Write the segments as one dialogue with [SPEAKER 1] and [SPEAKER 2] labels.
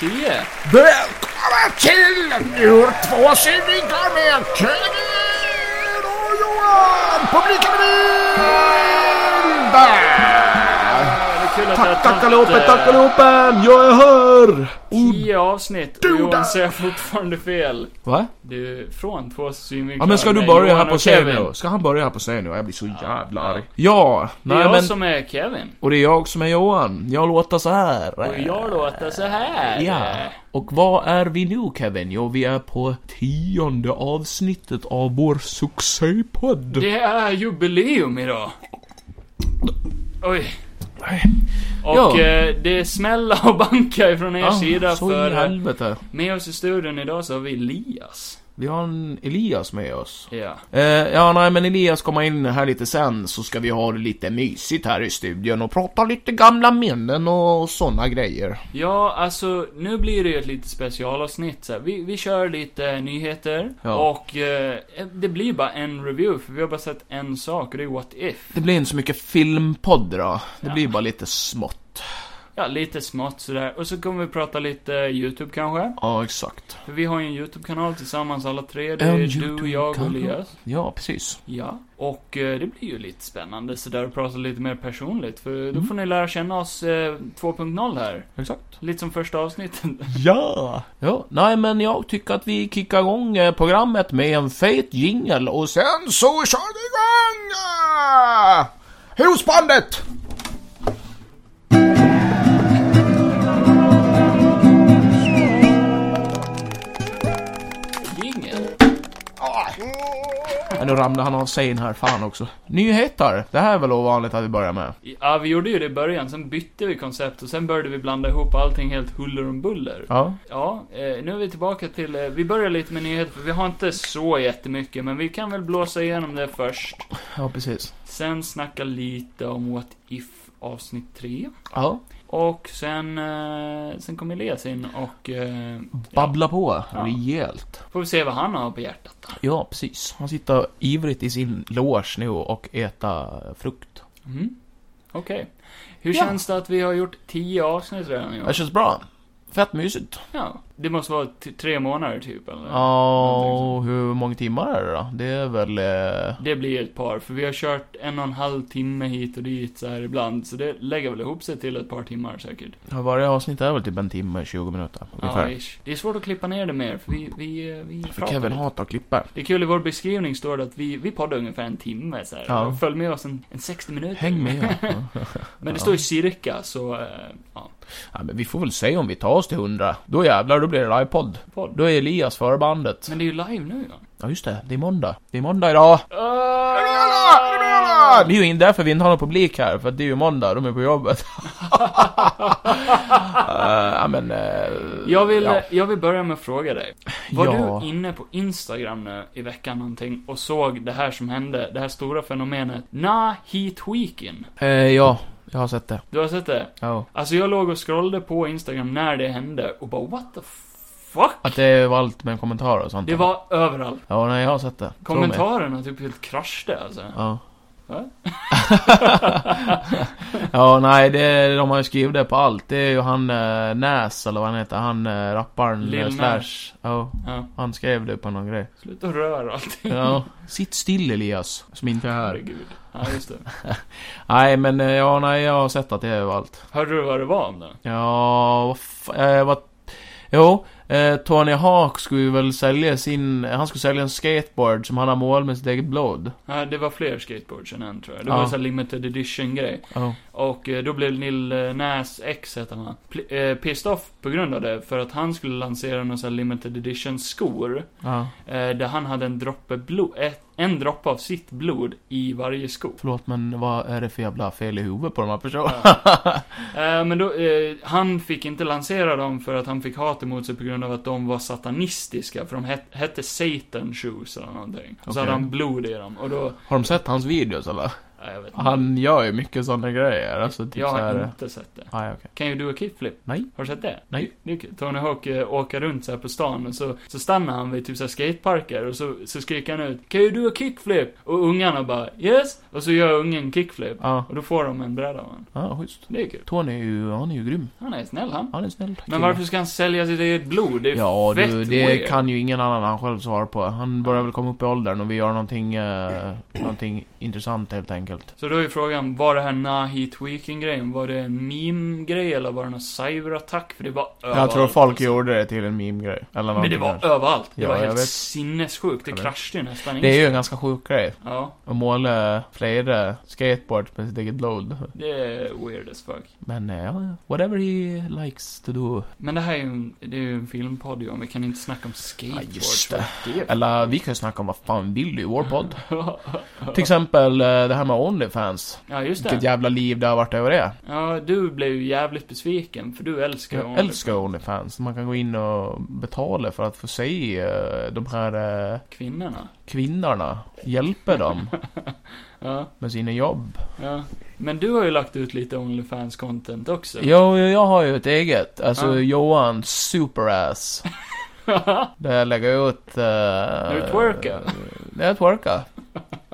[SPEAKER 1] det?
[SPEAKER 2] Välkomna till Ur två synvinklar med Kevin och Johan! Publiken är vild!
[SPEAKER 1] Ja, det är kul att
[SPEAKER 2] Tack,
[SPEAKER 1] jag
[SPEAKER 2] tack allihopa, tack
[SPEAKER 1] allihopa!
[SPEAKER 2] allihopa! Jag är här!
[SPEAKER 1] Tio avsnitt och
[SPEAKER 2] Du där!
[SPEAKER 1] Johan säger fortfarande fel.
[SPEAKER 2] Va?
[SPEAKER 1] Du, från två synvinklar
[SPEAKER 2] Ja men ska du
[SPEAKER 1] med
[SPEAKER 2] börja här
[SPEAKER 1] Johan
[SPEAKER 2] på
[SPEAKER 1] och
[SPEAKER 2] scen
[SPEAKER 1] Kevin.
[SPEAKER 2] nu? Ska han börja här på scen nu? Jag blir så jävla
[SPEAKER 1] ja.
[SPEAKER 2] arg. Ja,
[SPEAKER 1] Det är
[SPEAKER 2] nej
[SPEAKER 1] jag
[SPEAKER 2] men...
[SPEAKER 1] som är Kevin.
[SPEAKER 2] Och det är jag som är Johan. Jag låter så här.
[SPEAKER 1] Och jag låter så här.
[SPEAKER 2] Ja. Och vad är vi nu Kevin? Jo, vi är på tionde avsnittet av vår succépodd.
[SPEAKER 1] Det är jubileum idag. Oj.
[SPEAKER 2] Nej.
[SPEAKER 1] Och
[SPEAKER 2] Ja.
[SPEAKER 1] eh, det smäller och bankar ifrån er sida
[SPEAKER 2] Ah, så för...
[SPEAKER 1] för...
[SPEAKER 2] i
[SPEAKER 1] eh,
[SPEAKER 2] helvete.
[SPEAKER 1] Med oss i studion idag så har vi Elias.
[SPEAKER 2] Vi har en Elias med oss.
[SPEAKER 1] Ja.
[SPEAKER 2] Eh, ja, nej, men Elias kommer in här lite sen så ska vi ha det lite mysigt här i studion och prata lite gamla minnen och såna grejer.
[SPEAKER 1] Ja, alltså nu blir det ju ett litet specialavsnitt så här. Vi, vi kör lite nyheter
[SPEAKER 2] Ja.
[SPEAKER 1] och eh, det blir bara en review för vi har bara sett en sak och det är What If.
[SPEAKER 2] Det blir inte så mycket filmpodd då. Det
[SPEAKER 1] Ja.
[SPEAKER 2] blir bara lite smått.
[SPEAKER 1] Ja, lite smått sådär. Och så kommer vi prata lite YouTube kanske.
[SPEAKER 2] Ja, exakt.
[SPEAKER 1] För vi har ju en YouTube-kanal tillsammans alla tre. Det
[SPEAKER 2] En
[SPEAKER 1] är du,
[SPEAKER 2] YouTube-kanal.
[SPEAKER 1] jag och Elias.
[SPEAKER 2] Ja, precis.
[SPEAKER 1] Ja. Och eh, det blir ju lite spännande sådär att prata lite mer personligt. För
[SPEAKER 2] Mm.
[SPEAKER 1] då får ni lära känna oss eh, 2.0 här.
[SPEAKER 2] Exakt.
[SPEAKER 1] Lite som första avsnittet.
[SPEAKER 2] Ja! Ja, nej men jag tycker att vi kickar igång eh, programmet med en fet jingel och sen så kör vi igång! eh, Husbandet!
[SPEAKER 1] Jingel.
[SPEAKER 2] Ah. Ja, nu ramlade han av scen här, fan också. Nyheter! Det här är väl ovanligt att vi börjar med?
[SPEAKER 1] Ja, vi gjorde ju det i början, sen bytte vi koncept och sen började vi blanda ihop allting helt huller om buller.
[SPEAKER 2] Ja.
[SPEAKER 1] Ja, eh, nu är vi tillbaka till, eh, vi börjar lite med nyheter, för vi har inte så jättemycket, men vi kan väl blåsa igenom det först.
[SPEAKER 2] Ja, precis.
[SPEAKER 1] Sen snacka lite om What If avsnitt 3.
[SPEAKER 2] Ja.
[SPEAKER 1] Och sen, eh, sen kom Elias in och, eh,
[SPEAKER 2] Babbla på
[SPEAKER 1] Ja.
[SPEAKER 2] rejält.
[SPEAKER 1] får vi se vad han har på hjärtat då.
[SPEAKER 2] Ja, precis. Han sitter ivrigt i sin loge nu och äter frukt.
[SPEAKER 1] Mm. Okej. Hur
[SPEAKER 2] Ja.
[SPEAKER 1] känns det att vi har gjort 10 avsnitt redan i år?
[SPEAKER 2] Det känns bra. Fett mysigt.
[SPEAKER 1] Ja. Det måste vara t- tre månader typ, eller?
[SPEAKER 2] Ja,
[SPEAKER 1] Någonting sånt.
[SPEAKER 2] och hur många timmar är det då? Det är väl... Eh...
[SPEAKER 1] Det blir ett par, för vi har kört en och en halv timme hit och dit så här ibland, så det lägger väl ihop sig till ett par timmar säkert.
[SPEAKER 2] Ja, varje avsnitt är väl typ en timme, 20 minuter
[SPEAKER 1] Ja,
[SPEAKER 2] ungefär.
[SPEAKER 1] ish. Det är svårt att klippa ner det mer, för vi, vi, eh, vi
[SPEAKER 2] För
[SPEAKER 1] pratar
[SPEAKER 2] Kevin
[SPEAKER 1] lite.
[SPEAKER 2] hatar att klippa.
[SPEAKER 1] Det är kul, i vår beskrivning står det att vi, vi poddar ungefär en timme så här.
[SPEAKER 2] Ja.
[SPEAKER 1] Följ med oss en, en 60 minuter.
[SPEAKER 2] Häng med. ja.
[SPEAKER 1] Men det står ju cirka, så, eh, ja.
[SPEAKER 2] ja, men vi får väl se om vi tar oss till 100. Då jävlar, då blir det livepodd.
[SPEAKER 1] Podd.
[SPEAKER 2] Då är Elias före bandet.
[SPEAKER 1] Men det är ju live nu, va?
[SPEAKER 2] Ja, just det. Det är måndag. Det är måndag idag.
[SPEAKER 1] Ah!
[SPEAKER 2] Det är ju in därför vi inte har någon publik här, för att det är ju måndag, de är på jobbet. Eh, ja, men... eh,
[SPEAKER 1] Jag vill,
[SPEAKER 2] Ja.
[SPEAKER 1] jag vill börja med att fråga dig. Var
[SPEAKER 2] Ja.
[SPEAKER 1] du inne på Instagram nu i veckan någonting och såg det här som hände, det här stora fenomenet? Na Heat Weekend.
[SPEAKER 2] eh, ja, jag har sett det.
[SPEAKER 1] Du har sett det?
[SPEAKER 2] Ja.
[SPEAKER 1] Alltså jag låg och scrollade på Instagram när det hände och bara what the fuck?
[SPEAKER 2] Att det var allt med kommentarer och sånt.
[SPEAKER 1] Det var överallt.
[SPEAKER 2] Ja, nej, jag har sett det. Tro mig.
[SPEAKER 1] Kommentarerna typ helt kraschade alltså.
[SPEAKER 2] Ja.
[SPEAKER 1] Va?
[SPEAKER 2] ja, nej, det, de har ju skrivit det på allt. Det är ju han eh, Näs, eller vad han heter, han eh, rapparen
[SPEAKER 1] Lil
[SPEAKER 2] eh,
[SPEAKER 1] Nas.
[SPEAKER 2] Slash. Ja,
[SPEAKER 1] Ja.
[SPEAKER 2] han skrev det på någon grej.
[SPEAKER 1] Sluta röra allting.
[SPEAKER 2] Ja. Sitt still Elias, som inte är här.
[SPEAKER 1] Herregud. Ja, just det.
[SPEAKER 2] Nej, men eh, ja, nej, jag har sett att det är överallt.
[SPEAKER 1] Hörde du vad det var om det?
[SPEAKER 2] Ja, vad fa- eh, vad... Jo, eh, Tony Hawk skulle ju väl sälja sin... Han skulle sälja en skateboard som han har målat med sitt eget blod.
[SPEAKER 1] Ja, det var fler skateboards än en tror jag. Det
[SPEAKER 2] Ja.
[SPEAKER 1] var en sån här limited edition grej.
[SPEAKER 2] Ja.
[SPEAKER 1] Och eh, då blev Lil eh, Nas X heter han pl- eh, pissed off på grund av det. För att han skulle lansera någon sån här limited edition skor.
[SPEAKER 2] ja.
[SPEAKER 1] Eh, där han hade en droppe blod, ett, en droppe av sitt blod i varje sko.
[SPEAKER 2] Förlåt, men vad är det för jävla fel i huvudet på de här personerna?
[SPEAKER 1] Eh, men då, eh, han fick inte lansera dem för att han fick hat emot sig på grund av att de var satanistiska. För de het, hette Satan Shoes eller någonting. Och så
[SPEAKER 2] Okej.
[SPEAKER 1] hade han blod i dem. Och då,
[SPEAKER 2] Har de sett hans videos eller?
[SPEAKER 1] Ja, jag vet inte.
[SPEAKER 2] Han gör ju mycket sådana grejer. Alltså typ
[SPEAKER 1] jag har
[SPEAKER 2] såhär...
[SPEAKER 1] inte sett det.
[SPEAKER 2] Ah, ja, okej.
[SPEAKER 1] Kan ju du och kickflip?
[SPEAKER 2] Nej.
[SPEAKER 1] Har du sett det?
[SPEAKER 2] Nej.
[SPEAKER 1] Det är kul. Tony Hawk eh, åker runt så här på stan och så, så stannar han vid typ så här skateparker och så, så skriker han ut Kan ju du ha kickflip? Och ungarna bara Yes! Och så gör ungen kickflip.
[SPEAKER 2] Ja,
[SPEAKER 1] Och då får de en bräda av honom.
[SPEAKER 2] ja, schysst.
[SPEAKER 1] Det är kul.
[SPEAKER 2] Tony är ju, han är ju grym.
[SPEAKER 1] Han är snäll han.
[SPEAKER 2] Han är snäll. kille.
[SPEAKER 1] Men varför ska han sälja sitt eget blod? Det är
[SPEAKER 2] Ja
[SPEAKER 1] fett
[SPEAKER 2] du, det
[SPEAKER 1] weird.
[SPEAKER 2] kan ju ingen annan än själv svara på. Han börjar väl komma upp i åldern och vi gör någonting, eh, någonting intressant helt enkelt.
[SPEAKER 1] Så då är frågan, var det här Nahi Tweaking-grejen, var det en meme-grej eller var det någon cyberattack? För det var överallt.
[SPEAKER 2] Jag tror folk gjorde det till en meme-grej. Eller
[SPEAKER 1] Men det
[SPEAKER 2] någonting
[SPEAKER 1] var
[SPEAKER 2] där.
[SPEAKER 1] överallt. Det
[SPEAKER 2] Ja,
[SPEAKER 1] var
[SPEAKER 2] jag
[SPEAKER 1] helt
[SPEAKER 2] vet.
[SPEAKER 1] sinnessjukt. Det
[SPEAKER 2] Jag vet.
[SPEAKER 1] kraschade ju nästan in.
[SPEAKER 2] Det är ju en ganska sjuk grej.
[SPEAKER 1] Ja,
[SPEAKER 2] Att måla flera skateboards med sitt eget blod.
[SPEAKER 1] det är weird as fuck.
[SPEAKER 2] Men eh, ja, whatever he likes to do.
[SPEAKER 1] Men det här är ju en, det är ju en filmpodd ju, och vi kan inte snacka om skateboard.
[SPEAKER 2] Ja, just det.
[SPEAKER 1] för det är-
[SPEAKER 2] Eller vi kan ju snacka om vad fan vi vill i vår podd. Till exempel eh, det här med Onlyfans.
[SPEAKER 1] ja, just
[SPEAKER 2] Vilket
[SPEAKER 1] det.
[SPEAKER 2] jävla liv det har varit över det.
[SPEAKER 1] Ja, du blev ju jävligt besviken, för du älskar
[SPEAKER 2] Jag
[SPEAKER 1] Onlyfans.
[SPEAKER 2] älskar Onlyfans. Man kan gå in och betala för att få se eh, de här eh,
[SPEAKER 1] kvinnorna.
[SPEAKER 2] kvinnorna. Hjälpa dem
[SPEAKER 1] Ja,
[SPEAKER 2] med sina jobb.
[SPEAKER 1] ja. Men du har ju lagt ut lite Onlyfans-content också.
[SPEAKER 2] Jo, jag har ju ett eget. Alltså
[SPEAKER 1] Typ. Ja.
[SPEAKER 2] Johan Superass. Där jag lägger ut...
[SPEAKER 1] du
[SPEAKER 2] Uh,
[SPEAKER 1] twerkar?
[SPEAKER 2] Jag twerkar.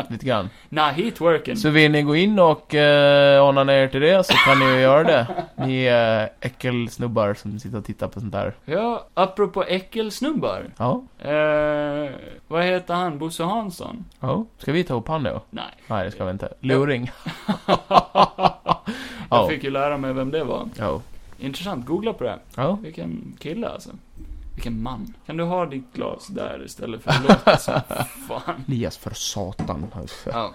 [SPEAKER 2] Lite grann.
[SPEAKER 1] Nahi Twerking.
[SPEAKER 2] Så vill ni gå in och uh, onanera till det så kan ni ju göra det. Ni uh, äckelsnubbar som sitter och tittar på sånt där.
[SPEAKER 1] Ja, apropå äckelsnubbar.
[SPEAKER 2] Ja,
[SPEAKER 1] Eh, vad heter han? Bosse Hansson?
[SPEAKER 2] ja. Ska vi ta upp han då?
[SPEAKER 1] Nej.
[SPEAKER 2] Nej, det ska vi inte. Luring.
[SPEAKER 1] Jag
[SPEAKER 2] Ja.
[SPEAKER 1] fick ju lära mig vem det var.
[SPEAKER 2] Ja.
[SPEAKER 1] Intressant, googla på det.
[SPEAKER 2] Ja.
[SPEAKER 1] Vilken kille alltså. Vilken man. Kan du ha ditt glas där istället för att låta som fan.
[SPEAKER 2] Elias för satan. alltså.
[SPEAKER 1] Ja.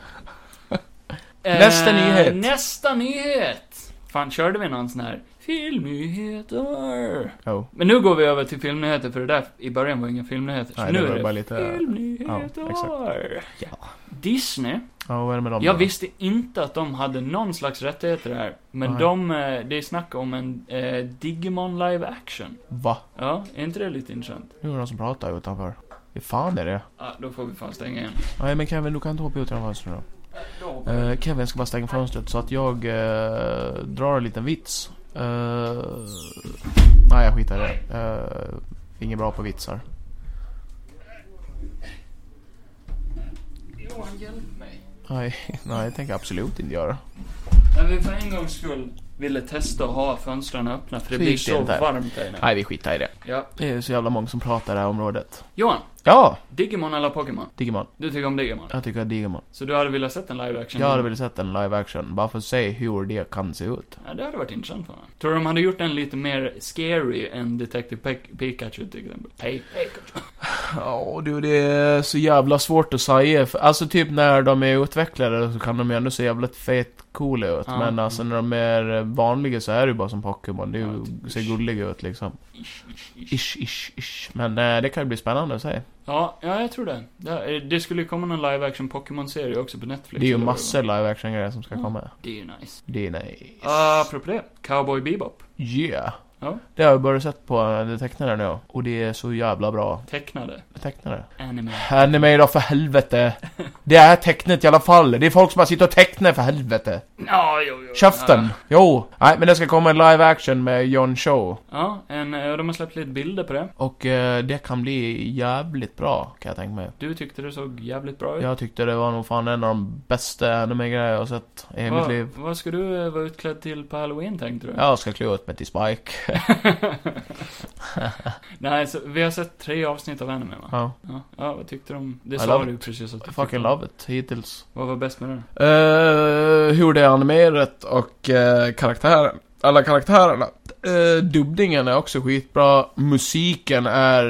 [SPEAKER 2] Nästa nyhet.
[SPEAKER 1] Eh, Nästa nyhet! Fan, körde vi någon sån här filmnyheter?
[SPEAKER 2] Ja.
[SPEAKER 1] Men nu går vi över till filmnyheter, för det där i början var inga filmnyheter. Så
[SPEAKER 2] Nej,
[SPEAKER 1] nu
[SPEAKER 2] det var
[SPEAKER 1] är det
[SPEAKER 2] bara lite-
[SPEAKER 1] filmnyheter.
[SPEAKER 2] Ja, Ja.
[SPEAKER 1] Disney
[SPEAKER 2] Ja, vad är det med dem
[SPEAKER 1] Jag
[SPEAKER 2] då?
[SPEAKER 1] visste inte att de hade någon slags rättigheter här. Men
[SPEAKER 2] Nej.
[SPEAKER 1] de, eh, det är snack om en eh, Digimon live action.
[SPEAKER 2] Va?
[SPEAKER 1] Ja, är inte det lite intressant?
[SPEAKER 2] Nu är det någon som pratar utanför. Hur fan är det?
[SPEAKER 1] Ja, då får vi fan stänga igen.
[SPEAKER 2] Nej men Kevin, du kan inte hoppa ut genom fönstret då.
[SPEAKER 1] Då.
[SPEAKER 2] Eh, Kevin ska bara stänga fönstret så att jag eh, drar en liten vits. Eh, nej, jag skitar i det. Eh, Inget bra på vitsar.
[SPEAKER 1] Johan, hjälp mig.
[SPEAKER 2] Nej, nej, det tänker jag absolut inte göra.
[SPEAKER 1] När vi för en gångs skull ville testa att ha fönstren öppna, för det
[SPEAKER 2] Så
[SPEAKER 1] blir
[SPEAKER 2] gick det
[SPEAKER 1] så
[SPEAKER 2] inte.
[SPEAKER 1] varmt här inne.
[SPEAKER 2] Nej, vi skitar i det.
[SPEAKER 1] Ja.
[SPEAKER 2] Det är så jävla många som pratar i det här området.
[SPEAKER 1] Johan,
[SPEAKER 2] Ja!
[SPEAKER 1] Digimon eller Pokémon?
[SPEAKER 2] Digimon.
[SPEAKER 1] Du tycker om Digimon?
[SPEAKER 2] Jag tycker att Digimon.
[SPEAKER 1] Så du hade velat sett en live action?
[SPEAKER 2] Jag hade velat sett en live action, bara för att se hur det kan se ut.
[SPEAKER 1] Ja, det hade varit intressant för mig. Tror du de hade gjort den lite mer scary än Detective Pe- Pikachu till exempel? Pe- Pikachu.
[SPEAKER 2] Ja, du, det är så jävla svårt att säga. För- Alltså typ när de är utvecklade så kan de ju ändå se jävligt fet coola ut.
[SPEAKER 1] Ja.
[SPEAKER 2] Men alltså när de är vanliga så är det ju bara som Pokémon. Det är ju,
[SPEAKER 1] Ja, typ.
[SPEAKER 2] ser gulliga ut liksom.
[SPEAKER 1] Ish, ish, ish.
[SPEAKER 2] Ish, ish, ish. Men eh, det kan ju bli spännande att se.
[SPEAKER 1] Ja, ja, jag tror det. Det, det skulle ju komma någon live action Pokémon-serie också på Netflix.
[SPEAKER 2] Det är ju
[SPEAKER 1] eller vad
[SPEAKER 2] massor live action grejer som ska
[SPEAKER 1] Ja.
[SPEAKER 2] komma.
[SPEAKER 1] Det var. Det är ju nice.
[SPEAKER 2] Det är nice.
[SPEAKER 1] Apropå det, Cowboy Bebop.
[SPEAKER 2] Yeah.
[SPEAKER 1] Ja.
[SPEAKER 2] Det har jag börjat sett på eh, det tecknade nu. Och det är så jävla bra.
[SPEAKER 1] Tecknade.
[SPEAKER 2] Tecknade.
[SPEAKER 1] Anime.
[SPEAKER 2] Anime då för helvete. Det är tecknet i alla fall. Det är folk som har suttit och tecknat för helvete.
[SPEAKER 1] Ja, jo, jo.
[SPEAKER 2] Käften!
[SPEAKER 1] Ja.
[SPEAKER 2] Jo! Nej, men det ska komma en live action med Jon Show.
[SPEAKER 1] Ja, en, eh, de har släppt lite bilder på det.
[SPEAKER 2] Och eh, det kan bli jävligt bra, kan jag tänka mig.
[SPEAKER 1] Du tyckte det såg jävligt bra ut.
[SPEAKER 2] Jag tyckte det var nog fan en av de bästa anime-grejer jag har sett i hela mitt
[SPEAKER 1] vad,
[SPEAKER 2] liv.
[SPEAKER 1] vad ska du eh, vara utklädd till på halloween tänkte du?
[SPEAKER 2] Jag ska klä ut mig till Spike.
[SPEAKER 1] Nej, så, vi har sett tre avsnitt av anime va?
[SPEAKER 2] Ja.
[SPEAKER 1] Ja, ja vad tyckte du om? Det
[SPEAKER 2] I
[SPEAKER 1] sa
[SPEAKER 2] love
[SPEAKER 1] du precis att du
[SPEAKER 2] I
[SPEAKER 1] tyckte
[SPEAKER 2] fucking
[SPEAKER 1] om.
[SPEAKER 2] love it, hittills.
[SPEAKER 1] Vad var bäst med den?
[SPEAKER 2] Uh, hur det är animerat och eh, karaktären. Alla karaktärerna. Uh, dubbningen är också skitbra. Musiken är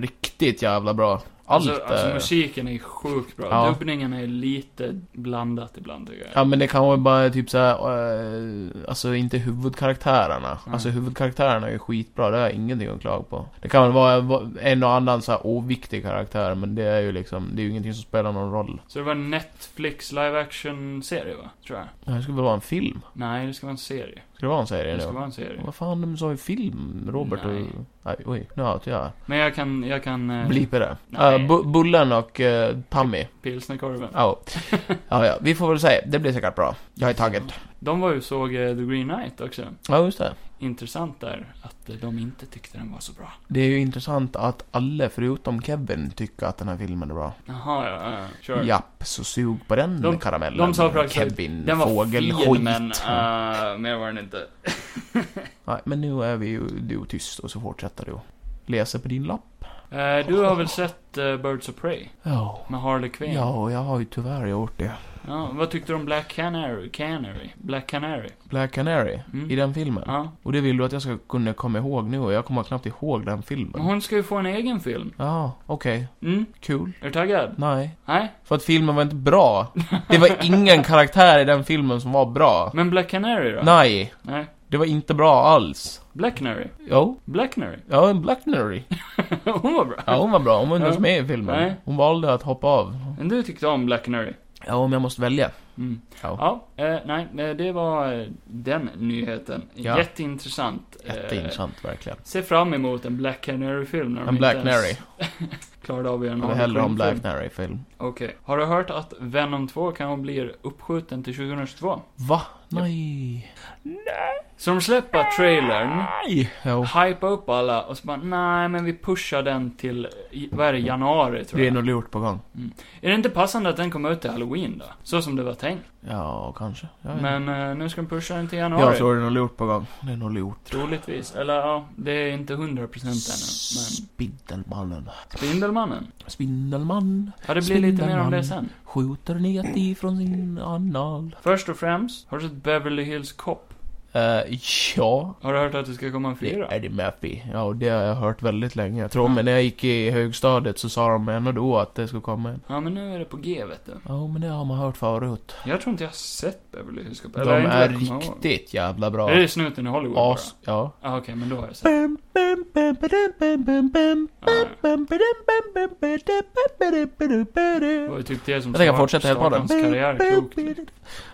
[SPEAKER 2] riktigt jävla bra. Allt
[SPEAKER 1] alltså, alltså
[SPEAKER 2] är...
[SPEAKER 1] musiken är sjukt bra.
[SPEAKER 2] Ja.
[SPEAKER 1] Dubbningen är lite blandat ibland tycker jag.
[SPEAKER 2] Ja men det kan vara bara typ såhär, eh, alltså inte huvudkaraktärerna.
[SPEAKER 1] Nej.
[SPEAKER 2] Alltså huvudkaraktärerna är ju skitbra, det har jag ingenting att klaga på. Det kan väl vara en och annan såhär oviktig karaktär, men det är ju liksom, det är ju ingenting som spelar någon roll.
[SPEAKER 1] Så det var en Netflix live action-serie va? Tror jag.
[SPEAKER 2] Det här skulle väl vara en film?
[SPEAKER 1] Nej, det ska vara en serie.
[SPEAKER 2] Ska Ska det vara en serie
[SPEAKER 1] Det ska
[SPEAKER 2] nu?
[SPEAKER 1] vara en serie.
[SPEAKER 2] Vad fan, de sa ju film, Robert
[SPEAKER 1] Nej.
[SPEAKER 2] och... Nej, oj, nu har jag
[SPEAKER 1] Men jag kan, jag kan... eh,
[SPEAKER 2] Blipa det.
[SPEAKER 1] Nej.
[SPEAKER 2] Uh, bu- bullen och eh, Tammy.
[SPEAKER 1] Pilsnerkorven.
[SPEAKER 2] Ja. ja, ja. Vi får väl se. Det blir säkert bra. Jag är taggad.
[SPEAKER 1] De var ju och såg eh, The Green Knight också.
[SPEAKER 2] Ja, just det.
[SPEAKER 1] Intressant där, att eh, de inte tyckte den var så bra.
[SPEAKER 2] Det är ju intressant att alla förutom Kevin tycker att den här filmen är bra.
[SPEAKER 1] Jaha, ja, ja, sure.
[SPEAKER 2] Japp, så sug på den
[SPEAKER 1] De-
[SPEAKER 2] karamellen.
[SPEAKER 1] de sa praktiskt
[SPEAKER 2] Kevin,
[SPEAKER 1] Den var
[SPEAKER 2] fågelskit.
[SPEAKER 1] fin, men eh, mer var den inte.
[SPEAKER 2] Nej, men nu är vi ju du tyst och så fortsätter du. Läser på din lapp.
[SPEAKER 1] Eh, du har väl sett eh, Birds of Prey?
[SPEAKER 2] Ja.
[SPEAKER 1] Med Harley Quinn?
[SPEAKER 2] Ja, jag har ju tyvärr gjort det.
[SPEAKER 1] Ja, vad tyckte du om Black Canary? Canary? Black Canary?
[SPEAKER 2] Black Canary,
[SPEAKER 1] Mm.
[SPEAKER 2] i den filmen.
[SPEAKER 1] Ja.
[SPEAKER 2] Och det vill du att jag ska kunna komma ihåg nu och jag kommer knappt ihåg den filmen.
[SPEAKER 1] Men hon ska ju få en egen film.
[SPEAKER 2] Ja, okej.
[SPEAKER 1] Mm,
[SPEAKER 2] Kul.
[SPEAKER 1] är du taggad?
[SPEAKER 2] Nej.
[SPEAKER 1] Nej?
[SPEAKER 2] För att filmen var inte bra. Det var ingen karaktär i den filmen som var bra.
[SPEAKER 1] Men Black Canary då?
[SPEAKER 2] Nej.
[SPEAKER 1] Nej.
[SPEAKER 2] Det var inte bra alls.
[SPEAKER 1] Black Canary?
[SPEAKER 2] Jo.
[SPEAKER 1] Black Canary?
[SPEAKER 2] Ja, en Black Canary.
[SPEAKER 1] hon var bra.
[SPEAKER 2] Ja, hon var bra. Hon var inte
[SPEAKER 1] Ja.
[SPEAKER 2] ens med i filmen.
[SPEAKER 1] Nej.
[SPEAKER 2] Hon valde att hoppa av.
[SPEAKER 1] Men du tyckte om Black Canary?
[SPEAKER 2] Ja, om jag måste välja.
[SPEAKER 1] Mm.
[SPEAKER 2] Ja.
[SPEAKER 1] Ja, eh, nej, eh, det var eh, den nyheten.
[SPEAKER 2] Ja.
[SPEAKER 1] Jätteintressant. Eh,
[SPEAKER 2] Jätteintressant, verkligen.
[SPEAKER 1] Se fram emot en Black Canary-film när de
[SPEAKER 2] En Black
[SPEAKER 1] inte ens
[SPEAKER 2] Canary.
[SPEAKER 1] klarade av att göra en
[SPEAKER 2] Jag vill
[SPEAKER 1] Harley
[SPEAKER 2] hellre ha en
[SPEAKER 1] Quinn-film.
[SPEAKER 2] Black Canary-film.
[SPEAKER 1] Okej. Har du hört att Venom 2 kanske blir uppskjuten till 2022?
[SPEAKER 2] Va? Nej.
[SPEAKER 1] Så de släpper trailern,
[SPEAKER 2] Nej! Jo.
[SPEAKER 1] hypar upp alla och så bara, nej men vi pushar den till, i- vad är det, januari tror
[SPEAKER 2] Det är
[SPEAKER 1] jag.
[SPEAKER 2] nog lurt på gång.
[SPEAKER 1] Är det inte passande att den kommer ut till halloween då? Så som det var tänkt.
[SPEAKER 2] Ja, kanske. Jag, vet
[SPEAKER 1] Men eh, nu ska de pusha den till
[SPEAKER 2] inte.
[SPEAKER 1] januari.
[SPEAKER 2] jag tror det är nog lurt på gång. Det är nog lurt.
[SPEAKER 1] Troligtvis. Eller ja, det är inte 100% ännu. Men
[SPEAKER 2] Spindelmannen.
[SPEAKER 1] Spindelmannen.
[SPEAKER 2] Spindelman
[SPEAKER 1] Ja, det blir lite mer om det
[SPEAKER 2] Spindelmannen.
[SPEAKER 1] sen.
[SPEAKER 2] skjuter net ifrån sin anal.
[SPEAKER 1] Först och främst, har du sett Beverly Hills Cop?
[SPEAKER 2] Eh, ja.
[SPEAKER 1] Har du hört att det ska komma en
[SPEAKER 2] Det
[SPEAKER 1] fyra?
[SPEAKER 2] är Eddie Murphy. Ja, och det har jag hört väldigt länge. Jag tror, men när jag gick i högstadiet så sa de ändå då att det skulle komma en.
[SPEAKER 1] Ja, men nu är det på G, vet du.
[SPEAKER 2] Ja, men det har man hört förut.
[SPEAKER 1] Jag tror inte jag har sett Beverly Hills Cop.
[SPEAKER 2] De
[SPEAKER 1] Eller jag inte
[SPEAKER 2] är
[SPEAKER 1] jag kommer ihåg.
[SPEAKER 2] riktigt jävla bra.
[SPEAKER 1] Det är snuten i Hollywood bara.
[SPEAKER 2] As... Ja.
[SPEAKER 1] Ja, okej, men då har jag sett.
[SPEAKER 2] Bum, bum, bum, ba-dum, bum, bum, bum.
[SPEAKER 1] Ja, ja.
[SPEAKER 2] Bum, ba-dum, bum, bum, ba-dum, bum, ba-dum, ba-dum,
[SPEAKER 1] Det var
[SPEAKER 2] ba-dum.
[SPEAKER 1] ju typ det som
[SPEAKER 2] Jag tänker
[SPEAKER 1] start-
[SPEAKER 2] fortsätta helt
[SPEAKER 1] startade
[SPEAKER 2] bara.
[SPEAKER 1] hans karriär typ. klokt. Mm.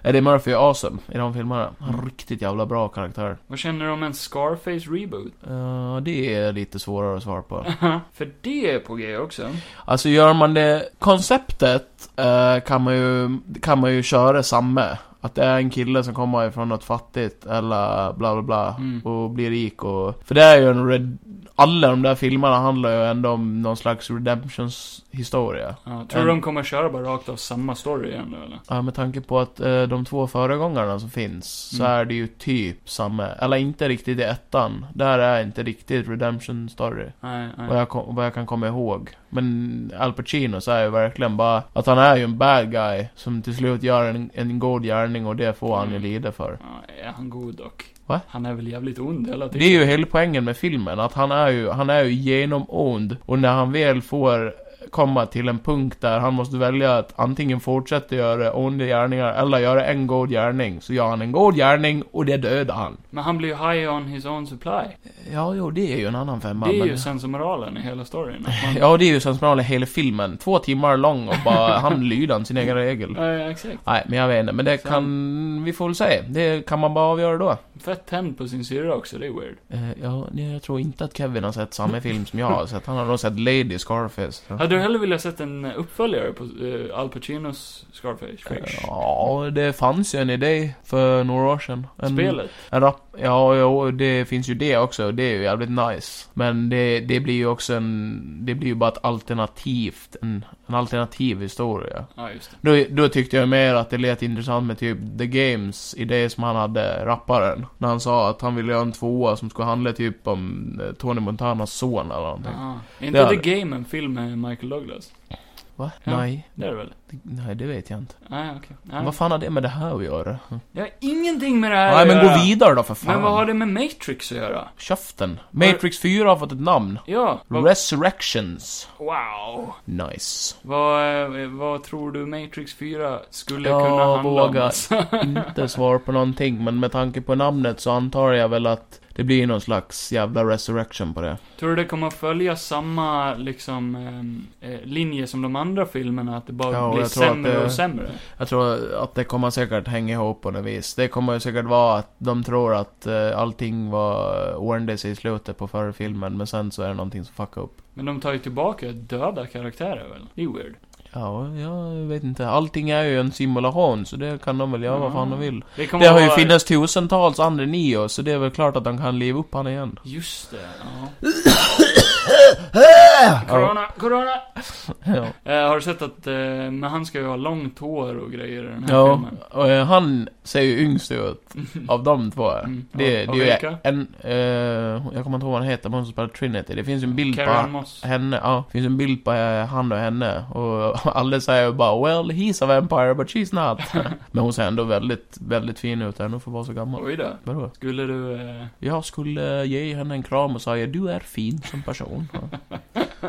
[SPEAKER 2] Eddie Murphy är awesome i de filmerna. Han är riktigt jävla bra karaktär.
[SPEAKER 1] Vad känner du om en Scarface reboot?
[SPEAKER 2] Eh, det är lite svårare att svara på.
[SPEAKER 1] För det är på G också.
[SPEAKER 2] Alltså gör man det konceptet eh, kan, man ju, kan man ju köra samma. Att det är en kille som kommer ifrån något fattigt eller bla bla bla
[SPEAKER 1] Mm.
[SPEAKER 2] och blir rik och... För det är ju en red... Alla de där filmerna handlar ju ändå om någon slags redemptions historia.
[SPEAKER 1] Ja, tror du
[SPEAKER 2] Mm.
[SPEAKER 1] de kommer köra bara rakt av samma story igen då, eller?
[SPEAKER 2] Ja, med tanke på att eh, de två föregångarna som finns så
[SPEAKER 1] Mm.
[SPEAKER 2] är det ju typ samma. Eller inte riktigt i ettan. Där är inte riktigt redemption story.
[SPEAKER 1] Nej, nej.
[SPEAKER 2] Vad jag, kom, vad jag kan komma ihåg. Men Al Pacino så är ju verkligen bara att han är ju en bad guy som till slut gör en, en god gärning och det får han ju lida för.
[SPEAKER 1] Ja, är han god dock?
[SPEAKER 2] Va?
[SPEAKER 1] Han är väl jävligt ond hela
[SPEAKER 2] Det
[SPEAKER 1] tiden?
[SPEAKER 2] är ju hela poängen med filmen, att han är ju, han är ju genomond och när han väl får komma till en punkt där han måste välja att antingen fortsätta göra onda gärningar eller göra en god gärning. Så gör han en god gärning och det dödar han.
[SPEAKER 1] Men han blir ju high on his own supply.
[SPEAKER 2] Ja, jo, det är ju en annan femma.
[SPEAKER 1] det är
[SPEAKER 2] men-
[SPEAKER 1] ju sensomoralen i hela storyn. Att man...
[SPEAKER 2] Ja, det är ju sensmoralen i hela filmen. Två timmar lång och bara han lyder han sin egen regel.
[SPEAKER 1] Eh, exakt.
[SPEAKER 2] Nej, men jag vet inte. Men det
[SPEAKER 1] Så-
[SPEAKER 2] kan... Vi får väl se. Det kan man bara avgöra då.
[SPEAKER 1] Fett tänd på sin syrra också, det är weird.
[SPEAKER 2] Eh, ja, nej, jag tror inte att Kevin har sett samma film som jag har sett. Han har nog sett Lady Scarface. Ja,
[SPEAKER 1] Hade du hellre velat sett en uppföljare på eh, Al Pacinos Scarface?
[SPEAKER 2] Ja, det fanns ju en idé för några år sedan. En,
[SPEAKER 1] Spelet?
[SPEAKER 2] En rap, ja, jo, det finns ju det också. Det är ju jävligt nice. Men det, det blir ju också en... Det blir ju bara ett alternativt... En, en alternativ historia.
[SPEAKER 1] Ja, just det.
[SPEAKER 2] Då, då tyckte jag mer att det lät intressant med typ The Games idé som han hade, rapparen. När han sa att han ville göra en tvåa som skulle handla typ om eh, Tony Montanas son eller någonting.
[SPEAKER 1] Aha. Ah. Är
[SPEAKER 2] Det
[SPEAKER 1] inte
[SPEAKER 2] hade-
[SPEAKER 1] The Game en film med Michael Douglas?
[SPEAKER 2] Va?
[SPEAKER 1] Ja.
[SPEAKER 2] Nej.
[SPEAKER 1] Det är det väl?
[SPEAKER 2] Det- Nej, det vet jag inte.
[SPEAKER 1] Nej, okej. Nej.
[SPEAKER 2] Vad fan har det med det här att göra?
[SPEAKER 1] Jag har ingenting med det här
[SPEAKER 2] Nej,
[SPEAKER 1] att
[SPEAKER 2] men
[SPEAKER 1] göra.
[SPEAKER 2] gå vidare då för fan.
[SPEAKER 1] Men vad har det med Matrix att göra?
[SPEAKER 2] Käften. Matrix 4 har fått ett namn.
[SPEAKER 1] Ja, vad...
[SPEAKER 2] Resurrections.
[SPEAKER 1] wow.
[SPEAKER 2] Nice.
[SPEAKER 1] Vad, eh, vad tror du Matrix 4 skulle
[SPEAKER 2] Jag
[SPEAKER 1] kunna handla
[SPEAKER 2] vågar.
[SPEAKER 1] om? alltså?
[SPEAKER 2] Inte svar på någonting, men med tanke på namnet så antar jag väl att Det blir någon slags jävla resurrection på det.
[SPEAKER 1] Tror du det kommer att följa samma, liksom, eh, eh, linje som de andra filmerna? Att det bara
[SPEAKER 2] Ja, och
[SPEAKER 1] blir
[SPEAKER 2] jag tror att
[SPEAKER 1] sämre
[SPEAKER 2] det-
[SPEAKER 1] och sämre?
[SPEAKER 2] Jag tror att det kommer säkert hänga ihop på något vis. Det kommer ju säkert vara att de tror att eh, allting var ordnades i slutet på förra filmen, men sen så är det någonting som fuckar upp.
[SPEAKER 1] Men de tar ju tillbaka döda karaktärer väl? Det är weird.
[SPEAKER 2] Ja, jag vet inte. Allting är ju en simulation, så det kan de väl göra vad fan de vill.
[SPEAKER 1] Det, kommer
[SPEAKER 2] Det har ju
[SPEAKER 1] vara-
[SPEAKER 2] funnits tusentals andra Neo, så det är väl klart att de kan leva upp han igen.
[SPEAKER 1] Just det, ja. corona, corona!
[SPEAKER 2] Ja.
[SPEAKER 1] Eh, har du sett att, eh, men han ska ju ha långt hår och grejer i den här
[SPEAKER 2] Ja,
[SPEAKER 1] filmen?
[SPEAKER 2] och eh, han ser ju yngst ut av de två.
[SPEAKER 1] Mm.
[SPEAKER 2] Det,
[SPEAKER 1] Och-
[SPEAKER 2] det är
[SPEAKER 1] och
[SPEAKER 2] ju
[SPEAKER 1] vilka?
[SPEAKER 2] en, eh, jag kommer inte ihåg vad han heter, men hon som spelar Trinity. Det finns ju en bild på
[SPEAKER 1] Karen Moss.
[SPEAKER 2] henne, ja. Det finns en bild på eh, han och henne. Och alla säger bara 'Well, he's a vampire but she's not' Men hon ser ändå väldigt, väldigt fin ut ändå för att vara så gammal.
[SPEAKER 1] Oj då.
[SPEAKER 2] Vadå?
[SPEAKER 1] Skulle du... Eh,
[SPEAKER 2] Jag skulle eh, ge henne en kram och säga 'Du är fin som person' Ja.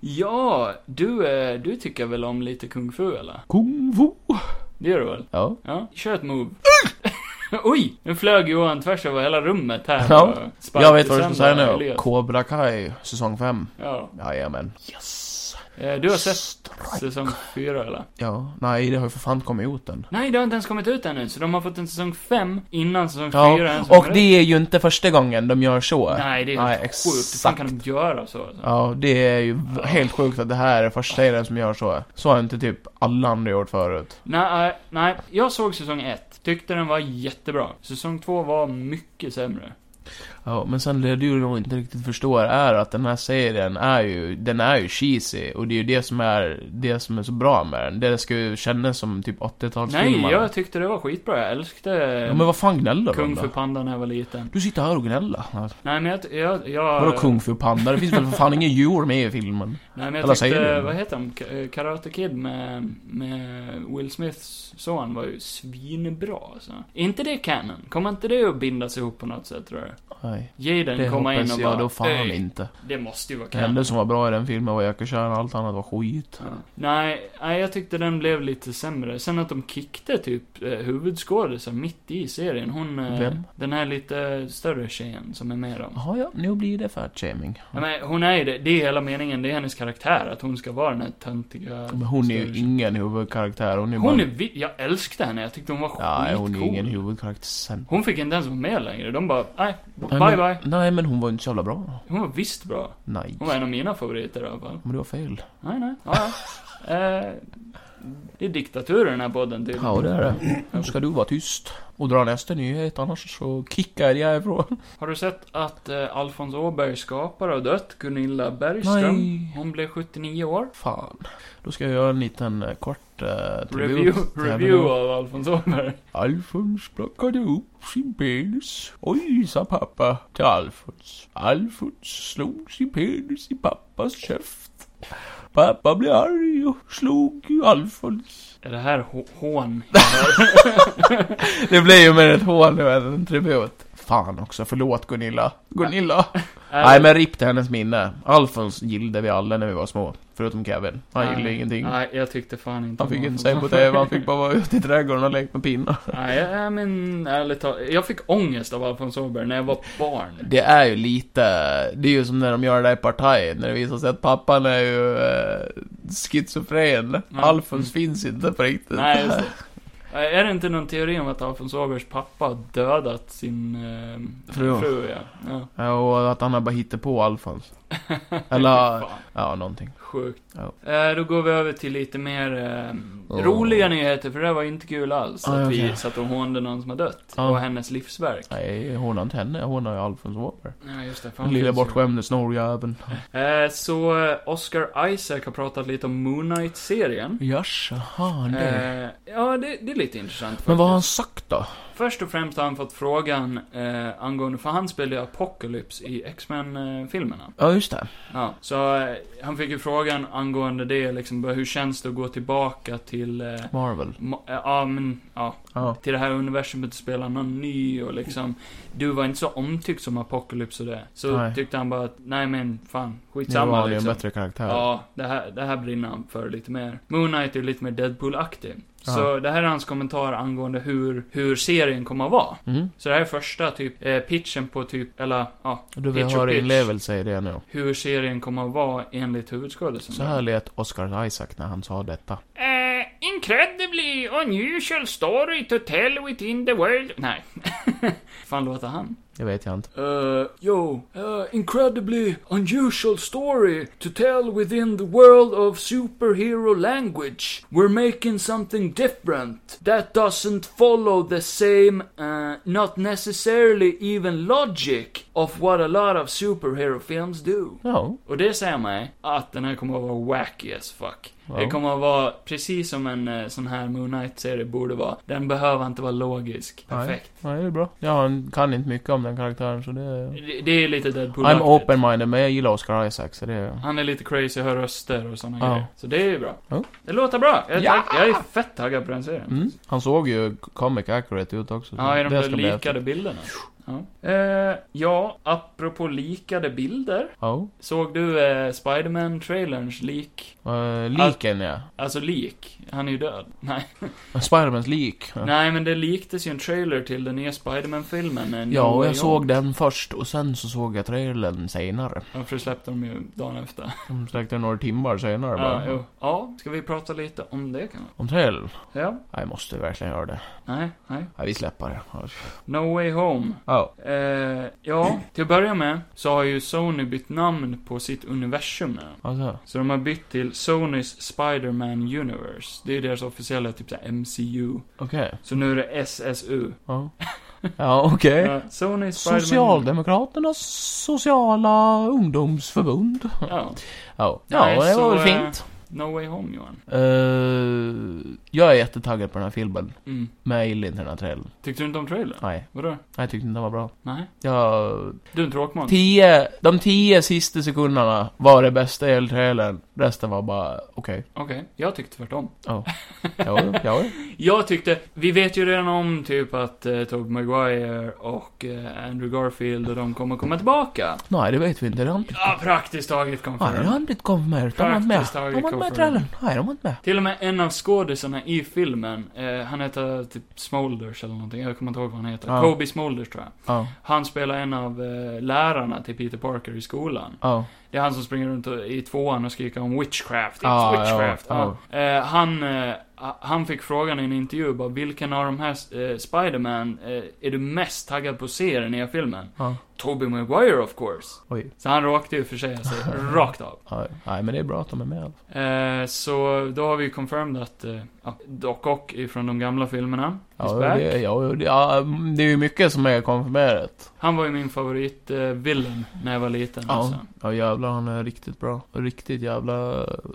[SPEAKER 1] ja, du, eh, du tycker väl om lite kung fu eller?
[SPEAKER 2] Kung fu!
[SPEAKER 1] Det gör du väl?
[SPEAKER 2] Ja.
[SPEAKER 1] Ja, kör ett move. Oj! Nu flög Johan tvärs över hela rummet här.
[SPEAKER 2] Ja.
[SPEAKER 1] och sparkade
[SPEAKER 2] Jag vet vad du ska säga
[SPEAKER 1] sönder
[SPEAKER 2] nu.
[SPEAKER 1] Elias.
[SPEAKER 2] Cobra Kai, säsong 5.
[SPEAKER 1] Ja.
[SPEAKER 2] Jajamän. Yes!
[SPEAKER 1] Eh, Du har sett
[SPEAKER 2] Strike.
[SPEAKER 1] säsong fyra eller?
[SPEAKER 2] Ja, nej det har ju för fan kommit ut än.
[SPEAKER 1] Nej, det har inte ens kommit ut ännu, så de har fått en säsong fem innan säsong fyra
[SPEAKER 2] Ja,
[SPEAKER 1] ens har
[SPEAKER 2] och
[SPEAKER 1] kommit ut.
[SPEAKER 2] det är ju inte första gången de gör så.
[SPEAKER 1] Nej, det är helt
[SPEAKER 2] Nej,
[SPEAKER 1] sjukt. Hur fan
[SPEAKER 2] exakt.
[SPEAKER 1] kan de göra så? Alltså?
[SPEAKER 2] Ja, det är ju v- helt sjukt att det här är första serien som gör så. Så har inte typ alla andra gjort förut.
[SPEAKER 1] Nej, eh, nej, jag såg säsong ett. Tyckte den var jättebra. Säsong två var mycket sämre.
[SPEAKER 2] Ja, men sen det du nog inte riktigt förstår är att den här serien är ju, den är ju cheesy. Och det är ju det som är, det som är så bra med den. Det ska ju kännas som typ 80-talsfilmer.
[SPEAKER 1] Nej, jag tyckte det var skitbra. Jag älskade
[SPEAKER 2] Ja, men vad fan gnäller du om
[SPEAKER 1] Kung
[SPEAKER 2] då?
[SPEAKER 1] för Panda när jag var liten.
[SPEAKER 2] Du sitter här och gnäller.
[SPEAKER 1] Nej, men jag... jag, jag
[SPEAKER 2] Vadå kung fu panda? Det finns väl för fan ingen djur med i filmen?
[SPEAKER 1] Nej, men jag
[SPEAKER 2] Eller säger
[SPEAKER 1] tyckte...
[SPEAKER 2] du?
[SPEAKER 1] Vad heter de? Ka- eh, Karate Kid med, med Will Smiths son var ju svinbra, alltså. Är inte det canon? Kommer inte det att bindas ihop på något sätt, tror du?
[SPEAKER 2] Nej.
[SPEAKER 1] Jaden
[SPEAKER 2] Det
[SPEAKER 1] komma in
[SPEAKER 2] hoppas
[SPEAKER 1] och bara...
[SPEAKER 2] jag då fan
[SPEAKER 1] "Ey,
[SPEAKER 2] inte.
[SPEAKER 1] Det måste ju vara
[SPEAKER 2] Det
[SPEAKER 1] canon.
[SPEAKER 2] enda som var bra i den filmen var Jackie Chan, allt annat var skit.
[SPEAKER 1] Nej, nej, jag tyckte den blev lite sämre. Sen att de kickade typ eh, huvudskådisen mitt i serien. Hon... eh,
[SPEAKER 2] Vem?
[SPEAKER 1] Den här lite större tjejen som är med dem.
[SPEAKER 2] Jaha ja, nu blir det fatshaming.
[SPEAKER 1] Ja, men hon är ju det, det är hela meningen, det är hennes karaktär, att hon ska vara den här töntiga...
[SPEAKER 2] Men hon är
[SPEAKER 1] större
[SPEAKER 2] ju
[SPEAKER 1] tjejen.
[SPEAKER 2] ingen huvudkaraktär, hon är ju
[SPEAKER 1] Hon
[SPEAKER 2] bara...
[SPEAKER 1] är vi- jag älskade henne, jag tyckte hon var skitcool.
[SPEAKER 2] Ja, hon är ju ingen huvudkaraktär sen.
[SPEAKER 1] Hon fick inte ens vara med längre, de bara, nej,
[SPEAKER 2] Nej,
[SPEAKER 1] bye
[SPEAKER 2] men-
[SPEAKER 1] bye.
[SPEAKER 2] Nej, men hon var inte så jävla bra.
[SPEAKER 1] Hon var visst bra.
[SPEAKER 2] Nej.
[SPEAKER 1] Hon var en av mina favoriter i alla fall.
[SPEAKER 2] Men du har fel.
[SPEAKER 1] Nej, nej, ja, ja. eh, Det är diktatur i den här podden typ. tydligen.
[SPEAKER 2] Ja, det är det. Nu ska du vara tyst. Och dra nästa nyhet, annars så kickar jag dig härifrån.
[SPEAKER 1] Har du sett att eh, Alfons Åberg skapare har dött? Gunilla Bergström.
[SPEAKER 2] Nej.
[SPEAKER 1] Hon blev 79 år.
[SPEAKER 2] Fan. Då ska jag göra en liten eh, kort eh, tribut.
[SPEAKER 1] Review,
[SPEAKER 2] till henne.
[SPEAKER 1] review av Alfons Åberg.
[SPEAKER 2] Alfons plockade upp sin penis. Oj, sa pappa till Alfons. Alfons slog sin penis i pappas käft. Pappa blev arg och slog ju Alfons.
[SPEAKER 1] Är det här hå- hån?
[SPEAKER 2] Det blev ju mer ett hål nu än en tribut. Fan också, förlåt Gunilla. Gunilla. Nej men ripp till hennes minne. Alfons gillade vi alla när vi var små. Förutom Kevin. Han gillade
[SPEAKER 1] Nej,
[SPEAKER 2] ingenting.
[SPEAKER 1] Nej, jag tyckte fan inte
[SPEAKER 2] Han
[SPEAKER 1] om
[SPEAKER 2] fick inte
[SPEAKER 1] Alfons
[SPEAKER 2] se på
[SPEAKER 1] Åberg.
[SPEAKER 2] TV, han fick bara vara ute i trädgården och leka med pinnar.
[SPEAKER 1] Nej, jag- men ärligt talat. Jag fick ångest av Alfons Åberg när jag var barn.
[SPEAKER 2] Det är ju lite, det är ju som när de gör det där i Partaj, när det visar sig att pappan är ju eh, schizofren. Alfons finns inte på riktigt.
[SPEAKER 1] Mm. Nej, just det. Nej, Är det inte någon teori om att Alfons Åbergs pappa har dödat sin eh,
[SPEAKER 2] Fru.
[SPEAKER 1] fru ja. ja.
[SPEAKER 2] Ja, och att han har bara hittat på Alfons. Eller,
[SPEAKER 1] Fan.
[SPEAKER 2] ja, någonting.
[SPEAKER 1] Sjukt.
[SPEAKER 2] Ja.
[SPEAKER 1] Eh, då går vi över till lite mer eh,
[SPEAKER 2] Åh.
[SPEAKER 1] roliga nyheter, för det här var inte kul alls.
[SPEAKER 2] Ah,
[SPEAKER 1] att
[SPEAKER 2] okej. Ah.
[SPEAKER 1] vi satt och hånade någon som har dött.
[SPEAKER 2] Ja.
[SPEAKER 1] Och hennes livsverk.
[SPEAKER 2] Nej, hon har inte henne, hon har ju Alfons Åberg.
[SPEAKER 1] Ja, just det. Fan,
[SPEAKER 2] Den lilla
[SPEAKER 1] finns ju.
[SPEAKER 2] bortskämde snorjäveln.
[SPEAKER 1] Eh, så, eh, Oscar Isaac har pratat lite om Moon Knight-serien.
[SPEAKER 2] Jaså, han det.
[SPEAKER 1] Eh, ja, det, det är lite intressant faktiskt.
[SPEAKER 2] Men vad har han sagt då?
[SPEAKER 1] Först och främst har han fått frågan eh, angående, för han spelade ju Apocalypse i X-Men-filmerna.
[SPEAKER 2] Ja, just det.
[SPEAKER 1] Ja, så eh, han fick ju frågan angående det, liksom, bara, hur känns det att gå tillbaka till eh,
[SPEAKER 2] Marvel.
[SPEAKER 1] Ma- eh, Ja, men ja.
[SPEAKER 2] Ja.
[SPEAKER 1] till det här universumet och spela någon ny och liksom, du var inte så omtyckt som Apocalypse och det. Så
[SPEAKER 2] Nej.
[SPEAKER 1] tyckte han bara att, nej men fan,
[SPEAKER 2] Nu
[SPEAKER 1] skitsamma
[SPEAKER 2] var det en
[SPEAKER 1] liksom.
[SPEAKER 2] bättre karaktär.
[SPEAKER 1] Ja, det här, det här brinner han för lite mer. Moon Knight är lite mer Deadpool-aktig.
[SPEAKER 2] Ja.
[SPEAKER 1] Så det här är hans kommentar angående hur, hur serien kommer att vara.
[SPEAKER 2] Mm.
[SPEAKER 1] Så det här är första typ, eh, pitchen på typ, eller ja,
[SPEAKER 2] Du
[SPEAKER 1] Pitch och
[SPEAKER 2] har
[SPEAKER 1] pitch.
[SPEAKER 2] inlevelse i det nu.
[SPEAKER 1] hur serien kommer att vara enligt huvudskådisen.
[SPEAKER 2] Så här lät Oscar Isaac när han sa detta.
[SPEAKER 1] Eh, incredibly unusual story to tell within the world. Nej. fan låter han?
[SPEAKER 2] Det vet jag inte.
[SPEAKER 1] Uh, yo, uh, incredibly unusual story to tell within the world of superhero language. We're making something different that doesn't follow the same, uh, not necessarily even logic of what a lot of superhero films do.
[SPEAKER 2] Ja.
[SPEAKER 1] Och det säger mig att den här kommer att vara wacky as fuck.
[SPEAKER 2] Ja.
[SPEAKER 1] Det kommer att vara precis som en eh, sån här Moon Knight-serie borde vara. Den behöver inte vara logisk.
[SPEAKER 2] Nej.
[SPEAKER 1] Perfekt.
[SPEAKER 2] Nej, det är bra. Jag har- kan inte mycket om den karaktären, så det...
[SPEAKER 1] Det, det är lite Deadpool
[SPEAKER 2] I'm open-minded, men jag gillar Oscar Isaac, så det... är-
[SPEAKER 1] Han är lite crazy, hör röster och såna
[SPEAKER 2] Ja.
[SPEAKER 1] grejer. Så det är ju bra.
[SPEAKER 2] Ja.
[SPEAKER 1] Det låter bra. Jag, är
[SPEAKER 2] Ja!
[SPEAKER 1] tagg- jag är fett taggad på den serien.
[SPEAKER 2] Mm. Han såg ju comic accurate ut också. så
[SPEAKER 1] Ja, i de
[SPEAKER 2] det
[SPEAKER 1] där
[SPEAKER 2] ska bli häftigt.
[SPEAKER 1] likade bilderna. Ja. Eh, ja, apropå likade bilder.
[SPEAKER 2] Ja.
[SPEAKER 1] Såg du eh, Spiderman-trailerns lik?
[SPEAKER 2] Eh, liken, ja.
[SPEAKER 1] Alltså lik? Han är ju död. Nej.
[SPEAKER 2] Spidermans lik. Ja.
[SPEAKER 1] Nej, men det liktes ju en trailer till den nya Spiderman-filmen. eh, No
[SPEAKER 2] Ja, och
[SPEAKER 1] Way
[SPEAKER 2] jag
[SPEAKER 1] Home.
[SPEAKER 2] såg den först och sen så såg jag trailern senare.
[SPEAKER 1] Ja, för det släppte de ju dagen efter.
[SPEAKER 2] De släckte några timmar senare
[SPEAKER 1] Ja,
[SPEAKER 2] bara.
[SPEAKER 1] jo. ja, ska vi prata lite om det kanske?
[SPEAKER 2] Om trailern?
[SPEAKER 1] Ja,
[SPEAKER 2] Nej, jag måste verkligen göra det.
[SPEAKER 1] nej, nej.
[SPEAKER 2] Nej, vi släpper det.
[SPEAKER 1] No Way Home.
[SPEAKER 2] Ja.
[SPEAKER 1] Eh, ja, till att börja med så har ju Sony bytt namn på sitt universum nu.
[SPEAKER 2] Alltså.
[SPEAKER 1] Så de har bytt till Sonys Spider-Man Universe. Det är ju deras officiella typ såhär MCU.
[SPEAKER 2] Okej.
[SPEAKER 1] Så nu är det SSU.
[SPEAKER 2] Ja. Ja, okej.
[SPEAKER 1] Ja, Sony Eh, Spider-Man...
[SPEAKER 2] Socialdemokraternas sociala ungdomsförbund.
[SPEAKER 1] Ja.
[SPEAKER 2] Ja,
[SPEAKER 1] Nej,
[SPEAKER 2] ja det
[SPEAKER 1] så,
[SPEAKER 2] var väl
[SPEAKER 1] eh,
[SPEAKER 2] fint.
[SPEAKER 1] No Way Home, Johan.
[SPEAKER 2] Eh, jag är jättetaggad på den här filmen.
[SPEAKER 1] Mm.
[SPEAKER 2] Men jag gillar inte den här trailern.
[SPEAKER 1] Tyckte du inte om trailern?
[SPEAKER 2] Nej,
[SPEAKER 1] Vadå?
[SPEAKER 2] jag tyckte inte den var bra.
[SPEAKER 1] Nej?
[SPEAKER 2] Jag
[SPEAKER 1] Du är en tråkmåns.
[SPEAKER 2] Tio, de tio sista sekunderna var det bästa i hela trailern. Resten var bara, okej.
[SPEAKER 1] Okej, jag tyckte tvärtom.
[SPEAKER 2] Jo, jo.
[SPEAKER 1] Jag tyckte, vi vet ju redan om typ att eh, Tobey Maguire och eh, Andrew Garfield och de kommer komma tillbaka.
[SPEAKER 2] Nej, det vet vi inte. Det har inte...
[SPEAKER 1] Ja, praktiskt taget
[SPEAKER 2] Nej, det
[SPEAKER 1] confirmed.
[SPEAKER 2] har inte konfirmerat. De var inte med.
[SPEAKER 1] Praktiskt taget
[SPEAKER 2] De var inte med i
[SPEAKER 1] confirmed.
[SPEAKER 2] trailern. Nej, de var inte med.
[SPEAKER 1] Till och med en av skådisarna i filmen, eh, han heter typ Smolders eller någonting, jag kommer inte ihåg vad han heter.
[SPEAKER 2] Ja.
[SPEAKER 1] Kobe Smolders tror jag.
[SPEAKER 2] Ja,
[SPEAKER 1] Han spelar en av eh, lärarna till Peter Parker i skolan.
[SPEAKER 2] ja.
[SPEAKER 1] Det är han som springer runt och- i tvåan och skriker om witchcraft. It's
[SPEAKER 2] Ah, ja,
[SPEAKER 1] witchcraft. Ja, Eh, han, eh, han fick frågan i en intervju bara, vilken av de här eh, Spiderman eh, är du mest taggad på att se i den nya filmen?
[SPEAKER 2] ja.
[SPEAKER 1] Tobey Maguire of course.
[SPEAKER 2] Oj.
[SPEAKER 1] Så han råkade ju försäga sig rakt av.
[SPEAKER 2] Ja, Nej, men det är bra att de är med. i alla fall.
[SPEAKER 1] Eh, så då har vi ju confirmed att eh, ja, Doc Ock ifrån de gamla filmerna is
[SPEAKER 2] Ja,
[SPEAKER 1] back.
[SPEAKER 2] det, ja, det, ja, det är ju mycket som är konfirmerat.
[SPEAKER 1] Han var ju min favorit eh, villain när jag var liten.
[SPEAKER 2] Ja.
[SPEAKER 1] Alltså.
[SPEAKER 2] Ja, jävlar han är riktigt bra. Riktigt jävla...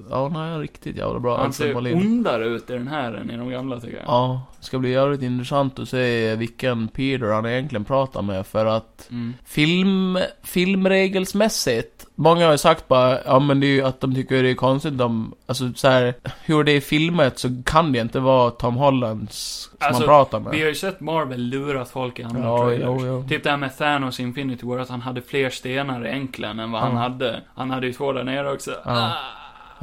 [SPEAKER 2] Ja, nej, han är riktigt jävla bra.
[SPEAKER 1] Han
[SPEAKER 2] Alfred
[SPEAKER 1] ser
[SPEAKER 2] Molin.
[SPEAKER 1] ondare ut i den här än i de gamla tycker jag.
[SPEAKER 2] Ja, det ska bli jävligt intressant att se vilken Peter han egentligen pratar med för att
[SPEAKER 1] Mm.
[SPEAKER 2] film, filmregelsmässigt, många har ju sagt bara, ja men det är ju att de tycker det är konstigt de, alltså så här, hur det är filmet så kan det inte vara Tom Hollands som
[SPEAKER 1] Alltså,
[SPEAKER 2] han pratar med.
[SPEAKER 1] Vi har ju sett Marvel lurat folk i andra
[SPEAKER 2] ja,
[SPEAKER 1] trailers.
[SPEAKER 2] jo, jo.
[SPEAKER 1] Typ det här med Thanos i Infinity War, att han hade fler stenar egentligen än vad
[SPEAKER 2] Ja.
[SPEAKER 1] han hade. Han hade ju två där nere också.
[SPEAKER 2] Ja.
[SPEAKER 1] Ah.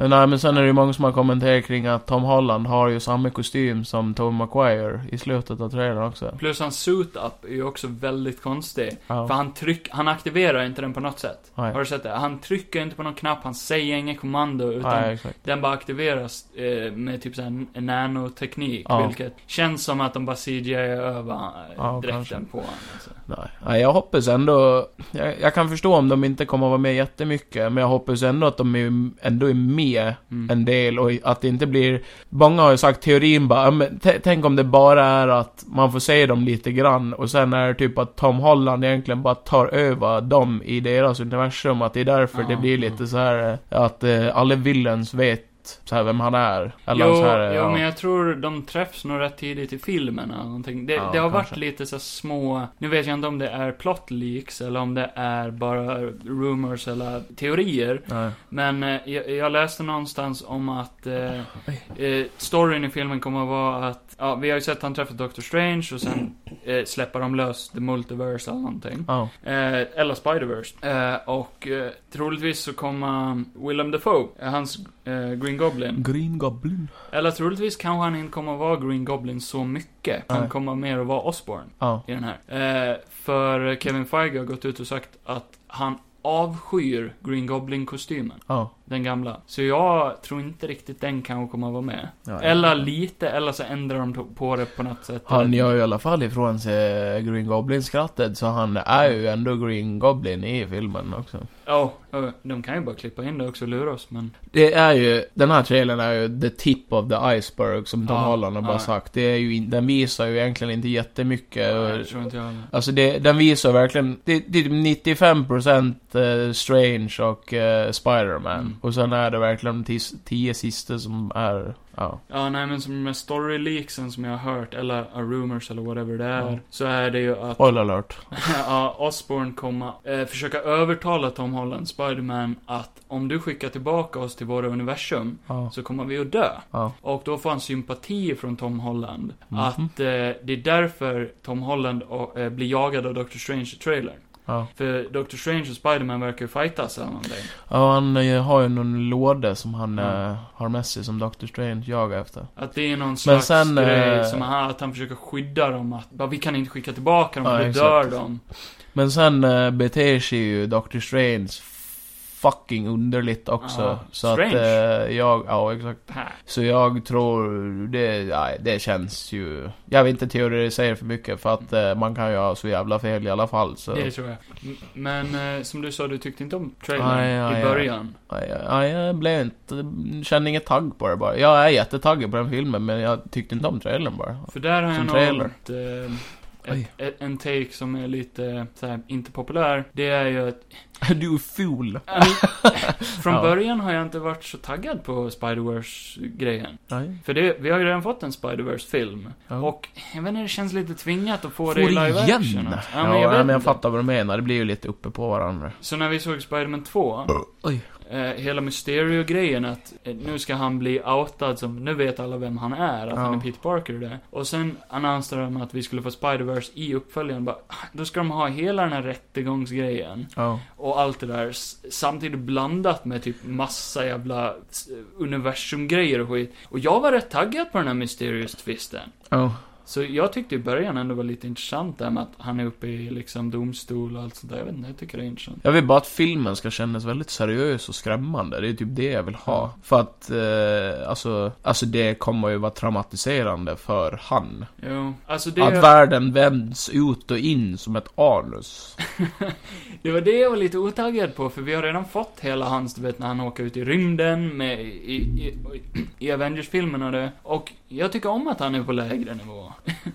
[SPEAKER 2] Nej men sen är det ju många som har kommenterat kring att Tom Holland har ju samma kostym som Tom McGuire i slutet av trailern också.
[SPEAKER 1] Plus hans suit-up är ju också väldigt konstig.
[SPEAKER 2] Ja.
[SPEAKER 1] För han tryck, han aktiverar inte den på något sätt.
[SPEAKER 2] Nej.
[SPEAKER 1] Har du sett det? Han trycker inte på någon knapp, han säger inget kommando, utan
[SPEAKER 2] Nej, exakt.
[SPEAKER 1] den bara aktiveras eh, med typ såhär en nanoteknik.
[SPEAKER 2] Ja.
[SPEAKER 1] Vilket känns som att de bara CGI över eh,
[SPEAKER 2] Ja,
[SPEAKER 1] dräkten
[SPEAKER 2] kanske.
[SPEAKER 1] på honom. Alltså.
[SPEAKER 2] Nej, Nej, jag hoppas ändå... Jag, jag kan förstå om de inte kommer att vara med jättemycket, men jag hoppas ändå att de är, ändå är med
[SPEAKER 1] Mm.
[SPEAKER 2] en del och att det inte blir... Många har ju sagt teorin bara, "Ja, men t- tänk om det bara är att man får se dem lite grann och sen är det typ att Tom Holland egentligen bara tar över dem i deras universum, att det är därför det
[SPEAKER 1] Ja,
[SPEAKER 2] blir
[SPEAKER 1] ja.
[SPEAKER 2] lite så här eh, att eh, alla villains vet vet så här vem han är. Eller
[SPEAKER 1] jo,
[SPEAKER 2] så här, eh,
[SPEAKER 1] jo
[SPEAKER 2] ja.
[SPEAKER 1] men jag tror de träffs nog rätt tidigt i filmen eller någonting. Det,
[SPEAKER 2] Ja,
[SPEAKER 1] det har
[SPEAKER 2] kanske.
[SPEAKER 1] varit lite så här små, nu vet jag inte om det är plot leaks eller om det är bara rumors eller teorier.
[SPEAKER 2] Nej.
[SPEAKER 1] Men eh, jag, jag läste någonstans om att eh, eh, storyn i filmen kommer att vara att, ja vi har ju sett han träffa Doctor Strange och sen eh, släpper de lös The Multiverse eller någonting.
[SPEAKER 2] Ja.
[SPEAKER 1] Eh, eller Spider-Verse. Eh, och eh, troligtvis så kommer Willem Dafoe, eh, hans eh, Green Goblin.
[SPEAKER 2] Green Goblin.
[SPEAKER 1] Eller troligtvis kanske han inte kommer att vara Green Goblin så mycket. Han
[SPEAKER 2] Nej.
[SPEAKER 1] kommer mer att vara Osborn
[SPEAKER 2] Ja.
[SPEAKER 1] i den här. Eh, för Kevin Feige har gått ut och sagt att han avskyr Green Goblin-kostymen.
[SPEAKER 2] Ja.
[SPEAKER 1] Den gamla. Så jag tror inte riktigt den kanske kommer att vara med.
[SPEAKER 2] Ja,
[SPEAKER 1] Eller lite, eller så ändrar de to- på det på något sätt.
[SPEAKER 2] Han gör ju i alla fall ifrån sig eh, Green Goblin-skrattet, så han är ju ändå Green Goblin i filmen också.
[SPEAKER 1] Ja, ja, de kan ju bara klippa in det också och lura oss, men...
[SPEAKER 2] Det är ju, den här trailern är ju the tip of the iceberg som Tom
[SPEAKER 1] Ja,
[SPEAKER 2] Holland har bara
[SPEAKER 1] ja.
[SPEAKER 2] sagt. Det är ju, in- den visar ju egentligen inte jättemycket.
[SPEAKER 1] Jag tror inte jag heller.
[SPEAKER 2] Alltså det, den visar verkligen, det, det är typ 95% eh, Strange och eh, Spider-Man.
[SPEAKER 1] Mm.
[SPEAKER 2] Och sen är det verkligen de tis- tio sista som är, ja.
[SPEAKER 1] Ja, nej men som med story leaksen som jag har hört, eller uh, rumors eller whatever det är,
[SPEAKER 2] Ja.
[SPEAKER 1] så är det ju att
[SPEAKER 2] Spoiler alert.
[SPEAKER 1] ja, Osborn kommer eh, försöka övertala Tom Holland, Spiderman, att om du skickar tillbaka oss till våra universum,
[SPEAKER 2] Ja.
[SPEAKER 1] så kommer vi att dö.
[SPEAKER 2] Ja.
[SPEAKER 1] Och då får han sympati från Tom Holland.
[SPEAKER 2] Mhm.
[SPEAKER 1] Att eh, det är därför Tom Holland och, eh, blir jagad av Doctor Strange i trailern.
[SPEAKER 2] Ja.
[SPEAKER 1] För Doctor Strange och Spiderman verkar ju fightas eller någonting.
[SPEAKER 2] ja, han eh, har ju någon låda som han
[SPEAKER 1] Ja.
[SPEAKER 2] eh, har med sig som Doctor Strange jagar efter.
[SPEAKER 1] Att det är någon slags
[SPEAKER 2] sen,
[SPEAKER 1] grej
[SPEAKER 2] eh,
[SPEAKER 1] som han, att han försöker skydda dem. Att bara, vi kan inte skicka tillbaka dem,
[SPEAKER 2] Ja,
[SPEAKER 1] för då dör
[SPEAKER 2] exakt.
[SPEAKER 1] de.
[SPEAKER 2] Men sen eh, beter sig ju Doctor Strange fucking underligt också.
[SPEAKER 1] Ja,
[SPEAKER 2] så att
[SPEAKER 1] Strange.
[SPEAKER 2] eh, jag, ja exakt.
[SPEAKER 1] Här.
[SPEAKER 2] Så jag tror, det, nej, det känns ju... Jag vill inte teoretisera för mycket för att eh, man kan ju ha så jävla fel i alla fall så...
[SPEAKER 1] Det tror jag. M- Men eh, som du sa, du tyckte inte om trailern
[SPEAKER 2] Aj, aj,
[SPEAKER 1] i
[SPEAKER 2] aj.
[SPEAKER 1] början.
[SPEAKER 2] Nej, jag- nej, jag blev inte... Kände inget tagg på det bara. Jag är jättetaggad på den filmen men jag tyckte inte om trailern bara.
[SPEAKER 1] För där har
[SPEAKER 2] Som
[SPEAKER 1] jag nog
[SPEAKER 2] trailer.
[SPEAKER 1] ett, eh,
[SPEAKER 2] Oj.
[SPEAKER 1] ett, ett, en take som är lite så här, inte populär. Det är ju att
[SPEAKER 2] Du är fool.
[SPEAKER 1] Ja, men- Från
[SPEAKER 2] Ja.
[SPEAKER 1] början har jag inte varit så taggad på Spider-Verse-grejen.
[SPEAKER 2] Nej.
[SPEAKER 1] För det, vi har ju redan fått en Spider-Verse-film.
[SPEAKER 2] Ja.
[SPEAKER 1] Och jag vet inte, det känns lite tvingat att få
[SPEAKER 2] Får
[SPEAKER 1] det i live
[SPEAKER 2] igen.
[SPEAKER 1] action.
[SPEAKER 2] Ja,
[SPEAKER 1] också.
[SPEAKER 2] ja, men jag,
[SPEAKER 1] vet
[SPEAKER 2] men jag
[SPEAKER 1] inte.
[SPEAKER 2] fattar vad du menar. Det blir ju lite uppe på varandra.
[SPEAKER 1] Så när vi såg Spider-Man 2,
[SPEAKER 2] Oj.
[SPEAKER 1] eh, hela Mysterio-grejen att eh, nu ska han bli outad som, nu vet alla vem han är, att
[SPEAKER 2] Ja.
[SPEAKER 1] han är Peter Parker och det. Och sen annonserade de att vi skulle få Spider-Verse i uppföljaren. Bara, "Ah, då ska de ha hela den här rättegångsgrejen.
[SPEAKER 2] Ja.
[SPEAKER 1] och allt det där s- samtidigt blandat med typ massa jävla s- universumgrejer och skit. Och jag var rätt taggad på den här Mysterious Twisten.
[SPEAKER 2] Ja.
[SPEAKER 1] Så jag tyckte i början ändå var lite intressant där med att han är uppe i liksom domstol och allt sånt där. Jag vet inte, jag tycker det är intressant.
[SPEAKER 2] Jag vill bara att filmen ska kännas väldigt seriös och skrämmande. Det är typ det jag vill ha. För att, eh, alltså, alltså det kommer ju vara traumatiserande för han.
[SPEAKER 1] Jo, alltså det,
[SPEAKER 2] Att världen vänds ut och in som ett anus.
[SPEAKER 1] det var det jag var lite otaggad på, för vi har redan fått hela hans, du vet, när han åker ut i rymden med, i, i, i, i Avengers-filmen och det. Och jag tycker om att han är på lägre nivå.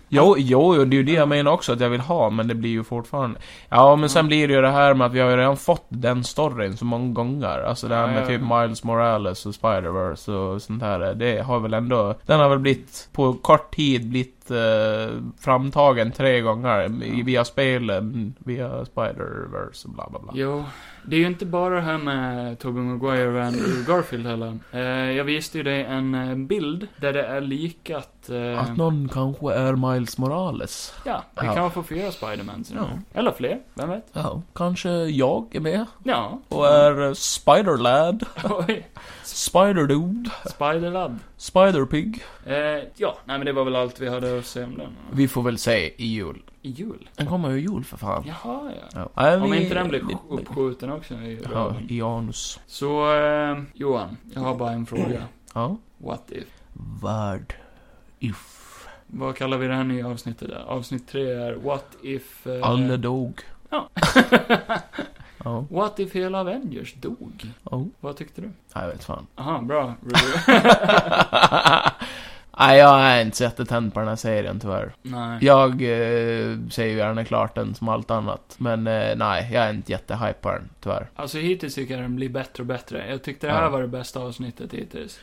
[SPEAKER 2] Jo, jo, jo, det är ju det jag menar också att jag vill ha, men det blir ju fortfarande... Ja, men
[SPEAKER 1] Mm.
[SPEAKER 2] sen blir det ju det här med att vi har ju redan fått den storyn så många gånger. Alltså det här
[SPEAKER 1] Ja,
[SPEAKER 2] med
[SPEAKER 1] ja,
[SPEAKER 2] typ
[SPEAKER 1] ja.
[SPEAKER 2] Miles Morales och Spider-Verse och sånt här. Det har väl ändå... Den har väl blivit, på kort tid, blivit eh, framtagen tre gånger i-
[SPEAKER 1] Ja.
[SPEAKER 2] via spelen, via Spider-Verse och bla bla bla.
[SPEAKER 1] Jo, det är ju inte bara det här med Tobey Maguire och Andrew Garfield heller. Eh, jag visste ju dig en eh, bild där det är likat... Eh,
[SPEAKER 2] Att någon kanske är Miles Morales.
[SPEAKER 1] Ja, vi
[SPEAKER 2] Ja.
[SPEAKER 1] kan få fyra Spidermans nu.
[SPEAKER 2] Ja.
[SPEAKER 1] Eller fler, vem vet?
[SPEAKER 2] Ja, kanske jag är med
[SPEAKER 1] Ja.
[SPEAKER 2] och är eh, Spider-Lad,
[SPEAKER 1] Oj,
[SPEAKER 2] Spider-Dude,
[SPEAKER 1] Spider-Lad.
[SPEAKER 2] Spider-Pig.
[SPEAKER 1] Eh, ja, nej men det var väl allt vi hade att säga om den. eh,
[SPEAKER 2] Vi får väl se i jul.
[SPEAKER 1] I jul?
[SPEAKER 2] Den kommer ju i jul för fan.
[SPEAKER 1] Jaha, ja.
[SPEAKER 2] Ja. Nej,
[SPEAKER 1] Om
[SPEAKER 2] vi-
[SPEAKER 1] inte den blir
[SPEAKER 2] vi-
[SPEAKER 1] sk- uppskjuten också. är ju bra.
[SPEAKER 2] Ja, i anus.
[SPEAKER 1] Så, eh, Johan, jag har bara en fråga.
[SPEAKER 2] Ja.
[SPEAKER 1] What if?
[SPEAKER 2] Vad if
[SPEAKER 1] Vad kallar vi det här nya avsnittet där? Avsnitt tre är What if... eh,
[SPEAKER 2] alla dog?
[SPEAKER 1] Ja.
[SPEAKER 2] Ja.
[SPEAKER 1] What if hela Avengers dog?
[SPEAKER 2] Ja.
[SPEAKER 1] Vad tyckte du?
[SPEAKER 2] Nej, jag vet fan.
[SPEAKER 1] Aha, bra review.
[SPEAKER 2] Nej, jag är inte så jättetänd på den här serien tyvärr.
[SPEAKER 1] Nej.
[SPEAKER 2] Jag eh, ser ju gärna klart den som allt annat. Men eh, nej, jag är inte jättehype på den, tyvärr.
[SPEAKER 1] Alltså hittills tycker jag den blir bättre och bättre. Jag tyckte det här
[SPEAKER 2] Ja.
[SPEAKER 1] var det bästa avsnittet hittills.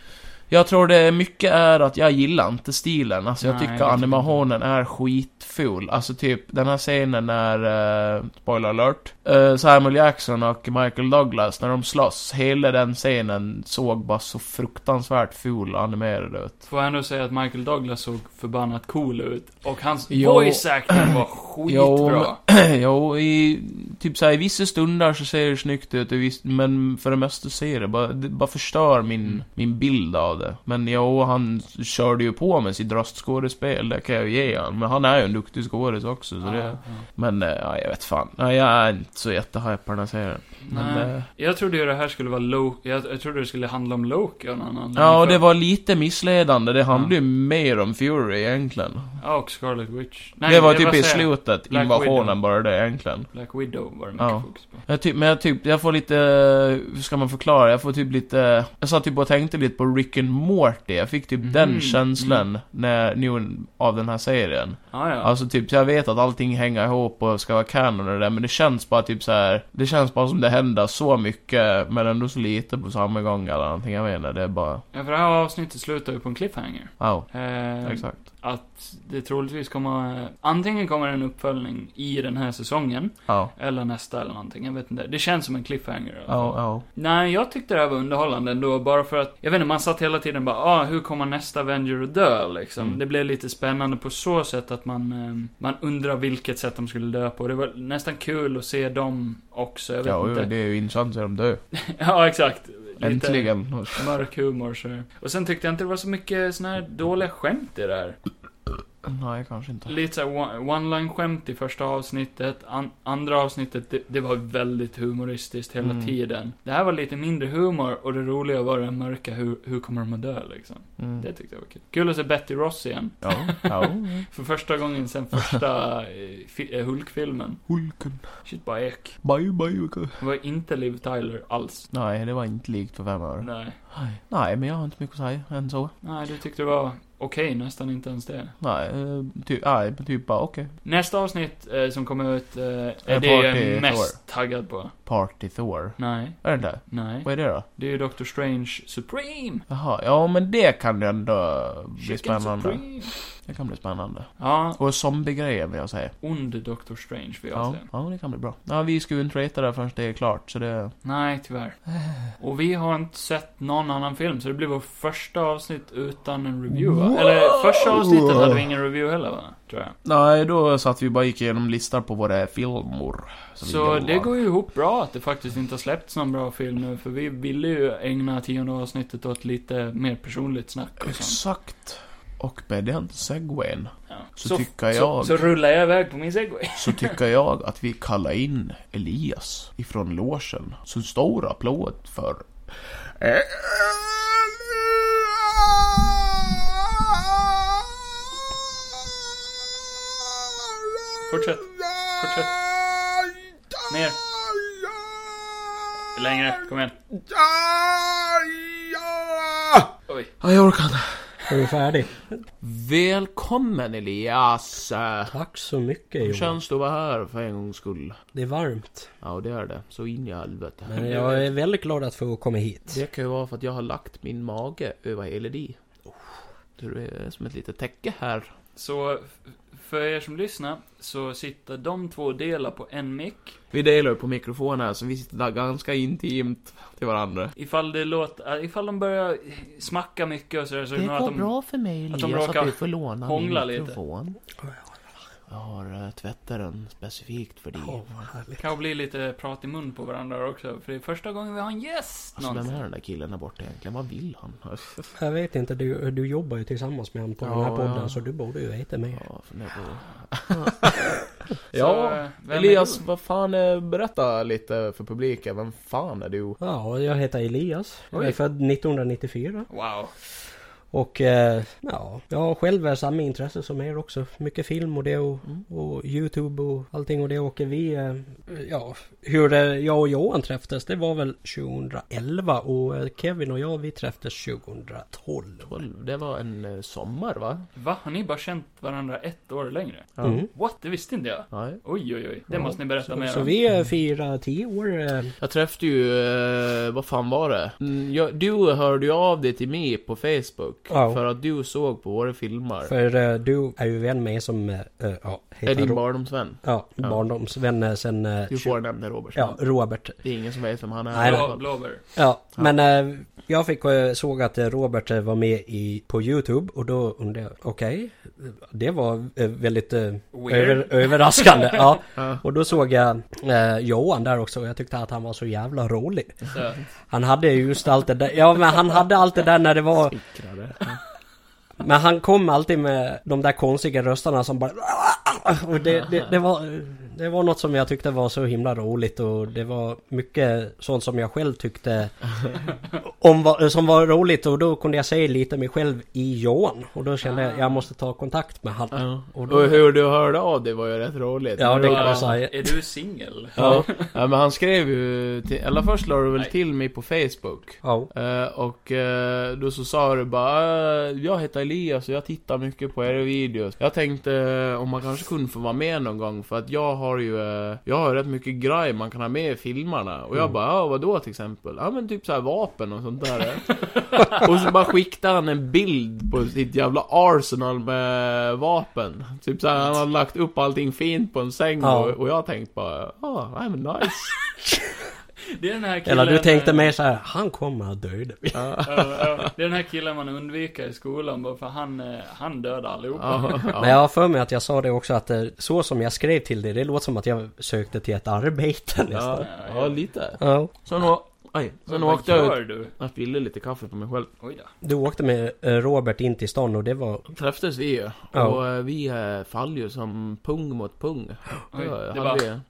[SPEAKER 2] Jag tror det mycket är att jag gillar inte stilen. Alltså jag
[SPEAKER 1] Nej,
[SPEAKER 2] tycker
[SPEAKER 1] jag tycker
[SPEAKER 2] animationen är skitful. Alltså typ den här scenen när, eh, spoiler alert, eh, Samuel Jackson och Michael Douglas när de slåss. Hela den scenen såg bara så fruktansvärt ful och animerad ut.
[SPEAKER 1] Får jag ändå säga att Michael Douglas såg förbannat cool ut. Och hans
[SPEAKER 2] Jo.
[SPEAKER 1] voice acting var
[SPEAKER 2] Jo,
[SPEAKER 1] skitbra.
[SPEAKER 2] jo, i, typ såhär i vissa stunder så ser det snyggt ut, i viss, men för det mesta ser det bara, det bara förstör
[SPEAKER 1] Mm.
[SPEAKER 2] min, min bild av det. Men jo, han körde ju på med sitt röstskådespel, det kan jag ju ge han. Men han är ju en duktig skådis också, så
[SPEAKER 1] Ja,
[SPEAKER 2] det...
[SPEAKER 1] ja.
[SPEAKER 2] Men eh, ja, jag vet fan. Nej, jag är inte så jättehype på den här serien. Men,
[SPEAKER 1] Nej.
[SPEAKER 2] eh,
[SPEAKER 1] Jag trodde ju det här skulle vara Loki. Jag, jag trodde det skulle handla om Loki av någon anledning.
[SPEAKER 2] Ja, och
[SPEAKER 1] För-
[SPEAKER 2] det var lite missledande. Det handlade ju mer om Fury egentligen.
[SPEAKER 1] Ja, och Scarlet Witch.
[SPEAKER 2] det var typ
[SPEAKER 1] vad
[SPEAKER 2] i
[SPEAKER 1] säger jag?
[SPEAKER 2] slutet,
[SPEAKER 1] Black
[SPEAKER 2] invasionen
[SPEAKER 1] Widow.
[SPEAKER 2] bara det egentligen.
[SPEAKER 1] Black Widow var det mycket
[SPEAKER 2] Ja.
[SPEAKER 1] fokus på.
[SPEAKER 2] Jag typ, men jag typ, jag får lite, eh, hur ska man förklara? Jag får typ lite, jag satt typ och tänkte lite på Rick and Morty. Jag fick typ
[SPEAKER 1] Mhm,
[SPEAKER 2] den känslan när, nu av den här serien.
[SPEAKER 1] Ah, ja.
[SPEAKER 2] Alltså typ, så jag vet att allting hänger ihop och ska vara canon och det där, men det känns bara typ så här. Det känns bara som det händer så mycket, men ändå så lite på samma gång eller någonting. Jag menar, det är bara,
[SPEAKER 1] ja, för det här avsnittet slutar ju på en cliffhanger.
[SPEAKER 2] wow.
[SPEAKER 1] Eh,
[SPEAKER 2] Exakt.
[SPEAKER 1] Att det troligtvis kommer, antingen kommer en uppföljning i den här säsongen,
[SPEAKER 2] Ja.
[SPEAKER 1] eller nästa eller någonting, jag vet inte. Det känns som en cliffhanger. i alla fall.
[SPEAKER 2] Ja, ja.
[SPEAKER 1] Nej, jag tyckte det här var underhållande ändå, bara för att, jag vet inte, man satt hela tiden bara, ah, hur kommer nästa Avenger att dö, liksom?
[SPEAKER 2] Mm.
[SPEAKER 1] Det blev lite spännande på så sätt att man, eh, man undrar vilket sätt de skulle dö på. Det var nästan kul att se dem också, jag vet
[SPEAKER 2] Ja,
[SPEAKER 1] inte.
[SPEAKER 2] det är ju intressant att de dör.
[SPEAKER 1] ja, exakt. Lite
[SPEAKER 2] Äntligen.
[SPEAKER 1] Mörk humor, så. Och sen tyckte jag inte det var så mycket såna här dåliga skämt i det här.
[SPEAKER 2] Nej, kanske inte.
[SPEAKER 1] Lite såhär one-line-skämt i första avsnittet, an andra avsnittet, det, det var väldigt humoristiskt hela
[SPEAKER 2] Mm.
[SPEAKER 1] tiden. Det här var lite mindre humor och det roliga var den mörka, hur, hur kommer de att dö liksom?
[SPEAKER 2] Mm.
[SPEAKER 1] Det tyckte jag var kul. Kul att se Betty Ross igen.
[SPEAKER 2] Ja, ja.
[SPEAKER 1] För första gången sen första eh, fi- eh, Hulk-filmen.
[SPEAKER 2] Hulken.
[SPEAKER 1] Shit bara ek.
[SPEAKER 2] Bye, bye, okay.
[SPEAKER 1] Det var inte Liv Tyler alls.
[SPEAKER 2] Nej, det var inte likt för fem öre.
[SPEAKER 1] Nej.
[SPEAKER 2] Nej. Nej, men jag har inte mycket att säga än så.
[SPEAKER 1] Nej, du tyckte det var okej, nästan inte ens det.
[SPEAKER 2] Nej, eh, typ, nej, men typ bara okej.
[SPEAKER 1] Nästa avsnitt eh, som kommer ut, eh, är
[SPEAKER 2] En
[SPEAKER 1] det jag
[SPEAKER 2] party
[SPEAKER 1] är mest taggad på.
[SPEAKER 2] Party Thor.
[SPEAKER 1] Nej,
[SPEAKER 2] Är det inte?
[SPEAKER 1] nej.
[SPEAKER 2] Vad är det då?
[SPEAKER 1] Det är ju Doctor Strange Supreme!
[SPEAKER 2] Jaha, ja men det kan ju ändå bli
[SPEAKER 1] Chicken
[SPEAKER 2] spännande.
[SPEAKER 1] Supreme.
[SPEAKER 2] Det kan bli spännande.
[SPEAKER 1] Ja,
[SPEAKER 2] Och zombiegrejen vill jag säga.
[SPEAKER 1] ond Doctor Strange vill jag
[SPEAKER 2] Ja,
[SPEAKER 1] säga.
[SPEAKER 2] ja, det kan bli bra. Ja, vi ska ju inte rata det förrän det är klart, så det...
[SPEAKER 1] Nej, tyvärr. Och vi har inte sett någon annan film, så det blir vårt första avsnitt utan en review, va?
[SPEAKER 2] Wow!
[SPEAKER 1] Eller första avsnittet hade vi ingen review heller, va? Tror jag.
[SPEAKER 2] Nej, då satt vi bara gick igenom listor på våra filmer. som vi
[SPEAKER 1] Så
[SPEAKER 2] gillar.
[SPEAKER 1] det går ju ihop bra att det faktiskt inte har släppts någon bra film nu, för vi ville ju ägna tionde avsnittet åt lite mer personligt snack och sånt.
[SPEAKER 2] Exakt. Och med den segwayn
[SPEAKER 1] Ja.
[SPEAKER 2] så, tycker jag...
[SPEAKER 1] Så, så rullar jag iväg på min segway.
[SPEAKER 2] så tycker jag att vi kallar in Elias ifrån logen. Så en stor applåd för...
[SPEAKER 1] Fortsätt. Fortsätt. Mer. Längre, kom igen. Oj.
[SPEAKER 2] Ja, jag orkar inte.
[SPEAKER 3] Är du färdig?
[SPEAKER 2] Välkommen Elias!
[SPEAKER 3] Tack så mycket
[SPEAKER 2] Hur
[SPEAKER 3] Johan.
[SPEAKER 2] känns det att vara här för en gångs skull?
[SPEAKER 3] Det är varmt.
[SPEAKER 2] Ja, det är det. Så in i helvete.
[SPEAKER 3] Men jag är väldigt glad att få komma hit.
[SPEAKER 2] Det kan ju vara för att jag har lagt min mage över hela dig. Så det är som ett litet täcke här.
[SPEAKER 1] Så, f- för er som lyssnar, så sitter de två delar på en mick.
[SPEAKER 2] Vi delar ju på mikrofonen här, så vi sitter där ganska intimt till varandra.
[SPEAKER 1] Ifall det låter, äh, ifall de börjar smacka mycket och sådär så är det nog att de...
[SPEAKER 2] för mig
[SPEAKER 1] att de Elias, att råkar du
[SPEAKER 2] får låna
[SPEAKER 1] min hångla lite.
[SPEAKER 2] Jag har tvättat den specifikt för dig.
[SPEAKER 3] Åh, vad härligt.
[SPEAKER 1] Kan bli lite prat i mun på varandra också, för det är första gången vi har en gäst
[SPEAKER 2] Alltså vem
[SPEAKER 1] någonsin.
[SPEAKER 2] är den där killen där borta egentligen? Vad vill han?
[SPEAKER 3] Jag vet inte, du, du jobbar ju tillsammans med honom på den
[SPEAKER 2] Ja,
[SPEAKER 3] här podden
[SPEAKER 2] ja.
[SPEAKER 3] så du borde ju veta mer.
[SPEAKER 2] Ja, fundera på...
[SPEAKER 1] Så,
[SPEAKER 2] ja,
[SPEAKER 1] eh, vem är
[SPEAKER 2] Elias,
[SPEAKER 1] du?
[SPEAKER 2] vad fan, eh, berätta lite för publiken. Vem fan är du?
[SPEAKER 3] Ja, jag heter Elias. Jag
[SPEAKER 1] Oj.
[SPEAKER 3] är född 1994.
[SPEAKER 1] Wow.
[SPEAKER 3] Och eh, ja, jag har själv samma intresse som er också. Mycket film och det och,
[SPEAKER 2] Mm.
[SPEAKER 3] och Youtube och allting och det. Och vi, eh, ja, hur eh, jag och Johan träffades det var väl 2011 och eh, Kevin och jag vi träffades 2012.
[SPEAKER 2] Det var en eh, sommar va?
[SPEAKER 1] Va? Har ni bara känt varandra ett år längre?
[SPEAKER 2] Ja.
[SPEAKER 3] Mm.
[SPEAKER 1] What? Det visste inte jag.
[SPEAKER 2] Nej.
[SPEAKER 1] Oj, oj, oj. Det måste ni berätta mer
[SPEAKER 3] Så
[SPEAKER 1] om.
[SPEAKER 3] vi eh, firar tio år. eh,
[SPEAKER 2] Jag träffade ju, eh, vad fan var det? Mm, jag, du hörde ju av dig till mig på Facebook.
[SPEAKER 3] Ja.
[SPEAKER 2] För att du såg på våra filmer.
[SPEAKER 3] För eh, du är ju vän med som, eh, eh, ja,
[SPEAKER 2] är din
[SPEAKER 3] Ro-
[SPEAKER 2] barndomsvän?
[SPEAKER 3] Ja, barndomsvän eh, sen... eh,
[SPEAKER 2] Du får nämna Robert.
[SPEAKER 3] Ja, Robert.
[SPEAKER 2] Det är ingen som vet vem han är.
[SPEAKER 3] Nej,
[SPEAKER 2] i alla
[SPEAKER 1] Blå,
[SPEAKER 2] fall.
[SPEAKER 1] blåbär.
[SPEAKER 3] Ja, men eh, jag fick, eh, såg att eh, Robert eh, var med i, på YouTube och då undrade jag, okej, det var eh, väldigt eh,
[SPEAKER 1] Weird.
[SPEAKER 3] över, överraskande. ja.
[SPEAKER 2] Ja.
[SPEAKER 3] Och då såg jag eh, Johan där också och jag tyckte att han var så jävla rolig.
[SPEAKER 1] Så,
[SPEAKER 3] Han hade just allt det där, ja men han hade allt det där när det var,
[SPEAKER 2] Fickrade.
[SPEAKER 3] men han kom alltid med de där konstiga rösterna som bara och det, det, det var det var något som jag tyckte var så himla roligt och det var mycket sånt som jag själv tyckte om vad- som var roligt och då kunde jag säga lite mig själv i Johan och då kände jag jag måste ta kontakt med han.
[SPEAKER 2] Ja.
[SPEAKER 3] Och
[SPEAKER 2] Och,
[SPEAKER 3] då-
[SPEAKER 2] hur du hörde av dig var ju rätt roligt.
[SPEAKER 3] Ja, det
[SPEAKER 2] var-
[SPEAKER 3] kan jag säga.
[SPEAKER 1] eh, är du singel?
[SPEAKER 2] Ja. ja, men han skrev ju till, eller först la du väl
[SPEAKER 1] Nej.
[SPEAKER 2] till mig på Facebook.
[SPEAKER 3] Ja.
[SPEAKER 2] Eh, och eh, då så sa du bara eh, Jag heter Elias och jag tittar mycket på era videos Jag tänkte eh, om man kanske kunde få vara med någon gång För att jag har ju eh, Jag har rätt mycket grej man kan ha med i filmerna Och jag bara, ja vadå till exempel? Ja men typ så här vapen och sånt där eh." Och så bara skickade han en bild på sitt jävla arsenal med vapen Typ så här, han har lagt upp allting fint på en säng
[SPEAKER 3] Ja.
[SPEAKER 2] och, och jag tänkte bara, ja, nej men nice
[SPEAKER 1] Det är den här killen... eh,
[SPEAKER 3] Eller du tänkte mer så här, han kommer att döda mig.
[SPEAKER 1] Ja, ja. Det är den här killen man undviker i skolan bara för han, eh, han dödar allihopa.
[SPEAKER 2] ja, ja.
[SPEAKER 3] Men jag har för mig att jag sa det också att eh, så som jag skrev till dig, det låter som att jag sökte till ett arbete nästan.
[SPEAKER 2] Ja, ja, lite
[SPEAKER 3] Ja.
[SPEAKER 2] Sen, å- aj, sen
[SPEAKER 1] Vad
[SPEAKER 2] åkte jag
[SPEAKER 1] gör
[SPEAKER 2] ut
[SPEAKER 1] du?
[SPEAKER 2] Jag spillde lite kaffe på mig själv.
[SPEAKER 1] Oj då.
[SPEAKER 3] Du åkte med eh, Robert in till stan och det var...
[SPEAKER 2] Träffades vi ju.
[SPEAKER 3] Ja.
[SPEAKER 2] Och eh, vi eh, fall ju som pung mot pung.
[SPEAKER 1] Oj,
[SPEAKER 2] Då
[SPEAKER 1] det
[SPEAKER 2] hade,
[SPEAKER 1] var-
[SPEAKER 2] vi,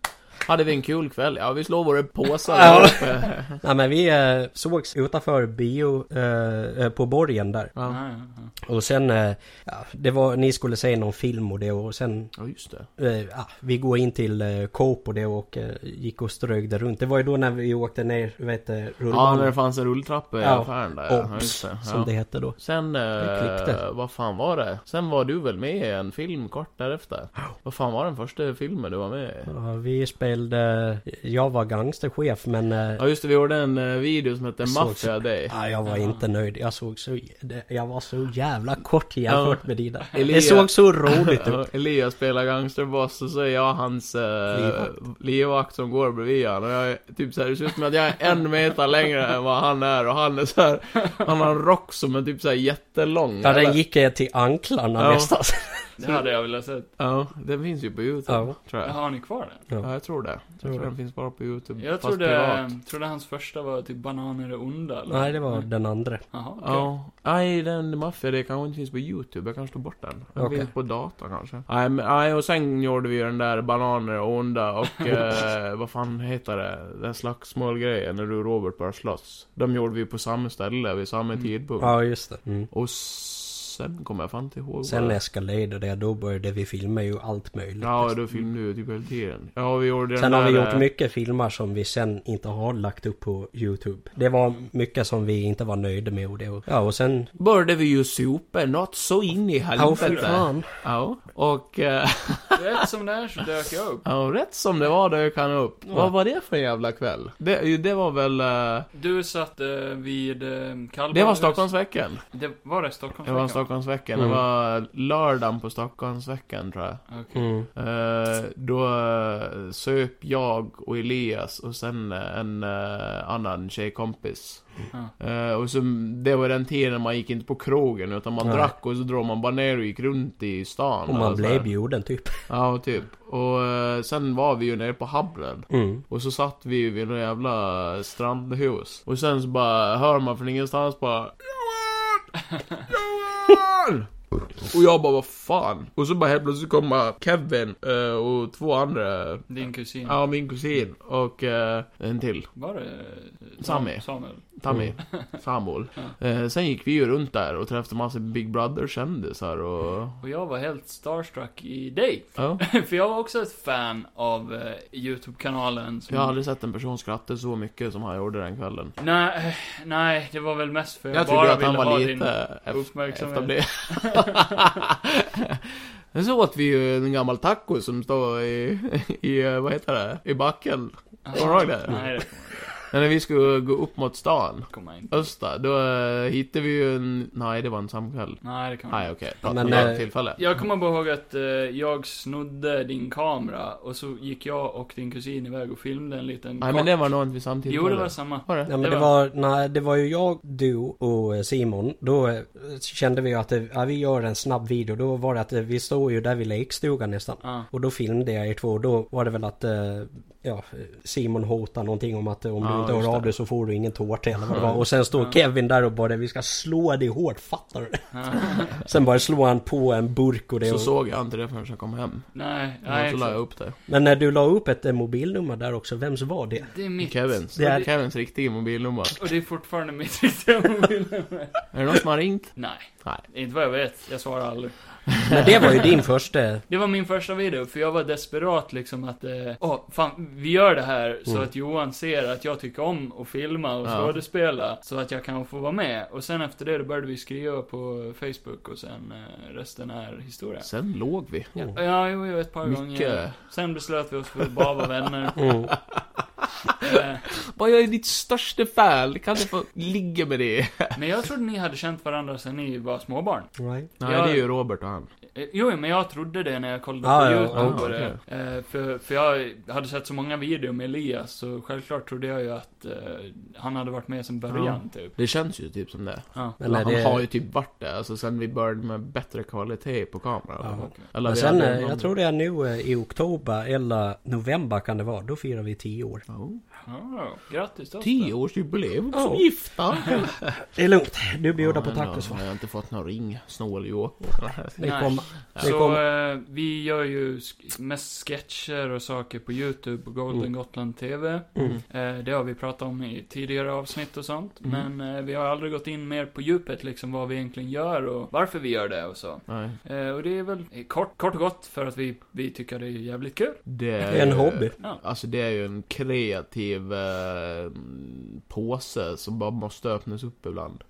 [SPEAKER 2] hade vi en kul kväll. Ja, vi slår våra påsar
[SPEAKER 3] Ja.
[SPEAKER 2] ihop. eh.
[SPEAKER 3] Nej men vi eh, sågs utanför bio eh, eh, på borgen där.
[SPEAKER 2] Ja.
[SPEAKER 1] Ja, ja, ja.
[SPEAKER 3] Och sen... Eh, ja, det var... Ni skulle se någon film och det och sen...
[SPEAKER 2] Ja, just det.
[SPEAKER 3] Eh, ja, vi går in till eh, Coop och det och eh, gick och strögde runt. Det var ju då när vi åkte ner, vad heter
[SPEAKER 2] Ja, när
[SPEAKER 3] rullbandet?
[SPEAKER 2] det fanns en rulltrappa i
[SPEAKER 3] Ja.
[SPEAKER 2] affären där. Ja, just
[SPEAKER 3] Ops,
[SPEAKER 2] det.
[SPEAKER 3] som
[SPEAKER 2] Ja.
[SPEAKER 3] det hette då.
[SPEAKER 2] Sen,
[SPEAKER 3] Det klippte.
[SPEAKER 2] eh, vad fan var det? Sen var du väl med i en film kort därefter? Vad fan var den första filmen du var med i?
[SPEAKER 3] Ja, vi spelade... Jag var gangsterchef men... eh,
[SPEAKER 2] Ja, just det. Vi gjorde en eh, video som hette
[SPEAKER 3] Såg-
[SPEAKER 2] Mafia Day.
[SPEAKER 3] Ja, jag var inte nöjd. Jag såg så... det- Jag var så jävla kort jämfört med dina. Det
[SPEAKER 2] Elias-
[SPEAKER 3] såg så roligt ut.
[SPEAKER 2] Ja, Elias spelar gangsterboss och så är jag hans eh, livvakt som går bredvid han. Och jag är typ såhär, det ser ut som att jag är en meter längre än vad han är och han är såhär, han har en rock som är typ såhär jättelång.
[SPEAKER 3] Ja,
[SPEAKER 2] eller?
[SPEAKER 3] den gick eh, till anklarna
[SPEAKER 2] Ja.
[SPEAKER 3] nästan.
[SPEAKER 1] Det hade jag velat sett.
[SPEAKER 2] Ja, den finns ju på YouTube,
[SPEAKER 3] Ja.
[SPEAKER 2] tror jag.
[SPEAKER 1] Har ni kvar den?
[SPEAKER 2] Ja, jag tror det. Jag tror,
[SPEAKER 3] det.
[SPEAKER 2] den finns bara på YouTube,
[SPEAKER 1] Jag
[SPEAKER 2] fast privat.
[SPEAKER 1] trodde, trodde hans första var typ bananer är onda eller?
[SPEAKER 3] Nej, det var den andra.
[SPEAKER 1] Jaha, okej.
[SPEAKER 2] Ja, nej den Mafia det kanske inte finns på YouTube, jag kanske tog bort den. Den
[SPEAKER 3] Okej.
[SPEAKER 2] finns på data kanske. Nej men, nej och sen gjorde vi ju den där bananer och onda och eh, vad fan heter det? Den slagsmålgrejen när du och Robert började slåss. De gjorde vi på samma ställe vid samma
[SPEAKER 1] Mm.
[SPEAKER 2] tidpunkt.
[SPEAKER 3] Ja, just det. Mm.
[SPEAKER 2] Och sen kommer jag fan inte ihåg. vad
[SPEAKER 3] Sen
[SPEAKER 2] det-
[SPEAKER 3] eskalerade det. Då började vi filma ju allt möjligt.
[SPEAKER 2] Ja, då filmade vi ju typ hela tiden. Ja, vi gjorde den
[SPEAKER 3] Sen har vi
[SPEAKER 2] där,
[SPEAKER 3] gjort
[SPEAKER 2] eh,
[SPEAKER 3] mycket filmer som vi sen inte har lagt upp på Youtube. Det var mycket som vi inte var nöjda med och det och, Ja och sen...
[SPEAKER 2] Började vi ju sopa något så in i
[SPEAKER 3] Ja för
[SPEAKER 2] helvete.
[SPEAKER 3] fan.
[SPEAKER 2] Ja, och... eh,
[SPEAKER 1] Rätt som det är så dök jag upp.
[SPEAKER 2] Ja, och rätt som det var dök han upp. Vad var det för en jävla kväll? Det, det var väl... eh,
[SPEAKER 1] Du satt eh, vid eh, Kalmar
[SPEAKER 2] Det var Stockholmsveckan.
[SPEAKER 1] Det var det Stockholms
[SPEAKER 2] Det var Stockholmsveckan.
[SPEAKER 3] Mm.
[SPEAKER 2] Det var lördagen på Stockholmsveckan tror jag.
[SPEAKER 3] Mm.
[SPEAKER 2] Eh, då eh, söp jag och Elias och sen eh, en eh, annan tjejkompis.
[SPEAKER 3] Mm.
[SPEAKER 2] Eh, och så, det var den tiden man gick inte på krogen utan man
[SPEAKER 3] Nej.
[SPEAKER 2] drack och så drog man bara ner och gick runt i stan.
[SPEAKER 3] Och man
[SPEAKER 2] eller så här.
[SPEAKER 3] blev bjuden typ.
[SPEAKER 2] Ja, typ. Och eh, sen var vi ju nere på Hablen.
[SPEAKER 3] Mm.
[SPEAKER 2] Och så satt vi vid något jävla strandhus. Och sen så bara hör man från ingenstans bara Johan! Johan! Och jag bara vad fan? Och så bara helt plötsligt kommer Kevin eh, och två andra
[SPEAKER 1] Din kusin.
[SPEAKER 2] Ja, min kusin och eh, en till.
[SPEAKER 1] Var det eh,
[SPEAKER 2] Sammy.
[SPEAKER 1] Samuel?
[SPEAKER 2] Tammy, Samuel. Eh, sen gick vi ju runt där och träffade massa Big Brother-kändisar och...
[SPEAKER 1] Och jag var helt starstruck i dig.
[SPEAKER 2] Ja.
[SPEAKER 1] För jag var också ett fan av eh, YouTube-kanalen. som-
[SPEAKER 2] Jag har aldrig sett en person skratta så mycket som han gjorde den kvällen.
[SPEAKER 1] Nej, eh, nej, det var väl mest för jag,
[SPEAKER 2] Jag, trodde
[SPEAKER 1] bara
[SPEAKER 2] att
[SPEAKER 1] ville
[SPEAKER 2] han
[SPEAKER 1] ha
[SPEAKER 2] var
[SPEAKER 1] din...
[SPEAKER 2] lite ef-
[SPEAKER 1] uppmärksamhet.
[SPEAKER 2] efterbliven. liksom. Sen så åt vi ju en gammal taco som står i, i eh, vad heter det, i backen. Kommer du ihåg det?
[SPEAKER 1] Alltså, Nej, det
[SPEAKER 2] När vi skulle gå upp mot stan,
[SPEAKER 1] kommer jag inte.
[SPEAKER 2] öster, då eh, hittade vi ju en... Nej, det var en samkväll.
[SPEAKER 1] Nej, det kommer jag inte.
[SPEAKER 2] Nej, okej. Okay.
[SPEAKER 3] Men,
[SPEAKER 2] Men,
[SPEAKER 3] eh,
[SPEAKER 2] tillfälle.
[SPEAKER 1] Jag kommer bara ihåg att eh, jag snodde din kamera och så gick jag och din kusin iväg och filmade en liten
[SPEAKER 2] Nej, men det var nog inte vid samtidigt.
[SPEAKER 1] Jo, det var samma.
[SPEAKER 2] Var det?
[SPEAKER 3] Nej men
[SPEAKER 1] Det
[SPEAKER 3] det var, nej, det var ju jag, du och eh, Simon. Då eh, kände vi ju att det, ja, vi gör en snabb video. Då var det att eh, vi stod ju där vid lekstugan nästan.
[SPEAKER 1] Ja.
[SPEAKER 3] Och då filmade jag er två. Då var det väl att eh, ja, Simon hotade någonting om att eh, om
[SPEAKER 2] Ja,
[SPEAKER 3] du inte
[SPEAKER 2] just
[SPEAKER 3] hör av
[SPEAKER 2] det.
[SPEAKER 3] dig så får du ingen tårta eller vad det var. Och sen står Kevin där och bara vi ska slå dig hårt, fattar du? sen bara slår han på en burk och det.
[SPEAKER 2] Så
[SPEAKER 3] och,
[SPEAKER 2] såg jag inte det förrän jag kom hem.
[SPEAKER 1] Nej, nej.
[SPEAKER 2] Nej, så la jag
[SPEAKER 1] exakt.
[SPEAKER 2] upp det.
[SPEAKER 3] Men när du la upp ett eh, mobilnummer där också, vems var det?
[SPEAKER 1] Det är mitt.
[SPEAKER 2] Kevins.
[SPEAKER 3] Det är-
[SPEAKER 2] Kevins riktiga mobilnummer.
[SPEAKER 1] Och det är fortfarande mitt riktiga mobilnummer.
[SPEAKER 2] Är det någon som har ringt?
[SPEAKER 1] Nej.
[SPEAKER 2] Nej.
[SPEAKER 1] Inte vad jag vet. Jag svarar aldrig.
[SPEAKER 3] Men det var ju din första...
[SPEAKER 1] Det var min första video, för jag var desperat liksom att, eh, åh, fan, vi gör det här så
[SPEAKER 2] Mm.
[SPEAKER 1] att Johan ser att jag tycker om att filma och
[SPEAKER 2] Ja.
[SPEAKER 1] skådespela, så att jag kan få vara med. Och sen efter det, då började vi skriva på Facebook och sen eh, resten är historia.
[SPEAKER 2] Sen låg vi.
[SPEAKER 3] Mm.
[SPEAKER 1] Ja, jo, jo, ett par gånger.
[SPEAKER 2] Mycket.
[SPEAKER 1] Sen beslöt vi oss för att bara vara vänner.
[SPEAKER 3] Mm.
[SPEAKER 1] Eh,
[SPEAKER 2] Bara jag är ditt största fan. Kan du få ligga med det?
[SPEAKER 1] Men jag trodde ni hade känt varandra sen ni var småbarn.
[SPEAKER 3] Right.
[SPEAKER 2] Nej,
[SPEAKER 1] Ja.
[SPEAKER 2] det är ju Robert och han.
[SPEAKER 1] Eh, Jo, men jag trodde det när jag kollade
[SPEAKER 3] Ah,
[SPEAKER 1] på
[SPEAKER 3] ja,
[SPEAKER 1] YouTube
[SPEAKER 2] ah,
[SPEAKER 1] och det. Eh, för, för jag hade sett så många videor med Elias, så självklart trodde jag ju att eh, han hade varit med sen början, typ.
[SPEAKER 2] Det känns ju typ som det.
[SPEAKER 1] Ja.
[SPEAKER 3] Men nej,
[SPEAKER 2] han
[SPEAKER 3] det-
[SPEAKER 2] har ju typ varit det, alltså sen vi började med bättre kvalitet på kameran.
[SPEAKER 3] Ja.
[SPEAKER 2] Eller
[SPEAKER 3] Men
[SPEAKER 2] vi
[SPEAKER 3] sen,
[SPEAKER 2] hade
[SPEAKER 3] eh, jag tror det är nu eh, i oktober eller november kan det vara. Då firar vi 10 år.
[SPEAKER 2] Oh.
[SPEAKER 1] Ja, grattis då.
[SPEAKER 2] Tioårsjubileum som
[SPEAKER 3] Ja.
[SPEAKER 2] gifta!
[SPEAKER 3] Det är lungt. Du bjuder på
[SPEAKER 2] Men då
[SPEAKER 3] tacos va?
[SPEAKER 2] har Jag har inte fått någon ring, snål jo.
[SPEAKER 3] Det
[SPEAKER 1] Nej.
[SPEAKER 3] kommer. Det
[SPEAKER 1] Så
[SPEAKER 3] kommer.
[SPEAKER 1] eh, vi gör ju sk- mest sketcher och saker på YouTube och Golden
[SPEAKER 3] Mm.
[SPEAKER 1] Gotland TV.
[SPEAKER 3] Mm.
[SPEAKER 1] Eh, det har vi pratat om i tidigare avsnitt och sånt.
[SPEAKER 2] Mm.
[SPEAKER 1] Men eh, vi har aldrig gått in mer på djupet liksom vad vi egentligen gör och varför vi gör det och så.
[SPEAKER 2] Nej.
[SPEAKER 1] Eh, och det är väl eh, kort, kort och gott för att vi, vi tycker det är jävligt kul.
[SPEAKER 2] Det är
[SPEAKER 3] Det är en
[SPEAKER 2] ju-
[SPEAKER 3] hobby.
[SPEAKER 1] Ja.
[SPEAKER 2] Alltså det är ju en kreativ eh, påse som bara måste öppnas upp ibland.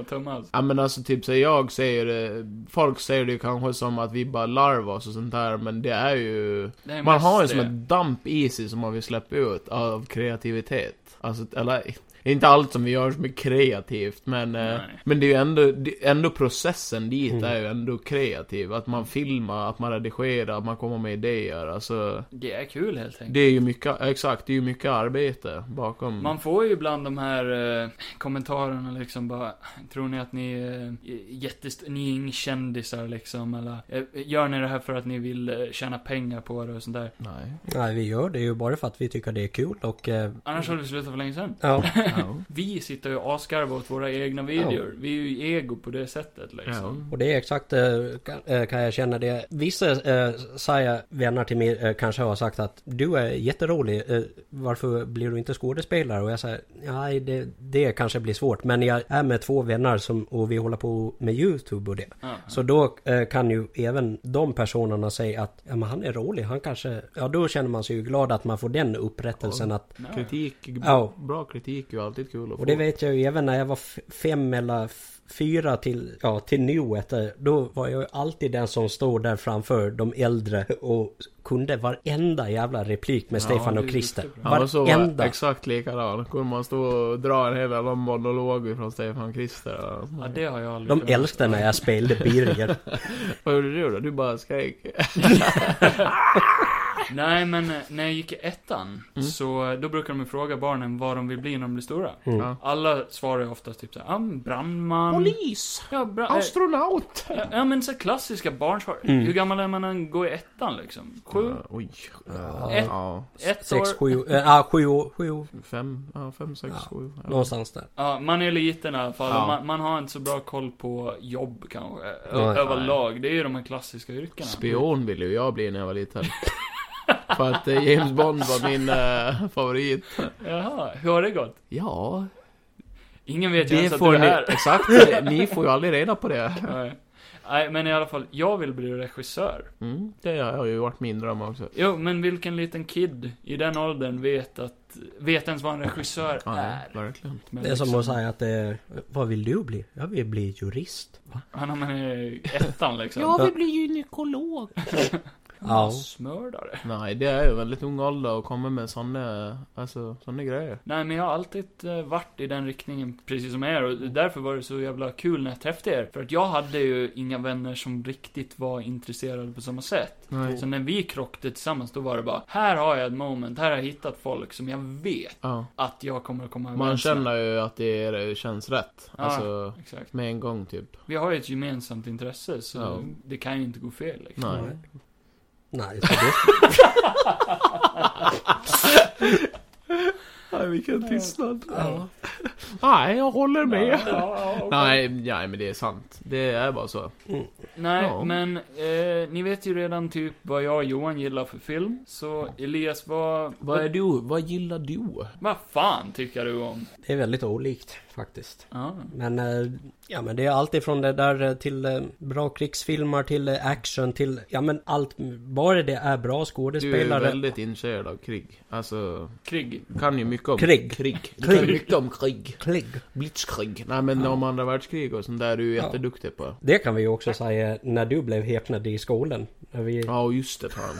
[SPEAKER 1] och Thomas.
[SPEAKER 2] Ja men alltså typ så jag säger det, folk säger det ju kanske som att vi bara larvar oss och sånt där men det är ju
[SPEAKER 1] Det är
[SPEAKER 2] Man
[SPEAKER 1] mest
[SPEAKER 2] har ju som
[SPEAKER 1] det.
[SPEAKER 2] ett damp i sig som man vill släppa ut av kreativitet Alltså, eller inte allt som vi gör som är kreativt men eh,
[SPEAKER 1] Nej.
[SPEAKER 2] Men det är ju ändå, det- ändå processen dit
[SPEAKER 3] Mm.
[SPEAKER 2] är ju ändå kreativ Att man filmar, att man redigerar, att man kommer med idéer alltså
[SPEAKER 1] Det är kul helt enkelt.
[SPEAKER 2] Det är ju mycket, exakt, det är ju mycket arbete bakom
[SPEAKER 1] Man får ju ibland de här eh, kommentarerna liksom bara, tror ni att ni är eh, jättest- ni är inga kändisar liksom eller, eh, gör ni det här för att ni vill eh, tjäna pengar på det och sånt där?
[SPEAKER 2] Nej
[SPEAKER 3] Nej, vi gör det ju bara för att vi tycker det är kul och... eh,
[SPEAKER 1] Annars hade vi slutat för länge sedan.
[SPEAKER 3] Ja,
[SPEAKER 2] Ja.
[SPEAKER 1] Vi sitter ju och asgarvar åt våra egna videor. Vi är ju ego på det sättet liksom.
[SPEAKER 2] Ja.
[SPEAKER 3] och det är exakt eh, kan- eh, kan jag känna det. Vissa eh, säger, vänner till mig eh, kanske har sagt att du är jätterolig. eh, Varför blir du inte skådespelare? Och jag säger, nej det, det kanske blir svårt. Men jag är med två vänner som, och vi håller på med YouTube och det.
[SPEAKER 1] Ja.
[SPEAKER 3] Så då eh, kan ju även de personerna säga att ja, men han är rolig, han kanske... Ja, då känner man sig ju glad att man får den upprättelsen att...
[SPEAKER 1] Ja.
[SPEAKER 2] Kritik,
[SPEAKER 3] Ja.
[SPEAKER 2] bra kritik är ju alltid kul att
[SPEAKER 3] Och
[SPEAKER 2] få
[SPEAKER 3] det vet jag ju även när jag var f- fem eller f- fyra till, ja, till nuet. eh, Då var jag ju alltid den som stod där framför de äldre och kunde varenda jävla replik med Stefan
[SPEAKER 1] du
[SPEAKER 3] och
[SPEAKER 1] är
[SPEAKER 3] Christer.
[SPEAKER 1] duktig på
[SPEAKER 2] Han var så
[SPEAKER 3] Varenda!
[SPEAKER 2] exakt likadan. Kunde man stå och dra en hel jävla monolog från Stefan Krister.
[SPEAKER 1] Ja, det har jag aldrig
[SPEAKER 3] De
[SPEAKER 1] kunnat.
[SPEAKER 3] älskade när jag spelade Birger.
[SPEAKER 2] Vad gjorde du då? Du bara skrek.
[SPEAKER 1] Nej, men eh, när jag gick i ettan,
[SPEAKER 2] Mm.
[SPEAKER 1] så eh, då brukar de ju fråga barnen vad de vill bli när de blir stora.
[SPEAKER 2] Ja.
[SPEAKER 1] Alla svarar ju oftast typ såhär, ah, men brandman.
[SPEAKER 2] Polis!
[SPEAKER 1] Ja, bra, eh,
[SPEAKER 2] Astronaut!
[SPEAKER 1] ja, ja, men så här klassiska barnsvar.
[SPEAKER 2] Mm.
[SPEAKER 1] Hur gammal är man när man går i ettan liksom? Sju?
[SPEAKER 2] Ja, oj.
[SPEAKER 1] Ett.
[SPEAKER 2] Ja,
[SPEAKER 1] Ett
[SPEAKER 3] Sex,
[SPEAKER 1] år?
[SPEAKER 3] sju, äh, ah, sju, år- sju, år.
[SPEAKER 2] fem, ja, fem, sex, sju. Ja.
[SPEAKER 3] någonstans där.
[SPEAKER 1] Ja, man är liten i alla fall.
[SPEAKER 2] Ja.
[SPEAKER 1] Man, man har inte så bra koll på jobb kanske, eh, ö-
[SPEAKER 3] Nej.
[SPEAKER 1] överlag. Det är ju de här klassiska yrkena.
[SPEAKER 2] Spion ville ju jag bli när jag var liten. För att eh, James Bond var min eh, favorit.
[SPEAKER 1] Jaha, hur har det gått?
[SPEAKER 2] Ja,
[SPEAKER 1] Ingen vet ju ens
[SPEAKER 2] Det
[SPEAKER 1] att du
[SPEAKER 2] får
[SPEAKER 1] är
[SPEAKER 2] ni,
[SPEAKER 1] här.
[SPEAKER 2] exakt, ni får ju aldrig reda på det.
[SPEAKER 1] Nej. Nej, men i alla fall, jag vill bli regissör.
[SPEAKER 2] Mm, det har ju varit min dröm också.
[SPEAKER 1] Jo, men vilken liten kid i den åldern vet att, vet ens vad en regissör
[SPEAKER 2] Ja,
[SPEAKER 1] är?
[SPEAKER 2] verkligen.
[SPEAKER 1] Men
[SPEAKER 3] Det är som
[SPEAKER 1] liksom-
[SPEAKER 3] att säga att det, Vad vill du bli? Jag vill bli jurist.
[SPEAKER 1] Han har med ettan liksom.
[SPEAKER 2] vill bli gynekolog.
[SPEAKER 3] Ja.
[SPEAKER 1] Massmördare.
[SPEAKER 2] Nej, det är ju väldigt ung ålder att komma med såna, alltså, såna grejer.
[SPEAKER 1] Nej, men jag har alltid eh, varit i den riktningen, precis som er, och därför var det så jävla kul när jag träffade er. För att jag hade ju inga vänner som riktigt var intresserade på samma sätt.
[SPEAKER 2] Nej.
[SPEAKER 1] Så när vi krockade tillsammans, då var det bara, här har jag ett moment, här har jag hittat folk som jag vet
[SPEAKER 2] Ja.
[SPEAKER 1] att jag kommer att komma
[SPEAKER 2] Man
[SPEAKER 1] med.
[SPEAKER 2] känner ju att det är- eh, känns rätt.
[SPEAKER 1] Ja.
[SPEAKER 2] Alltså,
[SPEAKER 1] Exakt.
[SPEAKER 2] med en gång typ.
[SPEAKER 1] Vi har ju ett gemensamt intresse, så
[SPEAKER 2] Ja.
[SPEAKER 1] det kan ju inte gå fel liksom.
[SPEAKER 2] Nej.
[SPEAKER 3] Nej, så det,
[SPEAKER 2] Nej, vilken tystnad.
[SPEAKER 1] Ja.
[SPEAKER 2] Nej, jag håller
[SPEAKER 1] Ja,
[SPEAKER 2] med.
[SPEAKER 1] ja, okej.
[SPEAKER 2] Nej, nej, men det är sant. Det är bara så.
[SPEAKER 1] Nej,
[SPEAKER 2] Ja.
[SPEAKER 1] men eh, ni vet ju redan typ vad jag och Johan gillar för film. Så Elias, vad...
[SPEAKER 2] Vad är du? Vad gillar du?
[SPEAKER 1] Vad fan tycker du om?
[SPEAKER 3] det är väldigt olikt faktiskt.
[SPEAKER 1] Ja.
[SPEAKER 3] Men, eh, ja, men det är allt ifrån det där eh, till eh, bra krigsfilmer till eh, action till ja men allt. Bara det är bra
[SPEAKER 2] Du är
[SPEAKER 3] skådespelare.
[SPEAKER 2] väldigt intresserad av krig. Alltså,
[SPEAKER 1] Krig.
[SPEAKER 2] kan ju mycket om
[SPEAKER 3] Krig.
[SPEAKER 2] krig. Du
[SPEAKER 3] Krig.
[SPEAKER 2] kan mycket om krig.
[SPEAKER 3] Kligg.
[SPEAKER 2] Blitzkrig. Nej men om andra världskrig och sånt där, du är
[SPEAKER 3] Ja.
[SPEAKER 2] jätteduktig på.
[SPEAKER 3] Det kan vi ju också säga när du blev häpnad i skolan. När vi...
[SPEAKER 2] Ja, just det fan.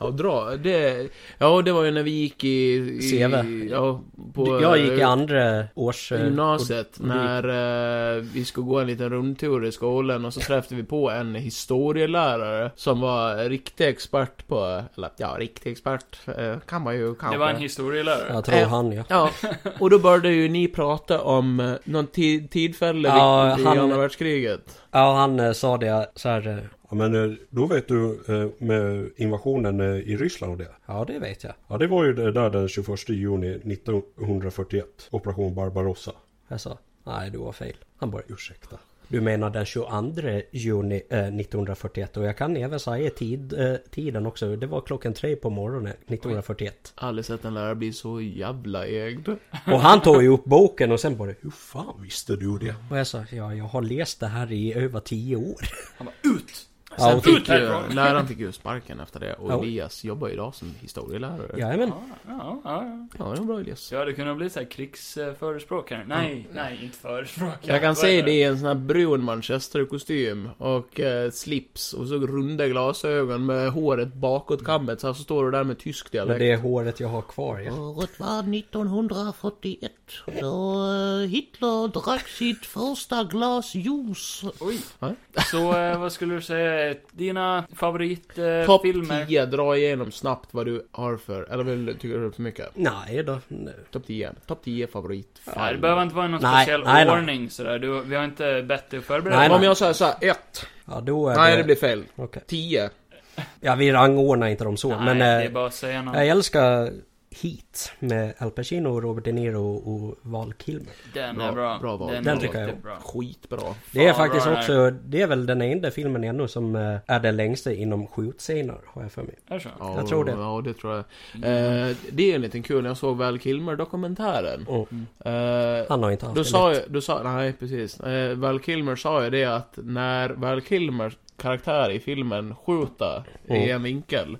[SPEAKER 2] Ja, dra. Det, ja, det var ju när vi gick i... i
[SPEAKER 3] CV.
[SPEAKER 2] Ja, på... eh,
[SPEAKER 3] jag gick i andra års... eh,
[SPEAKER 2] Gymnasiet,
[SPEAKER 3] och- och
[SPEAKER 2] när eh, vi skulle gå en liten rundtur i skolan och så träffade vi på en historielärare som var riktig expert på, eller ja, riktig expert eh, kan man ju kanske.
[SPEAKER 1] Det var en historielärare.
[SPEAKER 3] Jag tror
[SPEAKER 2] Eh,
[SPEAKER 3] han ja.
[SPEAKER 2] Ja, och då började ju ni prata om eh, någon ti- tillfälle
[SPEAKER 3] Ja,
[SPEAKER 2] i, i
[SPEAKER 3] han-
[SPEAKER 2] andra världskriget.
[SPEAKER 3] Ja, han eh, sa det så här. eh,
[SPEAKER 4] Ja, men eh, då vet du eh, med invasionen eh, i Ryssland och det.
[SPEAKER 3] Ja, det vet jag.
[SPEAKER 4] Ja, det var ju det där den 21 juni 1941. Operation Barbarossa.
[SPEAKER 3] Jag sa, nej du var fel. Han bara,
[SPEAKER 4] Ursäkta.
[SPEAKER 3] du menar den 22 juni eh, 1941 och jag kan även säga tid, eh, tiden också. Det var klockan tre på morgonen 1941.
[SPEAKER 2] Aldrig sett en lärare bli så jävla ägd.
[SPEAKER 3] Och han tog ju upp boken och sen bara,
[SPEAKER 4] Hur fan visste du det?
[SPEAKER 3] och jag sa, ja jag har läst det här i över tio år.
[SPEAKER 1] Han bara ut!
[SPEAKER 3] Ja,
[SPEAKER 2] Sen
[SPEAKER 3] och-
[SPEAKER 2] fick ju,
[SPEAKER 1] härifrån.
[SPEAKER 2] läraren fick ju sparken efter det och
[SPEAKER 3] Ja.
[SPEAKER 2] Elias jobbar ju idag som historielärare. Ja,
[SPEAKER 3] Jajamän.
[SPEAKER 1] Ja, ja, ja.
[SPEAKER 2] ja det var bra Elias.
[SPEAKER 1] Jag hade kunnat bli så här krigsförespråkare. Nej, nej, inte förespråkare.
[SPEAKER 2] Mm. Jag kan
[SPEAKER 1] Vad
[SPEAKER 2] se
[SPEAKER 1] är
[SPEAKER 2] det i en sån här brun manchesterkostym och eh, slips och så runda glasögon med håret bakåtkammet så här så står du där med tysk
[SPEAKER 3] Och
[SPEAKER 2] dialekt.
[SPEAKER 3] det är håret jag har kvar ja.
[SPEAKER 5] Året var 1941 då eh, Hitler drack sitt första glas juice.
[SPEAKER 1] Oj.
[SPEAKER 2] Va?
[SPEAKER 1] Så eh, vad skulle du säga, är dina favoritfilmer? Eh,
[SPEAKER 2] Topp
[SPEAKER 1] filmer?
[SPEAKER 2] 10, dra igenom snabbt vad du har för, eller vill, du- tycker du för mycket?
[SPEAKER 3] Nej då. nej.
[SPEAKER 2] Topp 10, topp 10 favorit.
[SPEAKER 1] Nej, det behöver inte vara någon
[SPEAKER 3] Nej,
[SPEAKER 1] speciell
[SPEAKER 3] nej, nej.
[SPEAKER 1] ordning sådär. Du, vi har inte bett dig att förbereda
[SPEAKER 3] Nej,
[SPEAKER 1] dig.
[SPEAKER 2] Om jag säger såhär, 1.
[SPEAKER 3] Ja då är
[SPEAKER 2] Nej det blir fel.
[SPEAKER 3] Okej.
[SPEAKER 2] 10.
[SPEAKER 3] Ja vi rangordnar inte dem så
[SPEAKER 1] Nej,
[SPEAKER 3] men...
[SPEAKER 1] det
[SPEAKER 3] eh,
[SPEAKER 1] är bara att säga något.
[SPEAKER 3] Jag älskar Heat med Al Pacino, Robert De Niro och Val Kilmer.
[SPEAKER 1] Den
[SPEAKER 2] Bra-
[SPEAKER 1] är bra.
[SPEAKER 2] bra val.
[SPEAKER 1] den,
[SPEAKER 3] Den
[SPEAKER 1] är
[SPEAKER 3] tycker jag
[SPEAKER 1] riktigt bra.
[SPEAKER 2] Skitbra.
[SPEAKER 3] Det är
[SPEAKER 1] Fan,
[SPEAKER 3] faktiskt
[SPEAKER 1] bra den
[SPEAKER 3] också, det är väl den enda filmen ännu som eh, är den längsta inom skjutscener har jag för mig.
[SPEAKER 1] Är det så?
[SPEAKER 2] Ja,
[SPEAKER 3] Jag tror det.
[SPEAKER 2] Ja, det tror jag. Eh, det är en liten kul, jag såg Val Kilmer-dokumentären.
[SPEAKER 3] Och
[SPEAKER 2] Eh,
[SPEAKER 3] han har inte haft
[SPEAKER 2] Då
[SPEAKER 3] det
[SPEAKER 2] sa,
[SPEAKER 3] lätt.
[SPEAKER 2] ju, då sa nej precis. Eh, Val Kilmer sa ju det att när Val Kilmers karaktär i filmen skjuter i en vinkel.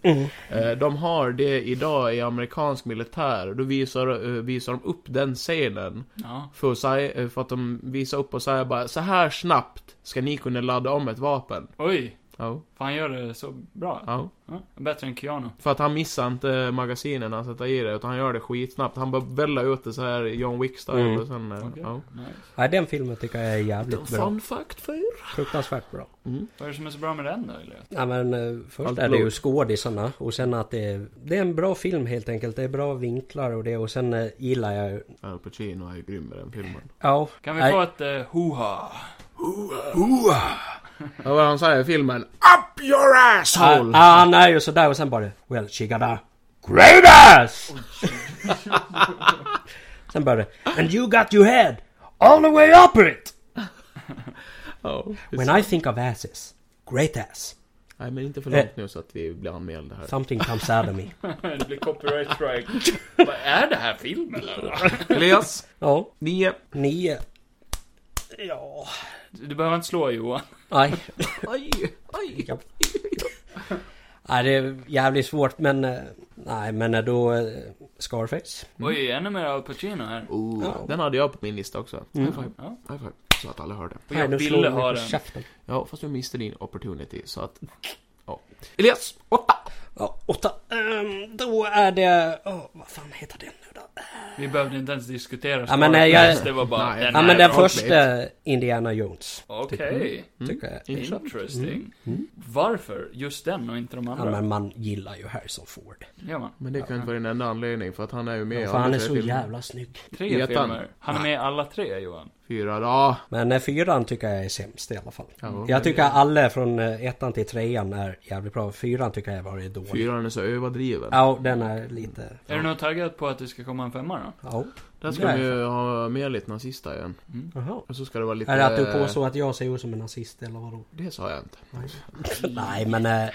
[SPEAKER 2] Eh, de har det idag i amerikansk militär. Då visar, eh, visar de upp den scenen.
[SPEAKER 1] Ja.
[SPEAKER 2] För att, säga, eh, för att de visar upp och säger bara så här snabbt ska ni kunna ladda om ett vapen.
[SPEAKER 1] Oj.
[SPEAKER 2] Ja,
[SPEAKER 1] Fan gör det så bra.
[SPEAKER 2] ja.
[SPEAKER 1] Ja, bättre än Keanu.
[SPEAKER 2] För att han missar inte magasinen när han sätter i det, utan han gör det skitsnabbt. Han bara vällar ut det så här John Wick-style
[SPEAKER 3] Mm.
[SPEAKER 2] och sen... eh,
[SPEAKER 1] Okej.
[SPEAKER 2] Ja.
[SPEAKER 1] Nej.
[SPEAKER 3] Nej, den filmen tycker jag är jävligt bra.
[SPEAKER 2] Fun fact för
[SPEAKER 3] Fruktansvärt bra.
[SPEAKER 2] Mm.
[SPEAKER 1] Vad är det som är så bra med den då, Elias?
[SPEAKER 3] Ja, men, eh, först
[SPEAKER 2] Allt
[SPEAKER 3] är det ju
[SPEAKER 2] blod.
[SPEAKER 3] skådisarna och sen att det är, det är en bra film helt enkelt. Det är bra vinklar och det och sen eh, gillar jag ju-
[SPEAKER 2] Al Pacino är ju grym i den filmen.
[SPEAKER 3] Ja,
[SPEAKER 1] Kan vi
[SPEAKER 3] Nej.
[SPEAKER 1] få ett eh, hoha?
[SPEAKER 2] Ja, vad han säger i filmen. Up your
[SPEAKER 3] han,
[SPEAKER 2] asshole!
[SPEAKER 3] Ah, han är ju sådär och sen bara Well, she got a great ass! sen bara And you got your head all the way up it!
[SPEAKER 2] Ja,
[SPEAKER 3] When I think of asses, great ass.
[SPEAKER 2] Nej, men inte för långt nu så att vi blir anmälda här.
[SPEAKER 3] Something comes out of me.
[SPEAKER 1] Det blir copyright strike. Vad är det här filmen?
[SPEAKER 6] Elias,
[SPEAKER 3] Ja,
[SPEAKER 6] nio.
[SPEAKER 3] nio. Ja...
[SPEAKER 1] Du behöver inte slå Johan.
[SPEAKER 3] Nej,
[SPEAKER 6] Oj, oj.
[SPEAKER 3] nej det är jävligt svårt men... eh, Nej men då... eh, Scarface.
[SPEAKER 1] Oj, ännu mer Al Pacino här.
[SPEAKER 2] Oh,
[SPEAKER 3] Ja.
[SPEAKER 2] Den hade jag på min lista också. High five.
[SPEAKER 1] Ja.
[SPEAKER 2] High five. Så att alla hörde.
[SPEAKER 1] Och jag
[SPEAKER 3] Nej, nu slår
[SPEAKER 1] ville
[SPEAKER 3] vi
[SPEAKER 1] ha
[SPEAKER 3] på
[SPEAKER 1] den.
[SPEAKER 3] käften.
[SPEAKER 2] Ja, fast jag missade din opportunity så att... Ja. Elias! Åtta!
[SPEAKER 3] Ja, åtta. Ehm, då är det... Åh, vad fan heter den nu då?
[SPEAKER 1] Vi behövde inte ens diskutera
[SPEAKER 3] Ja, men,
[SPEAKER 1] svaret.
[SPEAKER 3] eh, jag-
[SPEAKER 1] Det var bara...
[SPEAKER 2] Nej.
[SPEAKER 1] den
[SPEAKER 3] Ja
[SPEAKER 1] här
[SPEAKER 3] men den Mm.
[SPEAKER 1] är
[SPEAKER 2] bra.
[SPEAKER 3] första Indiana Jones.
[SPEAKER 1] bra. Okej.
[SPEAKER 2] Mm.
[SPEAKER 3] Tycker jag.
[SPEAKER 1] Interesting. Varför just den och inte de
[SPEAKER 3] Ja,
[SPEAKER 1] andra?
[SPEAKER 3] men man gillar ju Harrison Ford.
[SPEAKER 1] Gör man?
[SPEAKER 2] Men det kan ju inte vara din enda anledning för att han är ju med i
[SPEAKER 3] För han
[SPEAKER 2] alla
[SPEAKER 3] är
[SPEAKER 2] tre
[SPEAKER 3] så
[SPEAKER 2] filmer.
[SPEAKER 3] jävla snygg.
[SPEAKER 1] Tre
[SPEAKER 2] Vet han?
[SPEAKER 1] filmer. Han är med i alla tre, Johan.
[SPEAKER 2] Fyra, ja.
[SPEAKER 3] Men eh, fyran tycker jag är sämst i alla fall.
[SPEAKER 2] Ja,
[SPEAKER 3] Jag tycker alla från eh, ettan till trean är jävligt bra. Fyran tycker jag har varit dålig.
[SPEAKER 2] Fyran är så överdriven.
[SPEAKER 3] Ja, den är lite...
[SPEAKER 1] Är du nog taggad på att det ska komma en femma då?
[SPEAKER 3] Ja.
[SPEAKER 2] Där ska
[SPEAKER 3] Nej.
[SPEAKER 2] de ju ha med lite nazister igen.
[SPEAKER 3] Jaha.
[SPEAKER 2] Och så ska det vara lite...
[SPEAKER 3] Är det att du påstår att jag ser ut som en nazist eller vadå?
[SPEAKER 2] Det sa jag inte.
[SPEAKER 3] nej men... eh,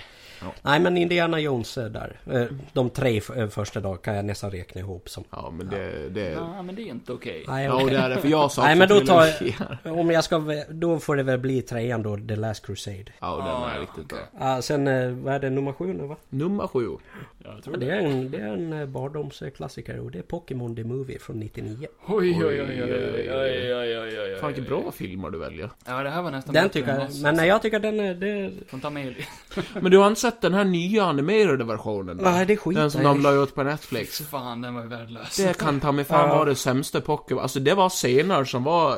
[SPEAKER 3] Nej men Indiana Jones eh, där. Eh, De tre f- eh, första dagarna kan jag nästan räkna ihop som...
[SPEAKER 2] Ja, men det... det...
[SPEAKER 1] Nej,
[SPEAKER 2] Ja,
[SPEAKER 1] men det är inte okej.
[SPEAKER 3] Nej,
[SPEAKER 2] ja och
[SPEAKER 3] okej.
[SPEAKER 2] det är det, för jag sa
[SPEAKER 3] Nej
[SPEAKER 2] också
[SPEAKER 3] men då tar
[SPEAKER 2] trilogier.
[SPEAKER 3] jag... Om jag ska... vä- Då får det väl bli trean då, The Last Crusade.
[SPEAKER 2] Ja, och den
[SPEAKER 1] Ah,
[SPEAKER 2] är
[SPEAKER 1] ja,
[SPEAKER 2] riktigt bra.
[SPEAKER 1] okej.
[SPEAKER 3] Ah, sen, eh, vad är det, nummer sju nu va?
[SPEAKER 2] Nummer sju.
[SPEAKER 1] Jag
[SPEAKER 3] Ja,
[SPEAKER 1] tror
[SPEAKER 3] Det
[SPEAKER 1] det.
[SPEAKER 3] är en, det är en eh, barndomsklassiker och det är Pokémon The Movie från 99.
[SPEAKER 1] Oj, oj, oj, oj, oj, oj, oj, oj, oj, oj.
[SPEAKER 2] Fan vilka bra filmer du väljer.
[SPEAKER 1] Ja, det här var nästan
[SPEAKER 3] Den
[SPEAKER 1] bättre
[SPEAKER 3] tycker
[SPEAKER 1] än
[SPEAKER 3] jag...
[SPEAKER 1] oss.
[SPEAKER 3] Men eh, nej, jag tycker den är... Det,
[SPEAKER 1] Får ta med Eli-
[SPEAKER 2] Men du har inte sett den här nya animerade versionen? då?
[SPEAKER 3] nej, det skiter
[SPEAKER 2] Den som
[SPEAKER 3] jag i.
[SPEAKER 2] de la ut på Netflix.
[SPEAKER 1] Fan, den var ju värdelös.
[SPEAKER 2] Det kan ta mig fan vara det sämsta Pokémon. Alltså det var scener som var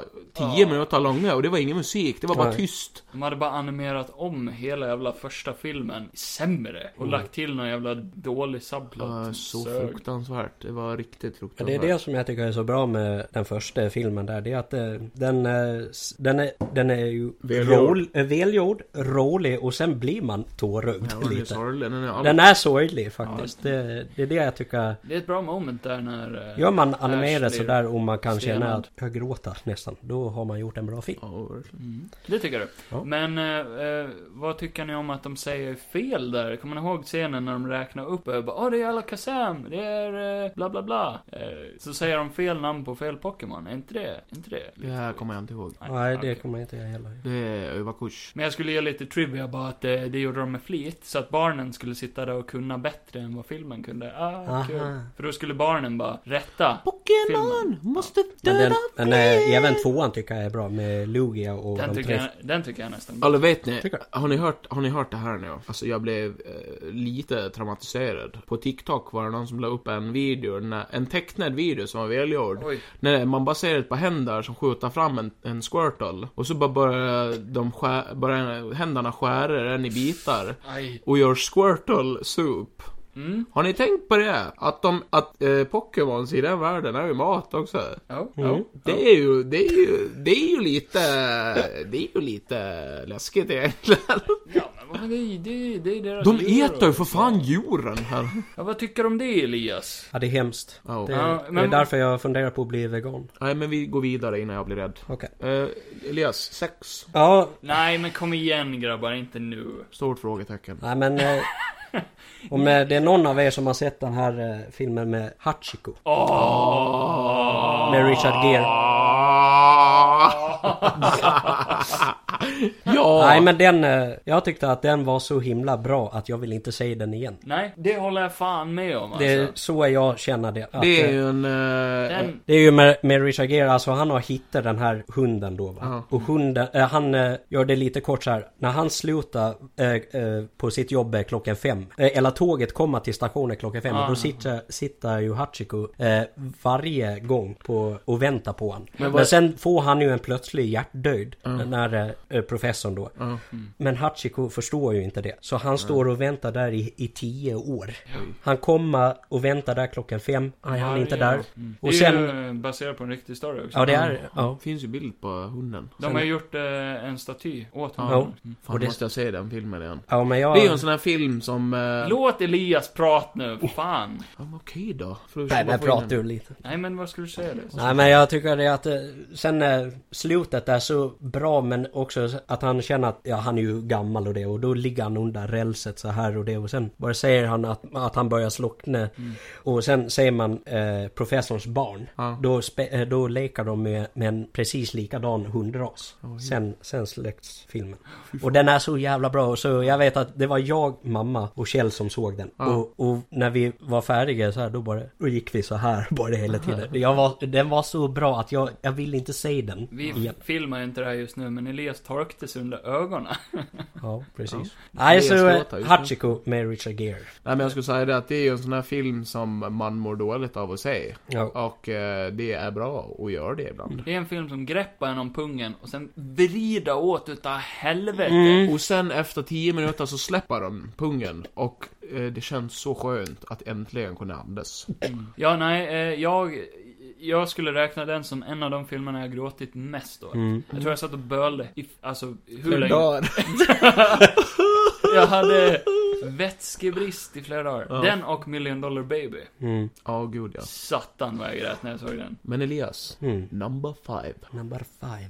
[SPEAKER 2] 10 minuter långa och det var ingen musik, det var bara
[SPEAKER 3] Nej.
[SPEAKER 2] tyst.
[SPEAKER 1] De hade bara animerat om hela jävla första filmen sämre. Och lagt till någon jävla dålig subplot.
[SPEAKER 2] Ja, så
[SPEAKER 1] Sög.
[SPEAKER 2] fruktansvärt. Det var riktigt
[SPEAKER 3] Men det
[SPEAKER 2] fruktansvärt.
[SPEAKER 3] är det som jag tycker är så bra med den första filmen där. Det är att eh, den, eh, s- den, är, den är ju
[SPEAKER 2] Välgjord.
[SPEAKER 3] roll- eh, välgjord, rolig och sen blir man tårögd
[SPEAKER 2] Ja, det är
[SPEAKER 3] lite.
[SPEAKER 2] sorgligt. Den är all...
[SPEAKER 3] Den är sorglig faktiskt. Det, det är det jag tycker.
[SPEAKER 1] Det är ett bra moment där när... eh,
[SPEAKER 3] Gör man
[SPEAKER 1] Ash blir-
[SPEAKER 3] animerat sådär och man kan känna
[SPEAKER 1] stenad.
[SPEAKER 3] att jag gråter nästan. Då har man gjort en bra film.
[SPEAKER 2] Ja, verkligen.
[SPEAKER 1] Mm. Det tycker du.
[SPEAKER 3] Ja.
[SPEAKER 1] Men eh, eh, vad tycker ni om att de säger fel där? Kommer ni ihåg scenen när de räknar upp? eh, bara, Åh, det är Alakazam, det är eh, bla bla bla. Eh, så säger de fel namn på fel Pokémon. Är inte det? Är inte det?
[SPEAKER 2] det här kommer jag inte ihåg.
[SPEAKER 3] Nej, det
[SPEAKER 1] okej.
[SPEAKER 3] kommer inte jag heller
[SPEAKER 2] Det är överkurs.
[SPEAKER 1] Men jag skulle ge lite trivia bara att eh, det, det gjorde de med flit, så att barnen skulle sitta där och kunna bättre än vad filmen kunde. Ah,
[SPEAKER 3] Aha.
[SPEAKER 1] kul. För då skulle barnen bara rätta.
[SPEAKER 2] Pokémon
[SPEAKER 1] Filmen.
[SPEAKER 2] måste
[SPEAKER 3] Men,
[SPEAKER 2] döda
[SPEAKER 3] den, men eh,
[SPEAKER 2] fler!
[SPEAKER 3] även tvåan tycker jag är bra med Lugia och
[SPEAKER 1] Den
[SPEAKER 3] de
[SPEAKER 1] tycker,
[SPEAKER 3] tre.
[SPEAKER 1] jag, den tycker jag nästan.
[SPEAKER 2] Alltså vet ni,
[SPEAKER 3] Tycker
[SPEAKER 2] har ni, hört, har ni hört det här nu? Alltså jag blev eh, lite traumatiserad. På TikTok var det någon som la upp en video, när, en tecknad video som var välgjord.
[SPEAKER 1] Oj.
[SPEAKER 2] När man bara ser ett par händer som skjuter fram en, en squirtle. Och så bara börjar de skär, börjar händerna skära den i bitar.
[SPEAKER 1] Aj.
[SPEAKER 2] Och gör squirtle soup.
[SPEAKER 1] Mm.
[SPEAKER 2] Har ni tänkt på det? Att de, att eh, Pokémons i den världen är ju mat också.
[SPEAKER 1] Ja,
[SPEAKER 3] Mm.
[SPEAKER 1] ja.
[SPEAKER 2] Det är ju, det är ju, det är ju lite, det är ju lite läskigt egentligen.
[SPEAKER 1] ja, men vad- det, är- det, är- det är deras
[SPEAKER 2] De
[SPEAKER 1] djur
[SPEAKER 2] äter ju
[SPEAKER 1] och-
[SPEAKER 2] för fan djuren här.
[SPEAKER 1] Ja, vad tycker du om det Elias?
[SPEAKER 3] Ja, det är hemskt.
[SPEAKER 2] Ja.
[SPEAKER 3] Det,
[SPEAKER 1] Ja,
[SPEAKER 3] det
[SPEAKER 1] men-
[SPEAKER 3] är därför jag funderar på att bli vegan.
[SPEAKER 2] Nej men vi går vidare innan jag blir rädd.
[SPEAKER 3] Okej.
[SPEAKER 2] Eh, Elias, sex?
[SPEAKER 3] Ja,
[SPEAKER 1] Nej, men kom igen grabbar, inte nu.
[SPEAKER 2] Stort frågetecken.
[SPEAKER 3] Nej men... Eh, om eh, det är någon av er som har sett den här eh, filmen med Hachiko.
[SPEAKER 1] Ah.
[SPEAKER 3] Med Richard Gere.
[SPEAKER 2] Ah! ja!
[SPEAKER 3] Nej men den... Eh, jag tyckte att den var så himla bra att jag vill inte se den igen.
[SPEAKER 1] Nej, det håller jag fan med om alltså.
[SPEAKER 3] Det är så jag känner det. Att,
[SPEAKER 2] Det är
[SPEAKER 3] eh,
[SPEAKER 2] ju en... eh,
[SPEAKER 1] Den,
[SPEAKER 3] det är ju med, med Richard Gere, alltså han har hittat den här hunden då va.
[SPEAKER 2] Ja.
[SPEAKER 3] Och hunden, eh, han eh, gör det lite kort så här. När han slutar eh, eh, på sitt jobb eh, klockan fem. Eh, eller tåget kommer till stationen klockan fem. Och då sitter, sitter ju Hachiko eh, varje gång på, och väntar på honom. Men, sen får han ju en plötslig hjärtdöd. När eh, professorn då. Men Hachiko förstår ju inte det. Så han står och väntar där i, i tio år. Han kommer och väntar där klockan fem. Nej, han är inte där. Och
[SPEAKER 1] det är
[SPEAKER 3] sen...
[SPEAKER 1] ju eh, baserat på en riktig story också.
[SPEAKER 3] Ja det är ja.
[SPEAKER 2] finns ju bild på hunden.
[SPEAKER 1] De har ju gjort eh, en staty åt honom.
[SPEAKER 3] Ja.
[SPEAKER 2] Fan,
[SPEAKER 3] Och det-
[SPEAKER 2] måste jag se den filmen igen.
[SPEAKER 3] ja men jag...
[SPEAKER 2] Det är ju en sån här film som... eh,
[SPEAKER 1] Låt Elias prata nu, för fan.
[SPEAKER 2] Ja, men okej då. Får du
[SPEAKER 3] Nej
[SPEAKER 2] försöka
[SPEAKER 3] men
[SPEAKER 2] få in
[SPEAKER 3] pratar
[SPEAKER 2] den.
[SPEAKER 3] du lite.
[SPEAKER 1] Nej, men vad skulle du säga det?
[SPEAKER 3] Nej men jag tycker det att eh, sen eh, slutet är så bra men också att han känner erkänna att ja, han är ju gammal och det och då ligger han under rälset så här och det och sen bara säger han att, att han börjar slockna
[SPEAKER 2] Mm.
[SPEAKER 3] och sen säger man eh, professorns barn.
[SPEAKER 2] Ja.
[SPEAKER 3] Då, spe, eh, då lekar de med, med en precis likadan hundras. sen, sen släcks filmen. Och den är så jävla bra så jag vet att det var jag, mamma och Kjell som såg den. Och, och när vi var färdiga så här då bara, då gick vi så här bara hela tiden. Jag var, den var så bra att jag, jag vill inte se den
[SPEAKER 1] Vi
[SPEAKER 3] igen.
[SPEAKER 1] filmar inte det här just nu, men Elias torktes under ögonen.
[SPEAKER 3] Ja, precis. Nej, så
[SPEAKER 2] Elias låtar
[SPEAKER 3] eh,
[SPEAKER 2] just nu.
[SPEAKER 3] Hachiko med Richard Gere.
[SPEAKER 2] Nej men jag skulle säga det att det är ju en sån här film som man mår dåligt av att se.
[SPEAKER 3] Ja.
[SPEAKER 2] Och eh, det är bra att göra det ibland.
[SPEAKER 1] Det är en film som greppar en om pungen och sen vrida åt utav helvete.
[SPEAKER 3] Mm.
[SPEAKER 2] Och sen efter 10 minuter så släpper de pungen och eh, det känns så skönt att äntligen kunna andas.
[SPEAKER 1] Ja, nej, eh, jag... Jag skulle räkna den som en av de filmerna jag gråtit mest åt.
[SPEAKER 3] Mm.
[SPEAKER 1] Jag tror jag satt och bölade i, alltså, hur länge? Jag hade vätskebrist i flera dagar. Den och Million Dollar Baby.
[SPEAKER 3] mm,
[SPEAKER 2] Ja, gud ja.
[SPEAKER 1] Satan vad jag grät när jag såg den.
[SPEAKER 2] Men Elias, number five.
[SPEAKER 3] mm. Number five.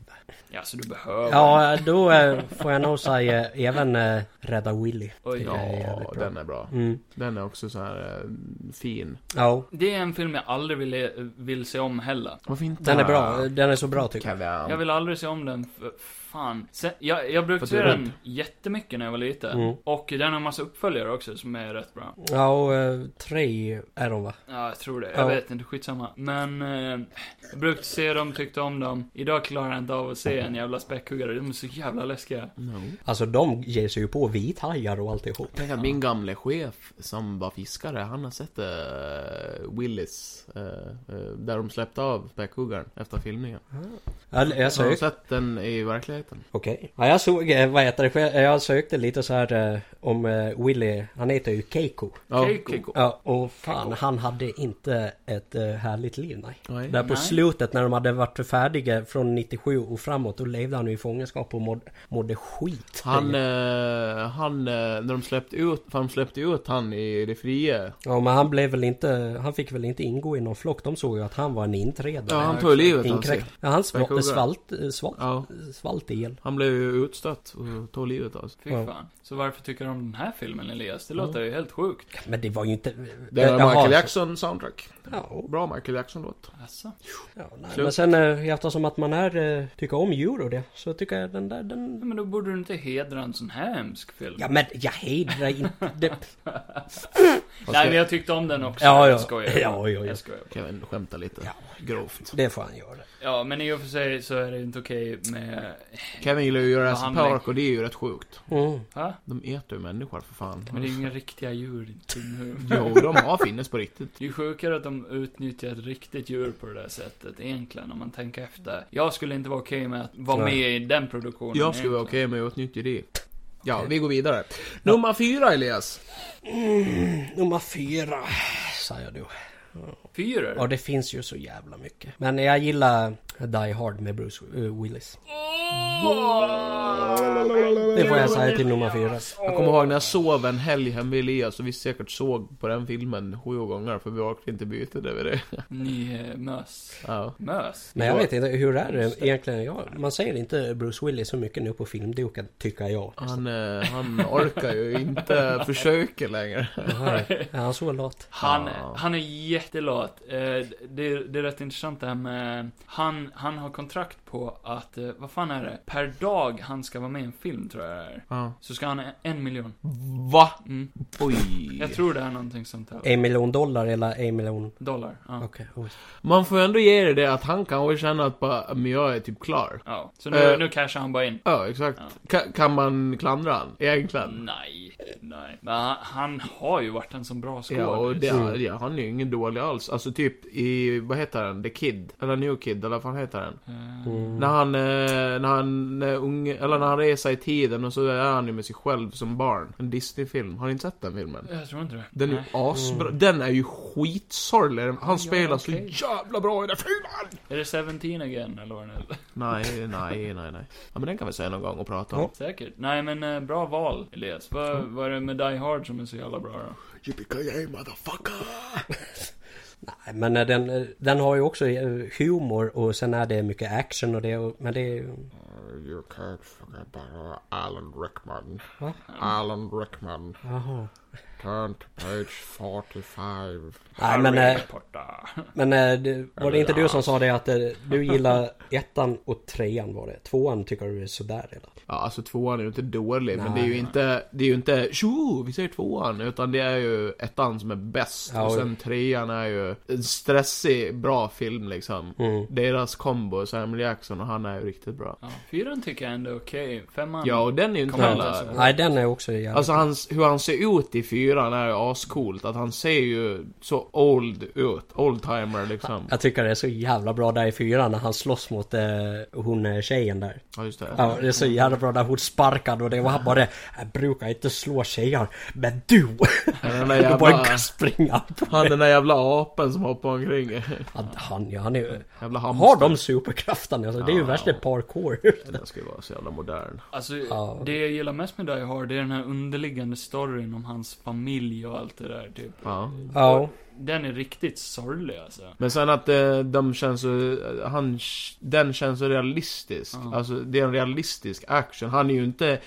[SPEAKER 1] Ja, så du behöver den.
[SPEAKER 3] Ja, då eh, får jag nog säga även eh, Rädda Willy.
[SPEAKER 1] Oj.
[SPEAKER 3] Tycker jag är
[SPEAKER 2] Ja,
[SPEAKER 3] jävligt bra. Mm.
[SPEAKER 2] den är bra. Den är också så här eh, fin.
[SPEAKER 3] Ja,
[SPEAKER 1] Det är en film jag aldrig vill, vill se om heller.
[SPEAKER 2] Varför inte?
[SPEAKER 3] den är bra. Den är så bra tycker jag.
[SPEAKER 2] Kaviar.
[SPEAKER 1] Jag vill aldrig se om den, för fan. Sen, jag, jag brukade se
[SPEAKER 2] För du är
[SPEAKER 1] den jättemycket när jag var liten.
[SPEAKER 3] Mm.
[SPEAKER 1] Och den har en massa uppföljare också som är rätt bra.
[SPEAKER 3] Ja, och, eh, tre är de va?
[SPEAKER 1] Ja, jag tror det. Jag
[SPEAKER 3] Ja.
[SPEAKER 1] vet inte, skitsamma. Men, eh, jag brukade se dem, tyckte om dem. Idag klarar jag inte av att se en jävla späckhuggare. De är så jävla läskiga.
[SPEAKER 3] Alltså de ger sig ju på vithajar och alltihop.
[SPEAKER 2] Tänk att min gamle chef som var fiskare, han har sett eh, Willis, eh, eh, där de släppte av späckhuggaren efter filmningen.
[SPEAKER 3] Jag, jag
[SPEAKER 2] Så har
[SPEAKER 3] sökte...
[SPEAKER 2] sett den i verkligheten.
[SPEAKER 3] Okej. Ja, jag såg, eh, vad heter det, själv- jag sökte lite så här eh, om eh, Willy, han heter ju Keiko.
[SPEAKER 2] Ja,
[SPEAKER 1] Keiko.
[SPEAKER 3] Ja, och fan han hade inte ett eh, härligt liv nej.
[SPEAKER 2] Nej.
[SPEAKER 3] Där på
[SPEAKER 1] Nej.
[SPEAKER 3] slutet när de hade varit färdiga från 97 och framåt då levde han ju i fångenskap och mådde, mådde skit.
[SPEAKER 2] Han, eh, han, eh, när de släppte ut, för de släppte ut han i det fria.
[SPEAKER 3] Ja men han blev väl inte, han fick väl inte ingå i någon flock. De såg ju att han var en intredare.
[SPEAKER 2] Ja, han tog livet av sig.
[SPEAKER 3] Inkräkt. Ja, han svalt,
[SPEAKER 2] Verkar
[SPEAKER 3] svalt, eh, svalt,
[SPEAKER 2] Ja.
[SPEAKER 3] svalt ihjäl.
[SPEAKER 2] Han blev ju utstött och tog livet av sig.
[SPEAKER 1] Fy
[SPEAKER 3] Ja.
[SPEAKER 1] fan. Så varför tycker du om den här filmen Elias? Det låter ju helt sjukt.
[SPEAKER 3] Men det var ju inte...
[SPEAKER 2] Det var
[SPEAKER 3] Jaha,
[SPEAKER 2] Michael
[SPEAKER 3] så-
[SPEAKER 2] Jackson soundtrack.
[SPEAKER 3] Ja,
[SPEAKER 2] Bra Michael Jackson-låt.
[SPEAKER 1] Alltså.
[SPEAKER 3] ja, nej.
[SPEAKER 2] Klokt.
[SPEAKER 3] Men sen eh, eftersom att man är, eh, tycker om euro det, så tycker jag den där, den...
[SPEAKER 1] Ja, men då borde du inte hedra en sån här hemsk film.
[SPEAKER 3] Ja men jag hedrar inte... Det...
[SPEAKER 1] Nej, men jag tyckte om den också.
[SPEAKER 3] Ja, ja.
[SPEAKER 1] Jag skojar.
[SPEAKER 3] Ja, ja, ja.
[SPEAKER 1] Jag skojar.
[SPEAKER 2] Kevin skämtar lite. Grovt.
[SPEAKER 3] Det får han göra.
[SPEAKER 1] Ja, men i och för sig så är det inte okej med...
[SPEAKER 2] Kevin gillar ju Jurassic
[SPEAKER 1] han
[SPEAKER 2] Park
[SPEAKER 1] lägger-
[SPEAKER 2] och det är ju rätt sjukt.
[SPEAKER 3] Mm.
[SPEAKER 1] Va?
[SPEAKER 2] De äter ju människor för fan.
[SPEAKER 1] Men det är ju inga riktiga djur. inte nu.
[SPEAKER 2] Jo, de har finnes på riktigt.
[SPEAKER 1] Det är ju sjukare att de utnyttjar ett riktigt djur på det där sättet egentligen, om man tänker efter. Jag skulle inte vara okej med att vara
[SPEAKER 3] Nej.
[SPEAKER 1] med i den produktionen.
[SPEAKER 2] Jag skulle vara
[SPEAKER 1] egentligen.
[SPEAKER 2] okej med att utnyttja det. Ja, vi går vidare. Nummer fyra, Elias.
[SPEAKER 3] Mm, Nummer fyra, säger du.
[SPEAKER 1] Fyra?
[SPEAKER 3] Ja det finns ju så jävla mycket. Men jag gillar Die Hard med Bruce eh, Willis. Det får jag säga till nummer fyra.
[SPEAKER 2] Jag kommer ihåg när jag sov en helg hemma vid Elias och vi säkert såg på den filmen sju gånger för vi orkade inte byta DVD.
[SPEAKER 1] Ni eh, mös.
[SPEAKER 2] Ja.
[SPEAKER 1] Mös?
[SPEAKER 3] Men jag vet inte, hur är det egentligen? Ja, man ser inte Bruce Willis så mycket nu på filmduken, tycker jag.
[SPEAKER 2] Han, eh, han orkar ju inte försöka längre.
[SPEAKER 3] Nej, är han så lat?
[SPEAKER 1] Han, han är jättelat. Eh, det, det är rätt intressant det här med... Han, han har kontrakt på att, eh, vad fan är det? Per dag han ska vara med i en film, tror jag det är.
[SPEAKER 2] Ja.
[SPEAKER 1] Så ska han ha en miljon.
[SPEAKER 2] Va?
[SPEAKER 1] Mm.
[SPEAKER 2] Oj.
[SPEAKER 1] Jag tror det är någonting sånt här.
[SPEAKER 3] En miljon dollar eller en miljon...
[SPEAKER 1] Dollar. Ja.
[SPEAKER 3] Eh. Okej. oj.
[SPEAKER 2] Man får ändå ge det det att han kanske känner att bara, men jag är typ klar.
[SPEAKER 1] ja. Så nu,
[SPEAKER 2] Eh.
[SPEAKER 1] nu cashar han bara in.
[SPEAKER 2] Ja, exakt. Ka- kan man klandra han? Egentligen.
[SPEAKER 1] Nej, nej. Men han, han har ju varit en sån bra skådis.
[SPEAKER 2] Ja, och det, ja, han är ju ingen dålig alls. Alltså typ i, vad heter den? The Kid? Eller New Kid, eller vad fan heter den? När han, eh, när han, när unge, eller när han reser i tiden och så är han ju med sig själv som barn. En Disney-film. Har ni inte sett den filmen?
[SPEAKER 1] Jag tror inte det.
[SPEAKER 2] Den är ju
[SPEAKER 1] Nej.
[SPEAKER 2] asbra. Den är ju skitsorglig. Han spelar
[SPEAKER 1] okej.
[SPEAKER 2] så jävla bra i den filmen!
[SPEAKER 1] Är det 17 again eller vad den heter?
[SPEAKER 2] Nej, nej, nej, nej. Ja, men den kan vi säga någon gång och prata om.
[SPEAKER 1] Säkert. Nej men eh, bra val, Elias. Vad
[SPEAKER 2] Mm.
[SPEAKER 1] vad är det med Die Hard som är så jävla bra då?
[SPEAKER 2] Yippee-ki-yay, motherfucker!
[SPEAKER 3] Nej, Men eh, den, eh, den har ju också eh, humor och sen är det mycket action och det. och- Men det är ju...
[SPEAKER 4] You can't forget about Alan Rickman.
[SPEAKER 3] What?
[SPEAKER 4] Alan Rickman.
[SPEAKER 3] Jaha.
[SPEAKER 4] Turn to page 45.
[SPEAKER 3] Nej men, eh,
[SPEAKER 1] Porta.
[SPEAKER 3] men eh, det, var det inte du som sa det att eh, du gillar ettan och trean var det? Tvåan tycker du är sådär eller?
[SPEAKER 2] Ja, alltså tvåan är ju inte dålig, men
[SPEAKER 3] Nej,
[SPEAKER 2] det är ju
[SPEAKER 3] nej.
[SPEAKER 2] inte, det är ju inte tjo, vi säger tvåan, utan det är ju ettan som är bäst.
[SPEAKER 3] Ja,
[SPEAKER 2] och
[SPEAKER 3] och-
[SPEAKER 2] sen trean är ju en stressig, bra film liksom.
[SPEAKER 3] Mm.
[SPEAKER 2] Deras kombo, Samuel Jackson och han är ju riktigt bra.
[SPEAKER 1] Ja, fyran tycker jag ändå är okej. Femman...
[SPEAKER 2] Ja, och den är ju inte
[SPEAKER 1] Mm. Kommer jag inte
[SPEAKER 2] heller...
[SPEAKER 1] ens ihåg.
[SPEAKER 3] Nej den är också jävligt...
[SPEAKER 2] Alltså hans, hur han ser ut i fyran är ju ascoolt. Att han ser ju så old ut. Oldtimer liksom.
[SPEAKER 3] Jag tycker det är så jävla bra där i fyran när han slåss mot eh, hon eh, tjejen där.
[SPEAKER 2] Ja, just det.
[SPEAKER 3] Ja, det är så jävla bra när hon sparkade och det var han bara Jag brukar inte slå tjejer, men du!
[SPEAKER 2] Den där
[SPEAKER 3] Då bara
[SPEAKER 2] jävla,
[SPEAKER 3] springa på
[SPEAKER 2] han den där jävla apen som hoppar omkring.
[SPEAKER 3] han, han, ja, han är ju...
[SPEAKER 2] Jävla
[SPEAKER 3] Har
[SPEAKER 2] hamster.
[SPEAKER 3] de superkrafterna? Alltså, det är ju
[SPEAKER 2] Ja.
[SPEAKER 3] värsta parkour.
[SPEAKER 2] Den ska ju vara så jävla modern.
[SPEAKER 1] Alltså,
[SPEAKER 3] Ja.
[SPEAKER 1] det jag gillar mest med Die Hard, det är den här underliggande storyn om hans familj och allt det där, typ.
[SPEAKER 2] Ja.
[SPEAKER 3] Ja.
[SPEAKER 1] Den är riktigt sorglig alltså.
[SPEAKER 2] Men sen att eh, de känns så, eh, han, den känns så realistisk.
[SPEAKER 1] Ja.
[SPEAKER 2] Alltså det är en realistisk action. Han är ju inte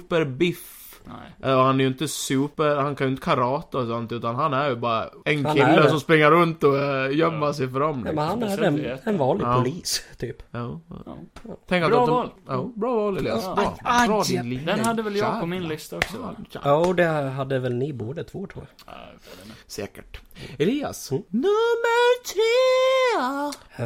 [SPEAKER 2] superbiff.
[SPEAKER 1] Nej.
[SPEAKER 2] eh, Och han är ju inte super, han kan ju inte karate och sånt utan han är ju bara en
[SPEAKER 3] Han är
[SPEAKER 2] kille
[SPEAKER 3] det.
[SPEAKER 2] som springer runt och eh, gömmer sig för dem.
[SPEAKER 3] Nej, men
[SPEAKER 2] liksom.
[SPEAKER 3] han är en, en vanlig
[SPEAKER 2] Ja.
[SPEAKER 3] polis, typ.
[SPEAKER 2] Ja, ja.
[SPEAKER 1] Ja.
[SPEAKER 2] Tänk att
[SPEAKER 1] Bra
[SPEAKER 2] de,
[SPEAKER 1] val.
[SPEAKER 2] Ja, bra val Elias.
[SPEAKER 1] Ja.
[SPEAKER 2] Bra, bra din linje.
[SPEAKER 1] Den hade väl jag på min lista också? va?
[SPEAKER 3] Ja, och det hade väl ni båda två tror jag.
[SPEAKER 1] Ja, jag vet inte.
[SPEAKER 2] Säkert. Elias.
[SPEAKER 4] Nummer tre!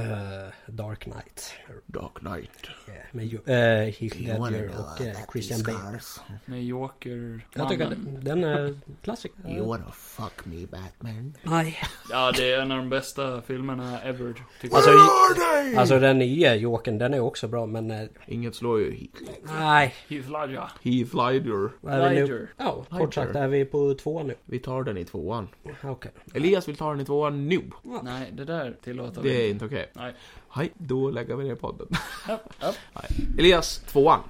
[SPEAKER 3] Eh, Dark Knight.
[SPEAKER 4] Dark Knight.
[SPEAKER 3] Yeah, med ju- eh, Heath
[SPEAKER 4] wanna
[SPEAKER 3] Ledger
[SPEAKER 4] know
[SPEAKER 3] och eh,
[SPEAKER 4] about
[SPEAKER 3] Christian
[SPEAKER 4] these
[SPEAKER 3] Bale.
[SPEAKER 4] cars?
[SPEAKER 1] Med Joker.
[SPEAKER 3] Jag tycker
[SPEAKER 1] mannen.
[SPEAKER 3] att den är klassiker.
[SPEAKER 4] You wanna fuck me Batman?
[SPEAKER 3] Nej.
[SPEAKER 1] Ja, det är en av de bästa filmerna ever. Tycker
[SPEAKER 3] Alltså,
[SPEAKER 1] jag.
[SPEAKER 3] Alltså den nya Jokern, den är också bra men... eh,
[SPEAKER 2] Inget slår ju Heath-
[SPEAKER 3] Nej.
[SPEAKER 1] Heath Ledger.
[SPEAKER 2] Heath Ledger.
[SPEAKER 3] Vad är vi nu?
[SPEAKER 1] Ledger.
[SPEAKER 3] Ja,
[SPEAKER 2] Ledger.
[SPEAKER 3] kort sagt är vi på två nu.
[SPEAKER 2] Vi tar den i tvåan.
[SPEAKER 3] Okej.
[SPEAKER 2] Elias vill ta den i tvåan nu.
[SPEAKER 1] Nej, det där tillåter
[SPEAKER 2] Det
[SPEAKER 1] vi
[SPEAKER 2] är inte okej.
[SPEAKER 1] Nej.
[SPEAKER 2] Hej, då lägger vi ner podden.
[SPEAKER 1] Upp, upp.
[SPEAKER 2] Elias, tvåan.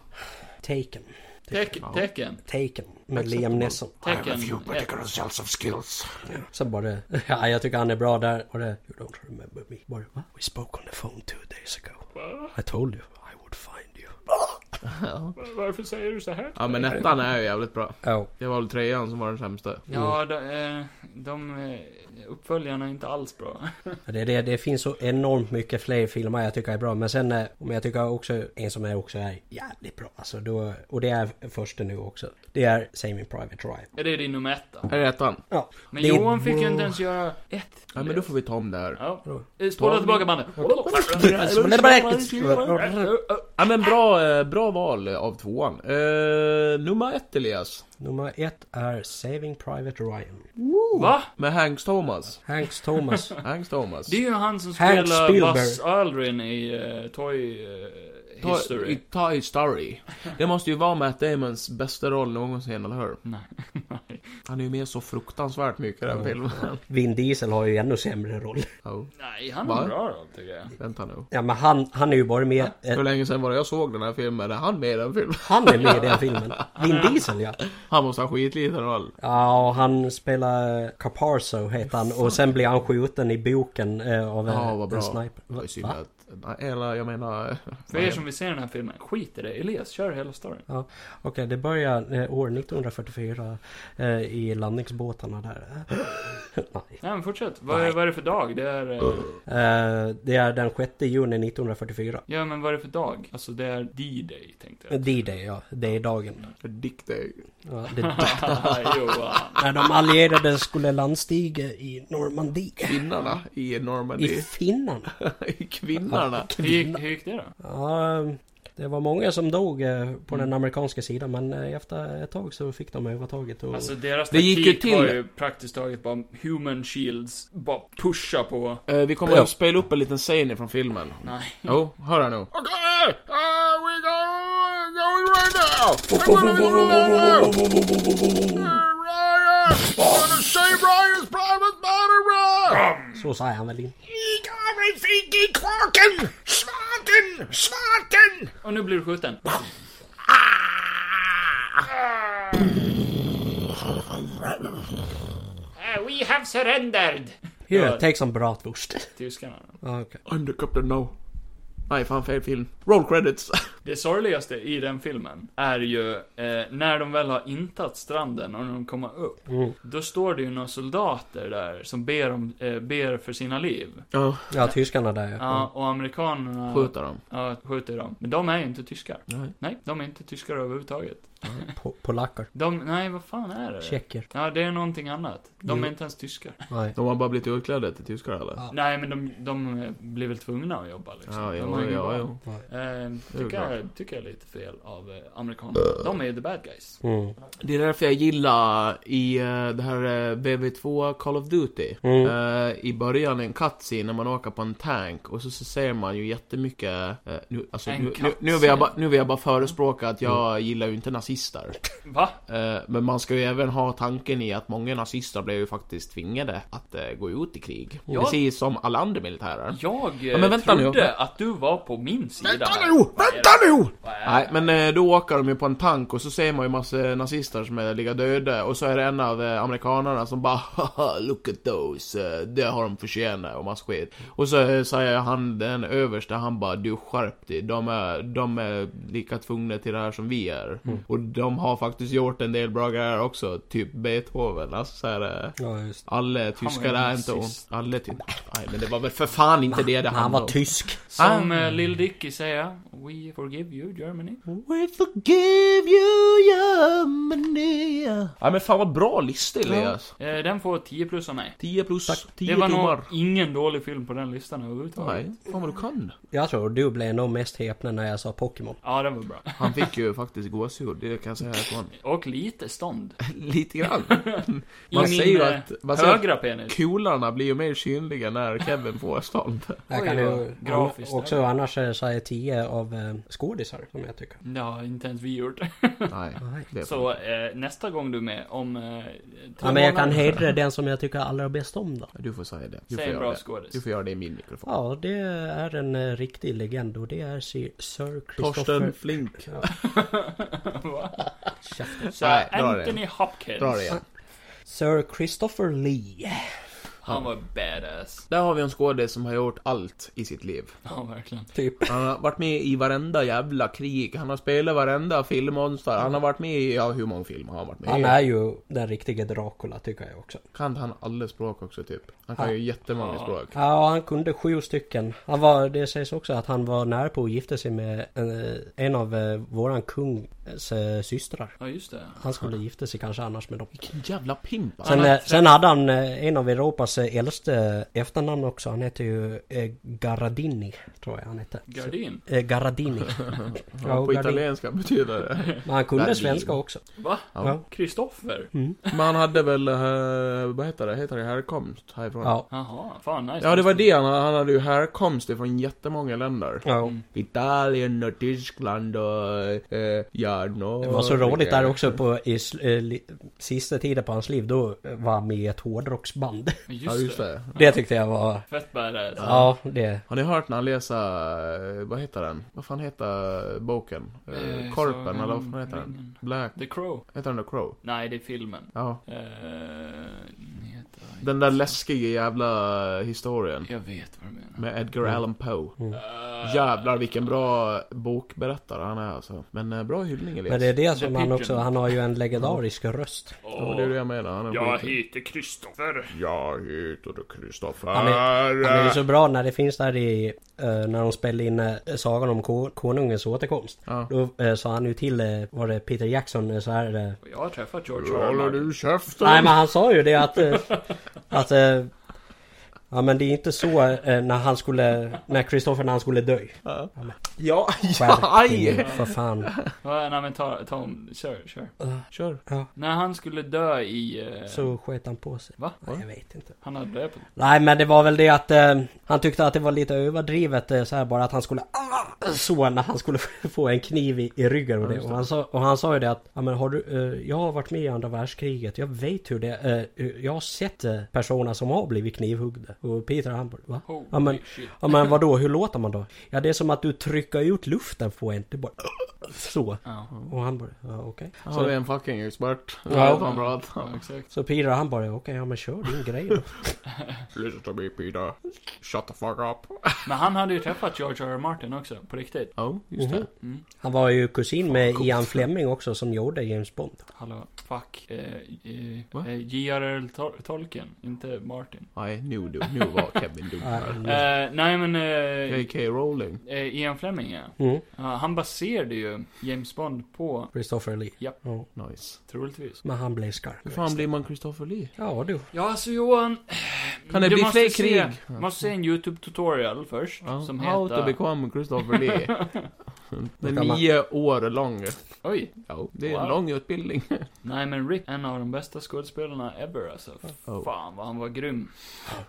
[SPEAKER 3] Taken.
[SPEAKER 1] Tecken. Tecken.
[SPEAKER 3] Taken. Med Liam Neeson.
[SPEAKER 1] Tecken. Ett.
[SPEAKER 4] results of skills.
[SPEAKER 3] Så bara... Ja, jag tycker han är bra där. Och det... You don't remember me. Bara, va? We spoke on the phone two days ago. I told you I would find you.
[SPEAKER 1] Varför säger du så här?
[SPEAKER 2] Ja men ettan är ju jävligt bra.
[SPEAKER 3] Ja.
[SPEAKER 2] Det var väl trean som var den sämsta.
[SPEAKER 1] Ja, de, eh, de eh, uppföljarna är inte alls bra.
[SPEAKER 3] Det, är det, det finns så enormt mycket fler filmer jag tycker är bra. Men sen... eh, Men jag tycker också... En som är också är jävligt bra. Alltså då... Och det är första nu också. Det är Saving Private Ryan.
[SPEAKER 1] Är det din nummer ett då?
[SPEAKER 2] Här är ettan.
[SPEAKER 3] Ja.
[SPEAKER 1] Men
[SPEAKER 3] Det-
[SPEAKER 1] Johan fick ju inte ens göra ett.
[SPEAKER 2] Ja men då får vi ta om det här.
[SPEAKER 1] Ja. Eh, Spola tillbaka bandet.
[SPEAKER 2] Ja men bra, eh, bra val av tvåan. Eh, nummer ett Elias.
[SPEAKER 3] Nummer ett är Saving Private Ryan.
[SPEAKER 1] Va?
[SPEAKER 2] Med Hanks Thomas.
[SPEAKER 3] Hanks Thomas.
[SPEAKER 2] Hanks Thomas.
[SPEAKER 1] Det är ju han som
[SPEAKER 3] Hank
[SPEAKER 1] spelar
[SPEAKER 3] Spielberg.
[SPEAKER 1] Buzz Aldrin i eh, Toy eh,
[SPEAKER 2] Ta-
[SPEAKER 1] History.
[SPEAKER 2] i Toy Story. Det måste ju vara Matt Damons bästa roll någonsin, eller hur?
[SPEAKER 1] Nej. Nej.
[SPEAKER 2] Han är ju med så fruktansvärt mycket i den
[SPEAKER 3] Ja.
[SPEAKER 2] filmen.
[SPEAKER 3] Vin Diesel har ju ännu sämre roll.
[SPEAKER 2] Oh,
[SPEAKER 1] Nej, han är
[SPEAKER 2] Va?
[SPEAKER 1] bra då, tycker jag.
[SPEAKER 2] vänta nu.
[SPEAKER 3] Ja men han, han är ju bara med... Eh,
[SPEAKER 2] Hur länge sedan var det jag såg den här filmen? Är han med i den filmen?
[SPEAKER 3] han är med i den filmen. Vin Diesel ja.
[SPEAKER 2] Han måste ha skitliten roll.
[SPEAKER 3] Ja och han spelar Caparzo heter han. Och sen blir han skjuten i boken eh, av en,
[SPEAKER 2] Ja, vad
[SPEAKER 3] en
[SPEAKER 2] bra.
[SPEAKER 3] sniper.
[SPEAKER 2] Det var ju synd
[SPEAKER 3] Va?
[SPEAKER 2] att... nej, Eller jag menar...
[SPEAKER 1] För er som vill se den här filmen, skit i det. Elias, kör hela storyn.
[SPEAKER 3] Okej, det börjar eh, år 1944 eh, i landningsbåtarna där. Nej.
[SPEAKER 1] Nej men fortsätt. Vad är,
[SPEAKER 3] Nej.
[SPEAKER 1] vad är det för dag? Det är... eh,
[SPEAKER 3] Eh, det är den 6 juni 1944.
[SPEAKER 1] Ja men vad är det för dag? Alltså det är D-Day tänkte jag.
[SPEAKER 3] D-Day ja, det är dagen.
[SPEAKER 2] Dick Day.
[SPEAKER 3] Ja, det är
[SPEAKER 1] Johan.
[SPEAKER 3] När de allierade skulle landstiga i Normandie.
[SPEAKER 2] Kvinnorna i
[SPEAKER 3] I
[SPEAKER 2] Normandy.
[SPEAKER 3] Finland.
[SPEAKER 2] I kvinnorna.
[SPEAKER 1] Hur gick, hur gick det då?
[SPEAKER 3] Ja, det var många som dog eh, på den amerikanska sidan men eh, efter ett tag så fick de övertaget. Och...
[SPEAKER 1] Alltså deras
[SPEAKER 2] Det gick ju
[SPEAKER 1] taktik var
[SPEAKER 2] till-
[SPEAKER 1] ju praktiskt taget bara human shields, bara pusha på.
[SPEAKER 2] Eh, vi kommer
[SPEAKER 3] Ja.
[SPEAKER 2] att spela upp en liten scen från filmen.
[SPEAKER 1] Nej.
[SPEAKER 2] Jo, hör här nu.
[SPEAKER 4] Okay, uh, we go, going right now. Ryan, gonna save Ryan's private battery.
[SPEAKER 3] Så sa han väl inte.
[SPEAKER 4] Eat everything in Clarken, Smarten, Smarten.
[SPEAKER 1] Och nu blir du skjuten.
[SPEAKER 4] Ah!
[SPEAKER 1] Ah! we have Eh, surrendered!
[SPEAKER 3] Here,
[SPEAKER 1] Ja.
[SPEAKER 3] take some bratwurst.
[SPEAKER 1] Tyskarna.
[SPEAKER 3] Ja, okej.
[SPEAKER 2] I'm the captain now. Nej, fan fel film. Roll credits.
[SPEAKER 1] Det sorgligaste i den filmen är ju eh, när de väl har intat stranden och när de kommer upp.
[SPEAKER 3] Mm.
[SPEAKER 1] Då står det ju några soldater där som ber, om, eh, ber för sina liv.
[SPEAKER 2] Ja,
[SPEAKER 3] Ja, tyskarna där
[SPEAKER 1] Ja,
[SPEAKER 3] ja.
[SPEAKER 1] och amerikanerna
[SPEAKER 2] skjuta dem.
[SPEAKER 1] ja, skjuter dem. Men de är ju inte tyskar.
[SPEAKER 2] Nej.
[SPEAKER 1] Nej, de är inte tyskar överhuvudtaget.
[SPEAKER 3] Mm. Po- Polacker.
[SPEAKER 1] De, nej vad fan är det?
[SPEAKER 3] Tjecker.
[SPEAKER 1] Ja, det är någonting annat. De
[SPEAKER 3] Jo.
[SPEAKER 1] är inte ens tyskar.
[SPEAKER 3] Nej.
[SPEAKER 2] De har bara blivit utklädda till tyskar eller?
[SPEAKER 3] Ja.
[SPEAKER 1] Nej, men de, de eh, blir väl tvungna att jobba liksom.
[SPEAKER 2] Ja,
[SPEAKER 1] de har
[SPEAKER 2] ja,
[SPEAKER 1] ingen
[SPEAKER 2] ja,
[SPEAKER 1] val.
[SPEAKER 2] ja.
[SPEAKER 1] Eh,
[SPEAKER 2] är
[SPEAKER 1] tycker,
[SPEAKER 2] klart.
[SPEAKER 1] jag, tycker jag är lite fel av eh, amerikanerna. De är ju the bad guys.
[SPEAKER 3] Mm.
[SPEAKER 2] Det är därför jag gillar i eh, det här eh, BB2 Call of Duty.
[SPEAKER 3] Mm.
[SPEAKER 2] Eh, I början en cutscene när man åker på en tank och så, så ser man ju jättemycket... eh, nu, alltså,
[SPEAKER 1] En
[SPEAKER 2] nu, nu, nu,
[SPEAKER 1] cutscene.
[SPEAKER 2] vill jag bara, nu vill jag bara förespråka att jag gillar ju inte nazister.
[SPEAKER 1] Va?
[SPEAKER 2] Eh, men man ska ju även ha tanken i att många nazister blev ju faktiskt tvingade att eh, gå ut i krig.
[SPEAKER 1] Ja.
[SPEAKER 2] Precis som alla andra militärer.
[SPEAKER 1] Jag eh,
[SPEAKER 2] Ja, men vänta nu.
[SPEAKER 1] trodde att du var på min sida.
[SPEAKER 7] Vänta
[SPEAKER 1] här.
[SPEAKER 7] nu!
[SPEAKER 1] Vad är
[SPEAKER 7] Vänta
[SPEAKER 1] det?
[SPEAKER 7] nu!
[SPEAKER 1] Vad är
[SPEAKER 2] Nej,
[SPEAKER 1] det?
[SPEAKER 2] men eh, då åker de ju på en tank och så ser man ju massa nazister som är ligga döda och så är det en av eh, amerikanerna som bara Haha, look at those, eh, det har de förtjänat och massa skit. Och så eh, säger han, den översta, han bara du skärp dig, de är, de är lika tvungna till det här som vi är.
[SPEAKER 1] Mm.
[SPEAKER 2] Och de har faktiskt gjort en del bra grejer också, typ Beethoven, alltså så här, eh,
[SPEAKER 3] Ja, just
[SPEAKER 2] alla tyskar
[SPEAKER 1] var ju
[SPEAKER 2] är inte ond.
[SPEAKER 1] nazist.
[SPEAKER 2] Alla ty- Nej men det var väl för fan inte det det
[SPEAKER 3] Men han
[SPEAKER 2] handlade
[SPEAKER 3] var
[SPEAKER 2] om.
[SPEAKER 3] tysk.
[SPEAKER 2] Ah.
[SPEAKER 1] Som eh, Lil Dicky säger, We forgive you Germany.
[SPEAKER 2] We forgive you, Germany. Ja men fan vad bra lista Elias.
[SPEAKER 1] Eh, den får 10 plus av mig.
[SPEAKER 2] 10 plus, 10
[SPEAKER 1] Det var nog
[SPEAKER 2] tummar.
[SPEAKER 1] ingen dålig film på den listan överhuvudtaget.
[SPEAKER 2] Nej, fan vad du kan.
[SPEAKER 3] Jag tror du blev nog mest häpen när jag sa Pokémon.
[SPEAKER 1] Ja, den var bra.
[SPEAKER 2] Han fick ju faktiskt gåshud, det kan jag säga att han...
[SPEAKER 1] Och lite stånd.
[SPEAKER 2] Lite grann.
[SPEAKER 1] I
[SPEAKER 2] Man
[SPEAKER 1] min
[SPEAKER 2] säger ju
[SPEAKER 1] eh,
[SPEAKER 2] att- man säger att-
[SPEAKER 1] högra penis.
[SPEAKER 2] Kularna blir ju mer synliga när Kevin får stånd.
[SPEAKER 3] Jag
[SPEAKER 1] Oj,
[SPEAKER 3] kan
[SPEAKER 1] vad
[SPEAKER 3] ju
[SPEAKER 1] grafiskt.
[SPEAKER 3] också annars eh, säga 10 av eh, skådisar som jag tycker.
[SPEAKER 1] Det har inte ens vi gjort.
[SPEAKER 2] Nej. Det är
[SPEAKER 1] Så eh, nästa gång du är med, om eh, tre
[SPEAKER 3] Ja, men jag kan
[SPEAKER 1] månader,
[SPEAKER 3] hedra den som jag tycker allra bäst om då.
[SPEAKER 2] Du får säga det. Du får,
[SPEAKER 1] Säg en
[SPEAKER 2] göra
[SPEAKER 1] bra
[SPEAKER 2] det.
[SPEAKER 1] skådis.
[SPEAKER 2] du får göra det i min mikrofon.
[SPEAKER 3] Ja, det är en eh, riktig legend och det är Sir- Sir Christopher...
[SPEAKER 2] Torsten Flink.
[SPEAKER 1] Va?
[SPEAKER 3] Käften.
[SPEAKER 1] Så
[SPEAKER 2] Nej, dra det.
[SPEAKER 1] Anthony Hopkins.
[SPEAKER 2] Dra det igen.
[SPEAKER 3] Sir Christopher Lee.
[SPEAKER 1] Han var badass.
[SPEAKER 2] Där har vi en skådis som har gjort allt i sitt liv.
[SPEAKER 1] Ja, verkligen.
[SPEAKER 3] Typ.
[SPEAKER 2] Han har varit med i varenda jävla krig, han har spelat varenda filmmonster, han har varit med i, ja hur många filmer har han varit med
[SPEAKER 3] Han
[SPEAKER 2] i?
[SPEAKER 3] är ju den riktiga Dracula tycker jag också.
[SPEAKER 2] Kan han alla språk också typ? Han kan ju jättemånga språk.
[SPEAKER 3] Ja, han kunde sju stycken. Han var, det sägs också att han var nära på att gifta sig med en, en av eh, våran kungs eh, systrar.
[SPEAKER 1] Ja, just det.
[SPEAKER 3] Han skulle gifta sig kanske annars med dem.
[SPEAKER 2] Vilken jävla pimp alltså.
[SPEAKER 3] Sen, eh, sen hade han eh, en av Europas eh, äldste efternamn också. Han heter ju eh, Garadini, tror jag han hette.
[SPEAKER 1] Gardin.
[SPEAKER 3] Eh, Garadini. ja,
[SPEAKER 2] Ja,
[SPEAKER 3] och
[SPEAKER 2] på
[SPEAKER 3] Gardini.
[SPEAKER 2] italienska betyder det.
[SPEAKER 3] Men han kunde
[SPEAKER 2] Gardini.
[SPEAKER 3] svenska också. Mm.
[SPEAKER 1] Va?
[SPEAKER 3] Ja.
[SPEAKER 1] Kristoffer?
[SPEAKER 2] Men han hade väl, eh, vad heter det, heter det härkomst härifrån?
[SPEAKER 3] Ja.
[SPEAKER 1] Jaha, fan nice.
[SPEAKER 2] Ja, det var det, han, han hade ju härkomst ifrån jättemånga länder.
[SPEAKER 3] ja.
[SPEAKER 1] Mm.
[SPEAKER 2] Italien och Tyskland och, eh, ja, no.
[SPEAKER 3] Det var så roligt där också på i, sl- eh, li, sista tiden på hans liv. Då var han med i ett hårdrocksband.
[SPEAKER 1] Just,
[SPEAKER 2] Ja, just
[SPEAKER 1] det.
[SPEAKER 2] det.
[SPEAKER 3] Det tyckte jag var...
[SPEAKER 1] Fett badass.
[SPEAKER 3] Ja, det...
[SPEAKER 2] Har ni hört när han läser, eh, vad heter den? Vad fan heter boken? Eh, Mm.
[SPEAKER 1] Eh,
[SPEAKER 2] Korpen
[SPEAKER 1] Sagan
[SPEAKER 2] eller vad
[SPEAKER 1] om
[SPEAKER 2] fan heter den?
[SPEAKER 1] ringen.
[SPEAKER 2] Black,
[SPEAKER 1] The Crow?
[SPEAKER 2] heter den The Crow?
[SPEAKER 1] Nej, det är filmen.
[SPEAKER 2] Ja.
[SPEAKER 1] Eh, den heter...
[SPEAKER 2] Den där läskiga jävla eh, historien.
[SPEAKER 1] Jag vet vad du menar.
[SPEAKER 2] Med Edgar
[SPEAKER 3] Mm.
[SPEAKER 2] Allan Poe.
[SPEAKER 1] Eh,
[SPEAKER 2] Jävlar vilken bra bokberättare han är alltså. Men eh, bra hyllning Elias.
[SPEAKER 3] Men det är det
[SPEAKER 1] The
[SPEAKER 3] som han också...
[SPEAKER 1] Pigeon.
[SPEAKER 3] Han har ju en legendarisk röst.
[SPEAKER 2] Ja, det är det jag menar. Han är
[SPEAKER 7] Jag
[SPEAKER 2] skit-
[SPEAKER 7] heter Kristoffer.
[SPEAKER 2] jag heter Kristoffer.
[SPEAKER 3] Han är, han är ju så bra när det finns där i... eh, när de spelade in eh, Sagan om ko, Konungens återkomst.
[SPEAKER 2] Ja.
[SPEAKER 3] Då eh, sa han ju till... eh, var det Peter Jackson eh, så här... eh,
[SPEAKER 1] Jag har träffat George R. R.
[SPEAKER 2] Håller
[SPEAKER 1] Martin.
[SPEAKER 2] du käften?
[SPEAKER 3] Nej men han sa ju det att... eh, att eh, Ja men det är inte så eh, när han skulle... När Kristoffer när han skulle dö.
[SPEAKER 2] Ja, ja,
[SPEAKER 3] Skärp dig nu,
[SPEAKER 2] aj!
[SPEAKER 3] för fan.
[SPEAKER 1] Ja, nej men ta, ta om, kör, kör.
[SPEAKER 2] Kör.
[SPEAKER 1] När han skulle dö i... Eh,
[SPEAKER 3] Så sket han på sig.
[SPEAKER 1] Va?
[SPEAKER 3] Nej, jag vet inte.
[SPEAKER 1] Han hade det på...
[SPEAKER 3] Nej men det var väl det att eh, han tyckte att det var lite överdrivet eh, så här bara att han skulle ah, så när han skulle få en kniv i, i ryggen och, det. Och, han sa, och han sa ju det att ja, men har du, eh, jag har varit med i andra världskriget. Jag vet hur det eh, Jag har sett eh, personer som har blivit knivhuggna. Och Peter han bara va?
[SPEAKER 1] Holy
[SPEAKER 3] Ja men,
[SPEAKER 1] shit.
[SPEAKER 3] ja men vadå hur låter man då? Ja det är som att du trycker ut luften på en. Du bara så.
[SPEAKER 1] Ja.
[SPEAKER 3] Och han bara, ja, okej.
[SPEAKER 2] Har
[SPEAKER 3] Så-
[SPEAKER 2] vi en fucking expert?
[SPEAKER 3] Ja.
[SPEAKER 2] Ja. Fan bra att
[SPEAKER 1] Ja, exakt.
[SPEAKER 3] Så Peter han bara, okej, ja men kör din grej då.
[SPEAKER 2] Listen to me Peter. Shut the fuck up.
[SPEAKER 1] Men han hade ju träffat George R. R. Martin också, på riktigt.
[SPEAKER 2] Ja, Oh, just
[SPEAKER 3] Mhm.
[SPEAKER 2] det.
[SPEAKER 1] Mm.
[SPEAKER 3] Han var ju kusin med Ian Fleming också som gjorde James Bond.
[SPEAKER 1] Hallå, fuck. Eh, eh,
[SPEAKER 2] Va?
[SPEAKER 1] eh, J.R.R. Tol- Tolkien, inte Martin.
[SPEAKER 2] Nej, nu du. Nu var Kevin dum här.
[SPEAKER 3] Mm.
[SPEAKER 1] Eh, nej men, eh,
[SPEAKER 2] J.K. Rowling.
[SPEAKER 1] eh, Ian Fleming ja.
[SPEAKER 3] Mm.
[SPEAKER 1] ja. Han baserade ju James Bond på,
[SPEAKER 3] Christopher Lee.
[SPEAKER 1] Japp.
[SPEAKER 3] Ja.
[SPEAKER 2] Nice.
[SPEAKER 1] troligtvis.
[SPEAKER 3] Men han blev skarp.
[SPEAKER 2] Hur fan blir man Christopher Lee?
[SPEAKER 3] Ja du.
[SPEAKER 1] Ja alltså Johan.
[SPEAKER 2] Kan det
[SPEAKER 1] du
[SPEAKER 2] bli
[SPEAKER 1] måste
[SPEAKER 2] fler
[SPEAKER 1] se-
[SPEAKER 2] krig? Ja.
[SPEAKER 1] Måste se en YouTube tutorial först.
[SPEAKER 2] Ja,
[SPEAKER 1] Som
[SPEAKER 2] How to
[SPEAKER 1] heter...
[SPEAKER 2] become Christopher Lee. Den
[SPEAKER 3] Då kan man-
[SPEAKER 2] nio år lång.
[SPEAKER 1] Oj.
[SPEAKER 2] Ja, det är en
[SPEAKER 1] Wow.
[SPEAKER 2] lång utbildning.
[SPEAKER 1] Nej men Rick, en av de bästa skådespelarna ever alltså.
[SPEAKER 2] Oh.
[SPEAKER 1] Fan vad han var grym.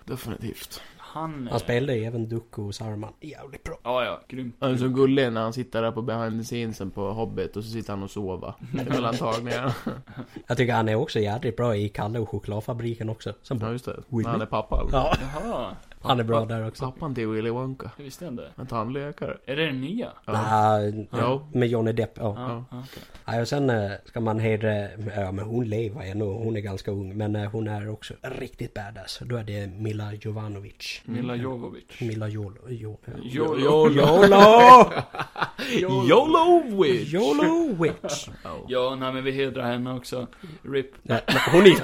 [SPEAKER 2] Definitivt.
[SPEAKER 1] Han... eh,
[SPEAKER 3] Han spelade ju även Dooku och Saruman. Jävligt bra.
[SPEAKER 1] Ja, ja, grymt.
[SPEAKER 2] Han är så gullig när han sitter där på behind the scenesen på Hobbit och så sitter han och sover. Mellan tagningarna.
[SPEAKER 3] Jag tycker han är också jädrigt bra i Kalle och chokladfabriken också. Sen
[SPEAKER 2] Ja,
[SPEAKER 3] bara,
[SPEAKER 2] just det.
[SPEAKER 3] Willy?
[SPEAKER 2] När han är pappan.
[SPEAKER 3] ja,
[SPEAKER 1] Jaha,
[SPEAKER 3] han är bra där också.
[SPEAKER 2] Pappan till Willy Wonka.
[SPEAKER 1] jag visste inte.
[SPEAKER 2] En tandläkare.
[SPEAKER 1] Är det den nya?
[SPEAKER 2] Ja.
[SPEAKER 3] Nej,
[SPEAKER 2] Ja.
[SPEAKER 3] Med Johnny Depp, ja.
[SPEAKER 1] Ja, okej.
[SPEAKER 3] Nej, och sen eh, ska man hedra... Ja, men hon lever ännu. Hon är ganska ung. Men eh, hon är också riktigt badass. Då är det Mila Jovanovic.
[SPEAKER 1] Mila
[SPEAKER 2] Mm.
[SPEAKER 1] Jovovich.
[SPEAKER 3] Mila Jolo... Jo,
[SPEAKER 1] Jo-
[SPEAKER 3] Jolo!
[SPEAKER 2] YOLO Witch!
[SPEAKER 3] Jolo Witch!
[SPEAKER 1] Ja, nej men vi hedrar henne också. RIP.
[SPEAKER 3] Nej, men hon är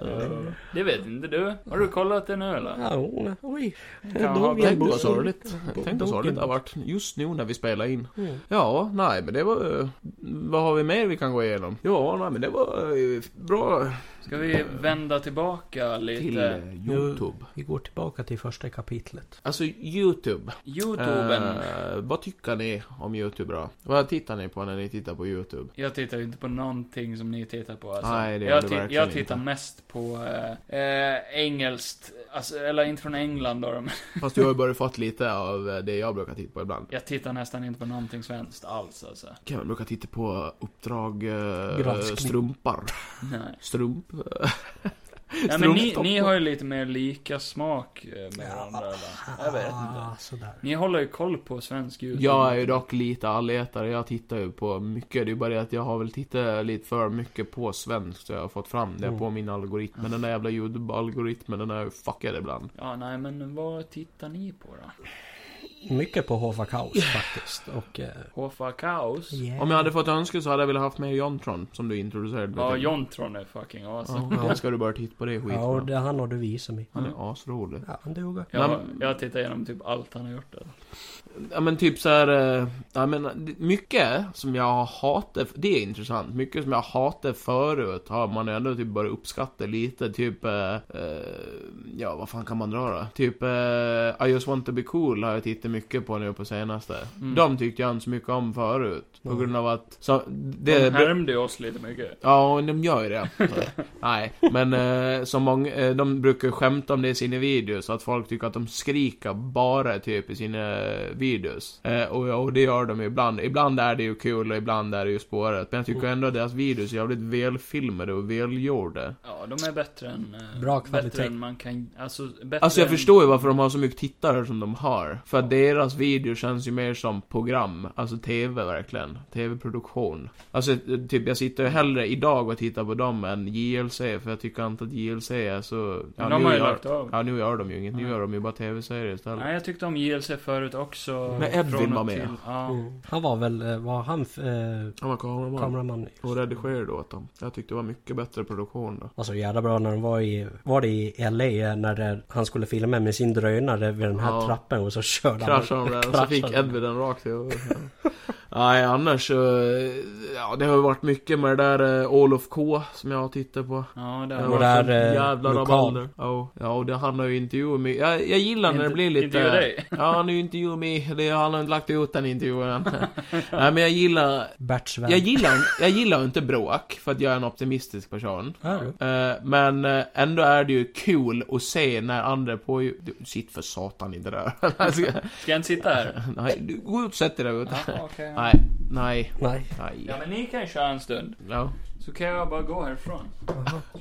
[SPEAKER 1] eh, Det vet inte du. Har du kollat det nu eller?
[SPEAKER 3] Ja, hon... Oj.
[SPEAKER 1] Kan ha-
[SPEAKER 2] Tänk vad sorgligt. Tänk vad sorgligt det har varit just nu när vi spelar in. Ja, nej men det var... eh, Vad har vi mer vi kan gå igenom? Ja, nej men det var eh, bra
[SPEAKER 1] Ska vi vända tillbaka lite?
[SPEAKER 2] till eh, Youtube.
[SPEAKER 3] Vi går tillbaka till första kapitlet.
[SPEAKER 2] Alltså Youtube.
[SPEAKER 1] Youtuben.
[SPEAKER 2] Eh, vad tycker ni om Youtube då? Vad tittar ni på när ni tittar på Youtube?
[SPEAKER 1] Jag tittar ju inte på någonting som ni tittar på alltså.
[SPEAKER 2] Nej, det gör
[SPEAKER 1] jag,
[SPEAKER 2] du
[SPEAKER 1] ti-
[SPEAKER 2] verkligen
[SPEAKER 1] jag tittar
[SPEAKER 2] inte.
[SPEAKER 1] mest på eh, eh, engelskt, alltså, eller inte från England då, men
[SPEAKER 2] Fast jag har ju börjat fått lite av eh, det jag brukar titta på ibland.
[SPEAKER 1] jag tittar nästan inte på någonting svenskt alls alltså.
[SPEAKER 2] Kevin brukar titta på Uppdrag eh,
[SPEAKER 3] Granskning.
[SPEAKER 2] Strumpar.
[SPEAKER 1] Nej.
[SPEAKER 2] Strump. eh,
[SPEAKER 1] Nej men ni, ni har ju lite mer lika smak eh, med
[SPEAKER 3] Ja.
[SPEAKER 1] varandra eller? Jag vet inte.
[SPEAKER 3] Ah, sådär.
[SPEAKER 1] Ni håller ju koll på svensk YouTube.
[SPEAKER 2] Jag är ju dock lite allätare, jag tittar ju på mycket. Det är bara det att jag har väl tittat lite för mycket på svenskt, så jag har fått fram det
[SPEAKER 3] Mm.
[SPEAKER 2] på min algoritm. Men den där jävla YouTube-algoritmen, den är ju fuckad ibland.
[SPEAKER 1] Ja, nej men vad tittar ni på då?
[SPEAKER 3] Mycket på Hova Kaos faktiskt. Och... eh,
[SPEAKER 1] Hoffa Kaos?
[SPEAKER 3] Mm.
[SPEAKER 2] Om jag hade fått önska så hade jag velat haft med Jontron, som du introducerade mig
[SPEAKER 1] Ja,
[SPEAKER 2] till.
[SPEAKER 1] Jontron är fucking awesome.
[SPEAKER 2] Ja, då ska du börja titta på det skiten.
[SPEAKER 3] Ja, och det, han har du visat mig.
[SPEAKER 2] Han är asrolig.
[SPEAKER 3] Ja, han duger.
[SPEAKER 1] Jag,
[SPEAKER 2] Men-
[SPEAKER 1] jag tittar igenom typ allt han har gjort där.
[SPEAKER 2] Ja men typ såhär, eh, ja men det- mycket som jag hatar, det är intressant, mycket som jag hatar förut har man ändå typ börjat uppskatta lite, typ, eh, eh, ja vad fan kan man dra då? Typ, eh, I just want to be cool har jag tittat mycket på nu på senaste.
[SPEAKER 1] Mm.
[SPEAKER 2] De tyckte jag inte så mycket om förut, på
[SPEAKER 3] Mm.
[SPEAKER 2] grund av att, så, det...
[SPEAKER 1] De härmde ju oss lite mycket.
[SPEAKER 2] Ja, och de gör ju det. Nej, men eh, som många, eh, de brukar ju skämta om det i sina videos, att folk tycker att de skriker bara typ i sina videos. Eh, och, ja, och det gör de ju ibland. Ibland är det ju kul och ibland är det ju spåret. Men jag tycker ändå att deras videos är jävligt välfilmade och välgjorda.
[SPEAKER 1] Ja, de är bättre än... eh,
[SPEAKER 3] Bra
[SPEAKER 1] Bättre
[SPEAKER 3] kvalitet.
[SPEAKER 1] än man kan... Alltså, bättre
[SPEAKER 2] Alltså jag
[SPEAKER 1] än,
[SPEAKER 2] förstår ju varför de har så mycket tittare som de har. För att deras video känns ju mer som program, alltså TV verkligen. TV-produktion. Alltså typ jag sitter ju hellre idag och tittar på dem än JLC, för jag tycker inte att JLC är så...
[SPEAKER 1] Men de
[SPEAKER 2] nu
[SPEAKER 1] har ju
[SPEAKER 2] gör-
[SPEAKER 1] lagt av.
[SPEAKER 2] Ja, nu gör de ju inget. Nu
[SPEAKER 1] Nej.
[SPEAKER 2] gör de ju bara TV-serier istället.
[SPEAKER 1] Nej, jag tyckte om JLC förut också.
[SPEAKER 2] Men Edvin
[SPEAKER 1] Från och
[SPEAKER 2] var med. Mm.
[SPEAKER 1] till. Ja.
[SPEAKER 3] Han var väl... eh, Var han... Eh,
[SPEAKER 2] Han var kameraman.
[SPEAKER 3] kameraman?
[SPEAKER 2] Och redigerade åt dem. Jag tyckte det var mycket bättre produktion då.
[SPEAKER 3] Alltså jävla bra när de var i... Var det i LA när det, han skulle filma med sin drönare vid den här
[SPEAKER 2] Ja.
[SPEAKER 3] trappen och så körde han...
[SPEAKER 2] Kraschade de den, så fick
[SPEAKER 3] Kraschade.
[SPEAKER 2] Edvin den rakt i huvudet. Ja. Nej, annars så... Ja, det har ju varit mycket med det där eh, Olof K som jag har tittat på.
[SPEAKER 1] Ja, där
[SPEAKER 2] Det har
[SPEAKER 3] Och
[SPEAKER 1] var
[SPEAKER 2] varit
[SPEAKER 3] där,
[SPEAKER 2] sånt
[SPEAKER 3] eh,
[SPEAKER 2] jävla
[SPEAKER 3] lokal.
[SPEAKER 2] rabalder. Ja, ja, och det handlar ju intervjuer med... Jag, jag gillar när det
[SPEAKER 1] Inte-
[SPEAKER 2] blir lite...
[SPEAKER 1] intervjuer dig.
[SPEAKER 2] Ja, han är ju intervjuer med... Det, han har inte lagt ut den intervjun än. Nej, men jag gillar...
[SPEAKER 3] Bert Svärd.
[SPEAKER 2] Jag gillar, jag gillar inte bråk, för att jag är en optimistisk person.
[SPEAKER 3] Ja, du.
[SPEAKER 2] Eh, Men eh, ändå är det ju kul att se när andra på... Du, sitt för satan inte där.
[SPEAKER 1] Ska jag inte sitta här?
[SPEAKER 2] Nej, du, gå ut och sätt dig där ute.
[SPEAKER 1] Ja, okej.
[SPEAKER 2] Nej, nej,
[SPEAKER 3] Nej.
[SPEAKER 2] nej.
[SPEAKER 1] Ja, men ni kan köra en stund.
[SPEAKER 2] Ja,
[SPEAKER 1] Så kan jag bara gå härifrån.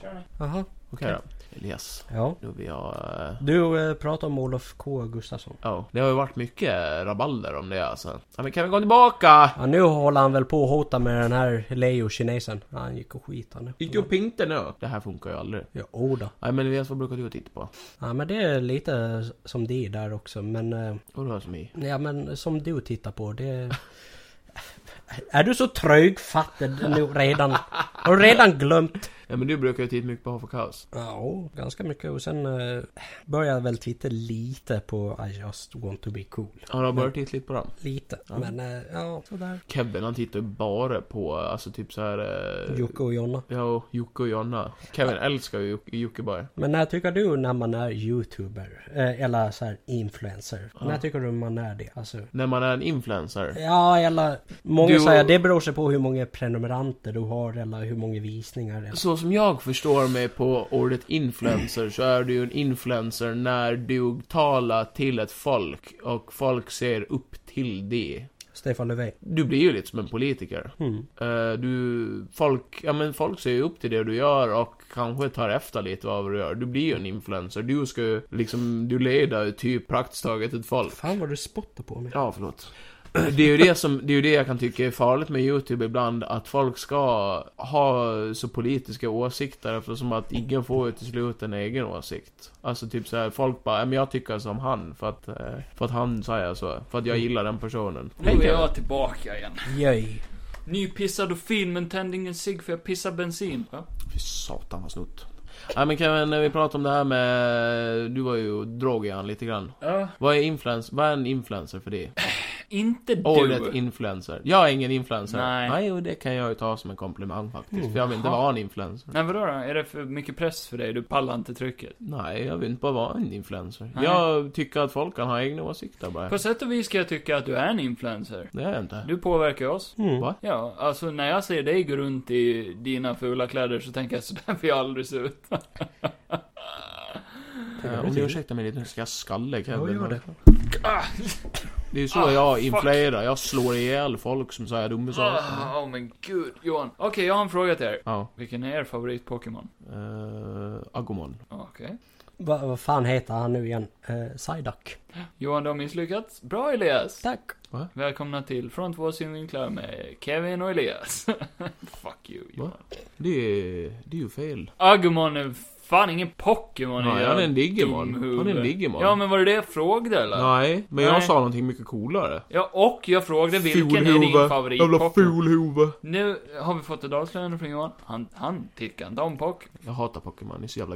[SPEAKER 1] Kör ni.
[SPEAKER 3] Jaha.
[SPEAKER 2] okej då. Elias.
[SPEAKER 3] Ja.
[SPEAKER 2] Nu vill jag... eh,
[SPEAKER 3] Du eh, pratar om Olof K Gustafsson.
[SPEAKER 2] Ja, det har ju varit mycket rabalder om det alltså. Ja, men kan vi gå tillbaka?
[SPEAKER 3] Ja, nu håller han väl på att hota med den här Leo-kinesen. Ja, han gick och skit han nu.
[SPEAKER 2] Gick du och pinkte nu? Det här funkar ju aldrig.
[SPEAKER 3] Ja, oh då.
[SPEAKER 2] Nej men Elias, vad brukar du titta på?
[SPEAKER 3] Ja, men det är lite som det där också. Men, eh,
[SPEAKER 2] Vad rör som i?
[SPEAKER 3] ja, men som du tittar på, det... Är du så trögfattad nu redan? Har du redan glömt?
[SPEAKER 2] Ja men du brukar ju titta mycket på Half of Chaos.
[SPEAKER 3] Ja, oh, ganska mycket. Och sen eh, började jag väl titta lite på I just want to be cool.
[SPEAKER 2] Har du börjat titta lite på den?
[SPEAKER 3] Lite. Men eh, ja, sådär.
[SPEAKER 2] Kevin han tittar ju bara på, alltså typ så här. Eh,
[SPEAKER 3] Jocke och Jonna.
[SPEAKER 2] Ja, och Jocke och Jonna. Kevin älskar ju Joc- Jockeberg.
[SPEAKER 3] Men när tycker du när man är youtuber? Eh, eller så här influencer? När tycker du man är det? Alltså,
[SPEAKER 2] När man är en influencer.
[SPEAKER 3] ja, eller... Många
[SPEAKER 2] Du-
[SPEAKER 3] säger det beror sig på hur många prenumeranter du har eller hur många visningar. Eller.
[SPEAKER 2] Så som jag förstår mig på ordet influencer så är du ju en influencer när du talar till ett folk och folk ser upp till det.
[SPEAKER 3] Stefan Löfven.
[SPEAKER 2] Du blir ju lite som en politiker.
[SPEAKER 3] Mm.
[SPEAKER 2] Eh, Du, folk, ja men folk ser ju upp till det du gör och kanske tar efter lite av vad du gör. Du blir ju en influencer. Du ska ju liksom, du leder ju typ praktiskt taget ett folk.
[SPEAKER 3] Fan vad du spottar på mig.
[SPEAKER 2] Ja, förlåt. Det är ju det som, det är ju det jag kan tycka är farligt med YouTube ibland, att folk ska ha så politiska åsikter eftersom att ingen får ju till slut en egen åsikt. Alltså typ så här, folk bara, "Ja, men jag tycker som han för att, eh, för att han säger så. För att jag gillar den personen.
[SPEAKER 1] Nu är jag tillbaka igen.
[SPEAKER 3] Jöj.
[SPEAKER 1] Nypissad och fin men tänd ingen cigg för jag pissar bensin. Va?
[SPEAKER 2] Fy satan vad snott. Ja men Kevin, när vi pratar om det här med... Du var ju drog i han lite grann.
[SPEAKER 1] Ja.
[SPEAKER 2] Vad är influencer? Vad är en influencer för dig?
[SPEAKER 1] Inte du.
[SPEAKER 2] Ordet influencer. Jag är ingen influencer.
[SPEAKER 1] Nej.
[SPEAKER 2] Nej, och det kan jag ju ta som en komplimang faktiskt. För jag vill inte vara en influencer.
[SPEAKER 1] Nej vadå då? Är det för mycket press för dig? Du pallar inte trycket?
[SPEAKER 2] Nej, jag vill inte bara vara en influencer.
[SPEAKER 1] Nej.
[SPEAKER 2] Jag tycker att folk kan ha egna åsikter bara.
[SPEAKER 1] På sätt och vis ska jag tycka att du är en influencer.
[SPEAKER 2] Det är jag inte.
[SPEAKER 1] Du påverkar oss.
[SPEAKER 3] Mm.
[SPEAKER 2] Va?
[SPEAKER 1] Ja, alltså när jag ser dig gå runt i dina fula kläder så tänker jag sådär får jag aldrig se ut.
[SPEAKER 2] Eh, om du ursäktar mig lite, nu ska jag skalle Kevin.
[SPEAKER 3] Ja, gör det.
[SPEAKER 1] Ah,
[SPEAKER 2] Det är ju så
[SPEAKER 1] Ah,
[SPEAKER 2] jag
[SPEAKER 1] fuck.
[SPEAKER 2] influerar. Jag slår ihjäl folk som säger dumma saker.
[SPEAKER 1] ah, oh men gud, Johan. Okej, jag har en fråga till er.
[SPEAKER 2] Ja.
[SPEAKER 1] Vilken är er favorit-Pokémon?
[SPEAKER 2] Uh, Agumon.
[SPEAKER 1] Okej.
[SPEAKER 3] Va, vad fan heter han nu igen? Eh, Psyduck.
[SPEAKER 1] Johan, du har misslyckats. Bra Elias!
[SPEAKER 3] Tack.
[SPEAKER 1] Välkomna till Från två synvinklar med Kevin och Elias. Fuck you, Johan.
[SPEAKER 2] Det är, det är ju fel.
[SPEAKER 1] Agumon är fan ingen Pokémon.
[SPEAKER 2] Nej,
[SPEAKER 1] jag
[SPEAKER 2] han är en Digimon.
[SPEAKER 1] dumhuvud.
[SPEAKER 2] Han är en Digimon.
[SPEAKER 1] Ja, men var det det jag frågade eller?
[SPEAKER 2] Nej, men jag
[SPEAKER 1] Nej.
[SPEAKER 2] sa någonting mycket coolare.
[SPEAKER 1] Ja, och jag frågade vilken är din
[SPEAKER 2] Fulhuvud. Jävla
[SPEAKER 1] favorit-Pokémon?
[SPEAKER 2] fulhuvud.
[SPEAKER 1] Nu har vi fått ett avslöjande från Johan. Han, han tycker inte om Pock.
[SPEAKER 2] Jag hatar Pokémon, det är så jävla...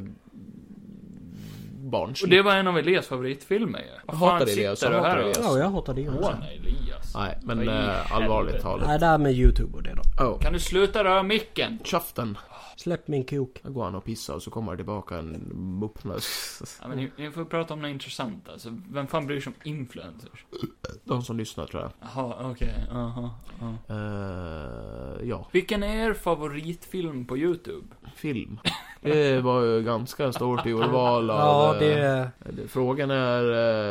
[SPEAKER 1] Och
[SPEAKER 2] Barnsligt.
[SPEAKER 1] det var en av Elias favoritfilmer ju. Vad fan
[SPEAKER 2] hatar Elias,
[SPEAKER 1] sitter
[SPEAKER 2] jag
[SPEAKER 1] du
[SPEAKER 2] hatar
[SPEAKER 1] här och-
[SPEAKER 2] Elias.
[SPEAKER 3] Ja, jag hatar det också.
[SPEAKER 1] Johan Elias.
[SPEAKER 2] Nej, men
[SPEAKER 1] Vad i
[SPEAKER 2] eh,
[SPEAKER 1] helvete?
[SPEAKER 2] allvarligt talat.
[SPEAKER 3] Nej, det här med youtube och det då.
[SPEAKER 2] Oh.
[SPEAKER 1] Kan du sluta röra micken?
[SPEAKER 2] Käften.
[SPEAKER 3] Släpp min kok.
[SPEAKER 2] Då går han och pissar och så kommer det tillbaka en muppnös.
[SPEAKER 1] Ja, men ni, ni får prata om något intressant alltså. Vem fan bryr sig om influencers?
[SPEAKER 2] De som lyssnar tror jag.
[SPEAKER 1] Jaha, okej, aha. aha.
[SPEAKER 2] Eh, ja,
[SPEAKER 1] Vilken är er favoritfilm på YouTube?
[SPEAKER 2] film. Det var ju ganska stort urval av...
[SPEAKER 3] Ja,
[SPEAKER 2] eh,
[SPEAKER 3] det är
[SPEAKER 2] Frågan är,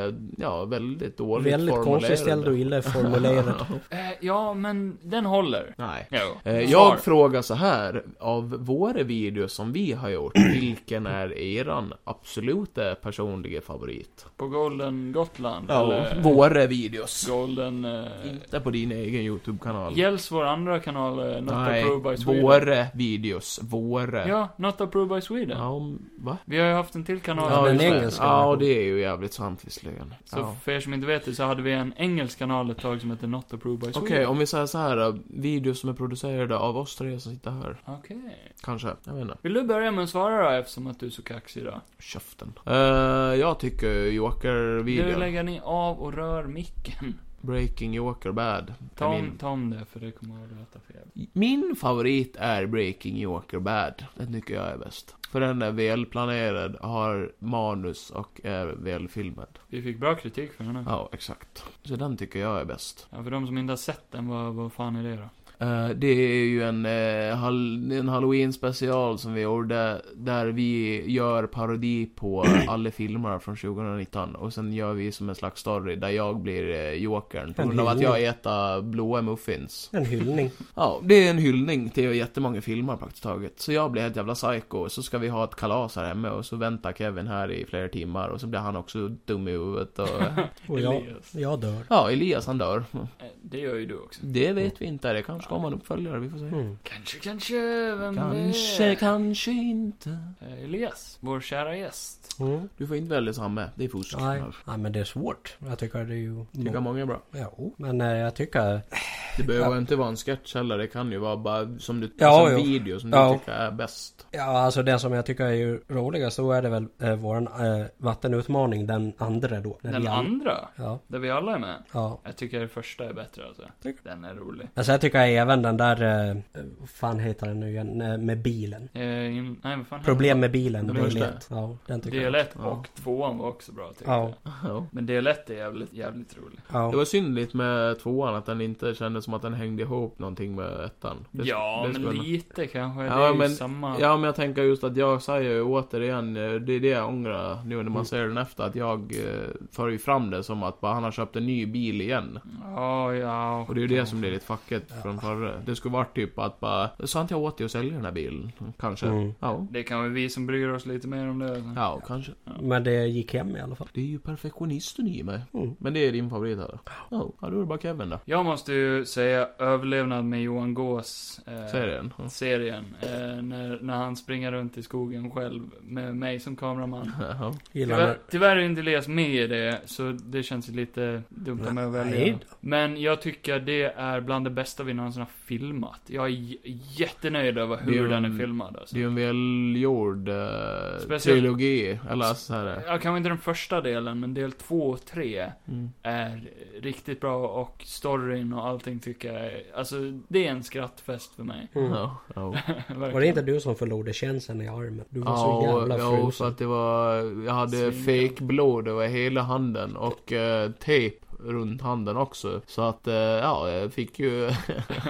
[SPEAKER 2] eh, ja, väldigt dåligt
[SPEAKER 3] väldigt konstigt ställd och illa formulerad.
[SPEAKER 1] Eh, ja, men den håller.
[SPEAKER 2] Nej.
[SPEAKER 1] Jo.
[SPEAKER 2] Eh,
[SPEAKER 1] Svar.
[SPEAKER 2] Jag frågar så här, av våra videos som vi har gjort, vilken är eran absoluta personliga favorit?
[SPEAKER 1] På Golden Gotland?
[SPEAKER 2] Ja,
[SPEAKER 1] eller
[SPEAKER 2] våra videos.
[SPEAKER 1] Golden... Eh,
[SPEAKER 2] Inte på din egen YouTube-kanal.
[SPEAKER 1] Gälls vår andra kanal eh, Not
[SPEAKER 2] Nej,
[SPEAKER 1] Approved by Sweden?
[SPEAKER 2] våra videos. Våra.
[SPEAKER 1] Ja, Not Approved by Sweden.
[SPEAKER 2] Ja, om- va?
[SPEAKER 1] Vi har ju haft en till kanal.
[SPEAKER 3] Ja, den
[SPEAKER 2] just det.
[SPEAKER 3] engelska
[SPEAKER 2] Ja,
[SPEAKER 3] versionen.
[SPEAKER 2] det är ju jävligt sant visserligen.
[SPEAKER 1] Så
[SPEAKER 2] Ja.
[SPEAKER 1] för er som inte vet det så hade vi en engelsk kanal ett tag som hette Not Approved by
[SPEAKER 2] Okej,
[SPEAKER 1] Sweden. Okej.
[SPEAKER 2] om vi säger så här, eh, videos som är producerade av oss tre som sitter här. Kanske, jag vet inte.
[SPEAKER 1] Vill du börja med att svara då eftersom att du är så kaxig idag?
[SPEAKER 2] Köften. Eh, jag tycker
[SPEAKER 1] Du
[SPEAKER 2] Joker-videon.
[SPEAKER 1] lägger ni av och rör micken.
[SPEAKER 2] Breaking Joker Bad.
[SPEAKER 1] Ta
[SPEAKER 2] är
[SPEAKER 1] om,
[SPEAKER 2] min.
[SPEAKER 1] ta om det för det kommer att låta fel.
[SPEAKER 2] min favorit är Breaking Joker Bad. Den tycker jag är bäst. För den är välplanerad, har manus och är välfilmad.
[SPEAKER 1] Vi fick bra
[SPEAKER 2] Mm.
[SPEAKER 1] kritik för den här.
[SPEAKER 2] Ja, exakt. Så den tycker jag är bäst.
[SPEAKER 1] Ja, för de som inte har sett den, vad, vad fan är det då?
[SPEAKER 2] Eh, det är ju en, eh, hall- en halloween special som vi gjorde där vi gör parodi på alla filmer från 2019 och sen gör vi som en slags story där jag blir eh, jokern på
[SPEAKER 3] En
[SPEAKER 2] grund av att
[SPEAKER 3] hyllning.
[SPEAKER 2] jag äter blåa muffins.
[SPEAKER 3] En hyllning.
[SPEAKER 2] Ja, det är en hyllning till jättemånga filmer praktiskt taget. Så jag blir helt jävla psycho, så ska vi ha ett kalas här hemma och så väntar Kevin här i flera timmar och så blir han också dum i huvudet och...
[SPEAKER 3] Och jag,
[SPEAKER 1] Elias.
[SPEAKER 3] jag dör.
[SPEAKER 2] Ja, Elias han dör.
[SPEAKER 1] Eh, Det gör ju du också.
[SPEAKER 2] Det vet vi inte, det kanske kommer en uppföljare, vi får se.
[SPEAKER 3] Mm.
[SPEAKER 1] Kanske, kanske, vem
[SPEAKER 2] Kanske,
[SPEAKER 1] vet?
[SPEAKER 2] kanske inte.
[SPEAKER 1] Eh, Elias, vår kära gäst.
[SPEAKER 3] Mm.
[SPEAKER 2] Du får inte välja samma, det är fusk.
[SPEAKER 3] Nej. Nej men det är svårt. Jag tycker liksom. Alltså. det är ju...
[SPEAKER 2] Tycker många är bra.
[SPEAKER 3] Ja, men eh, jag tycker...
[SPEAKER 2] Det behöver inte vara en sketch heller, det kan ju vara bara som du...
[SPEAKER 3] Ja,
[SPEAKER 2] alltså en
[SPEAKER 3] jo.
[SPEAKER 2] video som
[SPEAKER 3] Ja.
[SPEAKER 2] du tycker är bäst.
[SPEAKER 3] Ja alltså det som jag tycker är ju roligast då är det väl eh, våran eh, vattenutmaning den andra då. När
[SPEAKER 1] Den
[SPEAKER 3] vi an-
[SPEAKER 1] andra,
[SPEAKER 3] Ja.
[SPEAKER 1] där vi alla är med.
[SPEAKER 3] Ja.
[SPEAKER 1] Jag tycker den första är bättre alltså. Den är rolig.
[SPEAKER 3] Alltså jag tycker även den där... eh, Vad fan heter den nu igen? Eh, Med bilen.
[SPEAKER 1] Eh, in- nej, vad fan heter
[SPEAKER 3] Problem med bilen.
[SPEAKER 1] Den
[SPEAKER 3] del
[SPEAKER 2] första?
[SPEAKER 3] ett. Ja, den
[SPEAKER 1] den?
[SPEAKER 3] tycker jag.
[SPEAKER 1] Del 1
[SPEAKER 2] Ja.
[SPEAKER 1] och 2 var också bra tyckte
[SPEAKER 3] Ja.
[SPEAKER 1] jag.
[SPEAKER 2] Ja.
[SPEAKER 1] Men del 1 är jävligt, jävligt rolig.
[SPEAKER 2] Det
[SPEAKER 3] Ja.
[SPEAKER 2] var syndligt med tvåan att den inte kändes som att den hängde ihop någonting med ettan. Det-
[SPEAKER 1] ja,
[SPEAKER 2] det
[SPEAKER 1] men
[SPEAKER 2] skulle-
[SPEAKER 1] lite kanske.
[SPEAKER 2] Ja,
[SPEAKER 1] det är
[SPEAKER 2] men-
[SPEAKER 1] ju samma.
[SPEAKER 2] Ja, men jag tänker just att jag säger ju återigen, eh, det är det jag ångrar nu när man
[SPEAKER 3] Mm.
[SPEAKER 2] ser den efter, att jag eh, för ju fram det som att bara, han har köpt en ny bil igen.
[SPEAKER 1] Ja, ja.
[SPEAKER 2] Och det är ju det som blir lite fucket från förra. Det skulle varit typ att bara, sa inte jag åt dig att sälja den här bilen? Kanske.
[SPEAKER 3] Mm.
[SPEAKER 2] Ja.
[SPEAKER 1] Det kan väl vi som bryr oss lite mer om det. alltså.
[SPEAKER 2] Ja, kanske.
[SPEAKER 3] Men det gick hem i alla fall.
[SPEAKER 2] Det är ju perfektionisten i mig.
[SPEAKER 3] Mm.
[SPEAKER 2] Men det är din favorit här. Ja, ja då är det bara Kevin då.
[SPEAKER 1] Jag måste ju säga Överlevnad med Johan Gås. Eh,
[SPEAKER 2] Säger den. Ja.
[SPEAKER 1] Serien. Eh, när, när han springer runt i skogen själv med mig som kameraman.
[SPEAKER 2] Ja.
[SPEAKER 3] Gillar
[SPEAKER 1] Tyvärr,
[SPEAKER 3] när...
[SPEAKER 1] tyvärr är inte Elias med i det, så det känns ju lite dumt av mig att välja.
[SPEAKER 3] Nej.
[SPEAKER 1] Men jag tycker det är bland det bästa vi någonsin har filmat. Jag är j- jättenöjd över
[SPEAKER 2] Det är
[SPEAKER 1] hur
[SPEAKER 2] ju
[SPEAKER 1] den är
[SPEAKER 2] en-
[SPEAKER 1] filmad alltså.
[SPEAKER 2] Det är ju en välgjord eh,
[SPEAKER 1] Speciellt-
[SPEAKER 2] trilogi. Eller så här.
[SPEAKER 1] Ja, kanske inte den första delen, men del två och tre
[SPEAKER 2] Mm.
[SPEAKER 1] är riktigt bra och storyn och allting tycker jag är, Alltså, det är en skrattfest för mig.
[SPEAKER 3] Mm.
[SPEAKER 2] Ja, ja.
[SPEAKER 1] Verkligen.
[SPEAKER 3] Var det inte du som förlorade känslan i armen? Du var så
[SPEAKER 2] Ja,
[SPEAKER 3] jävla
[SPEAKER 2] ja, för
[SPEAKER 3] frusen.
[SPEAKER 2] att det var... Jag hade
[SPEAKER 1] Svingar.
[SPEAKER 2] fake blod över hela handen och eh, tejp runt handen också. Så att, eh, ja, jag fick ju...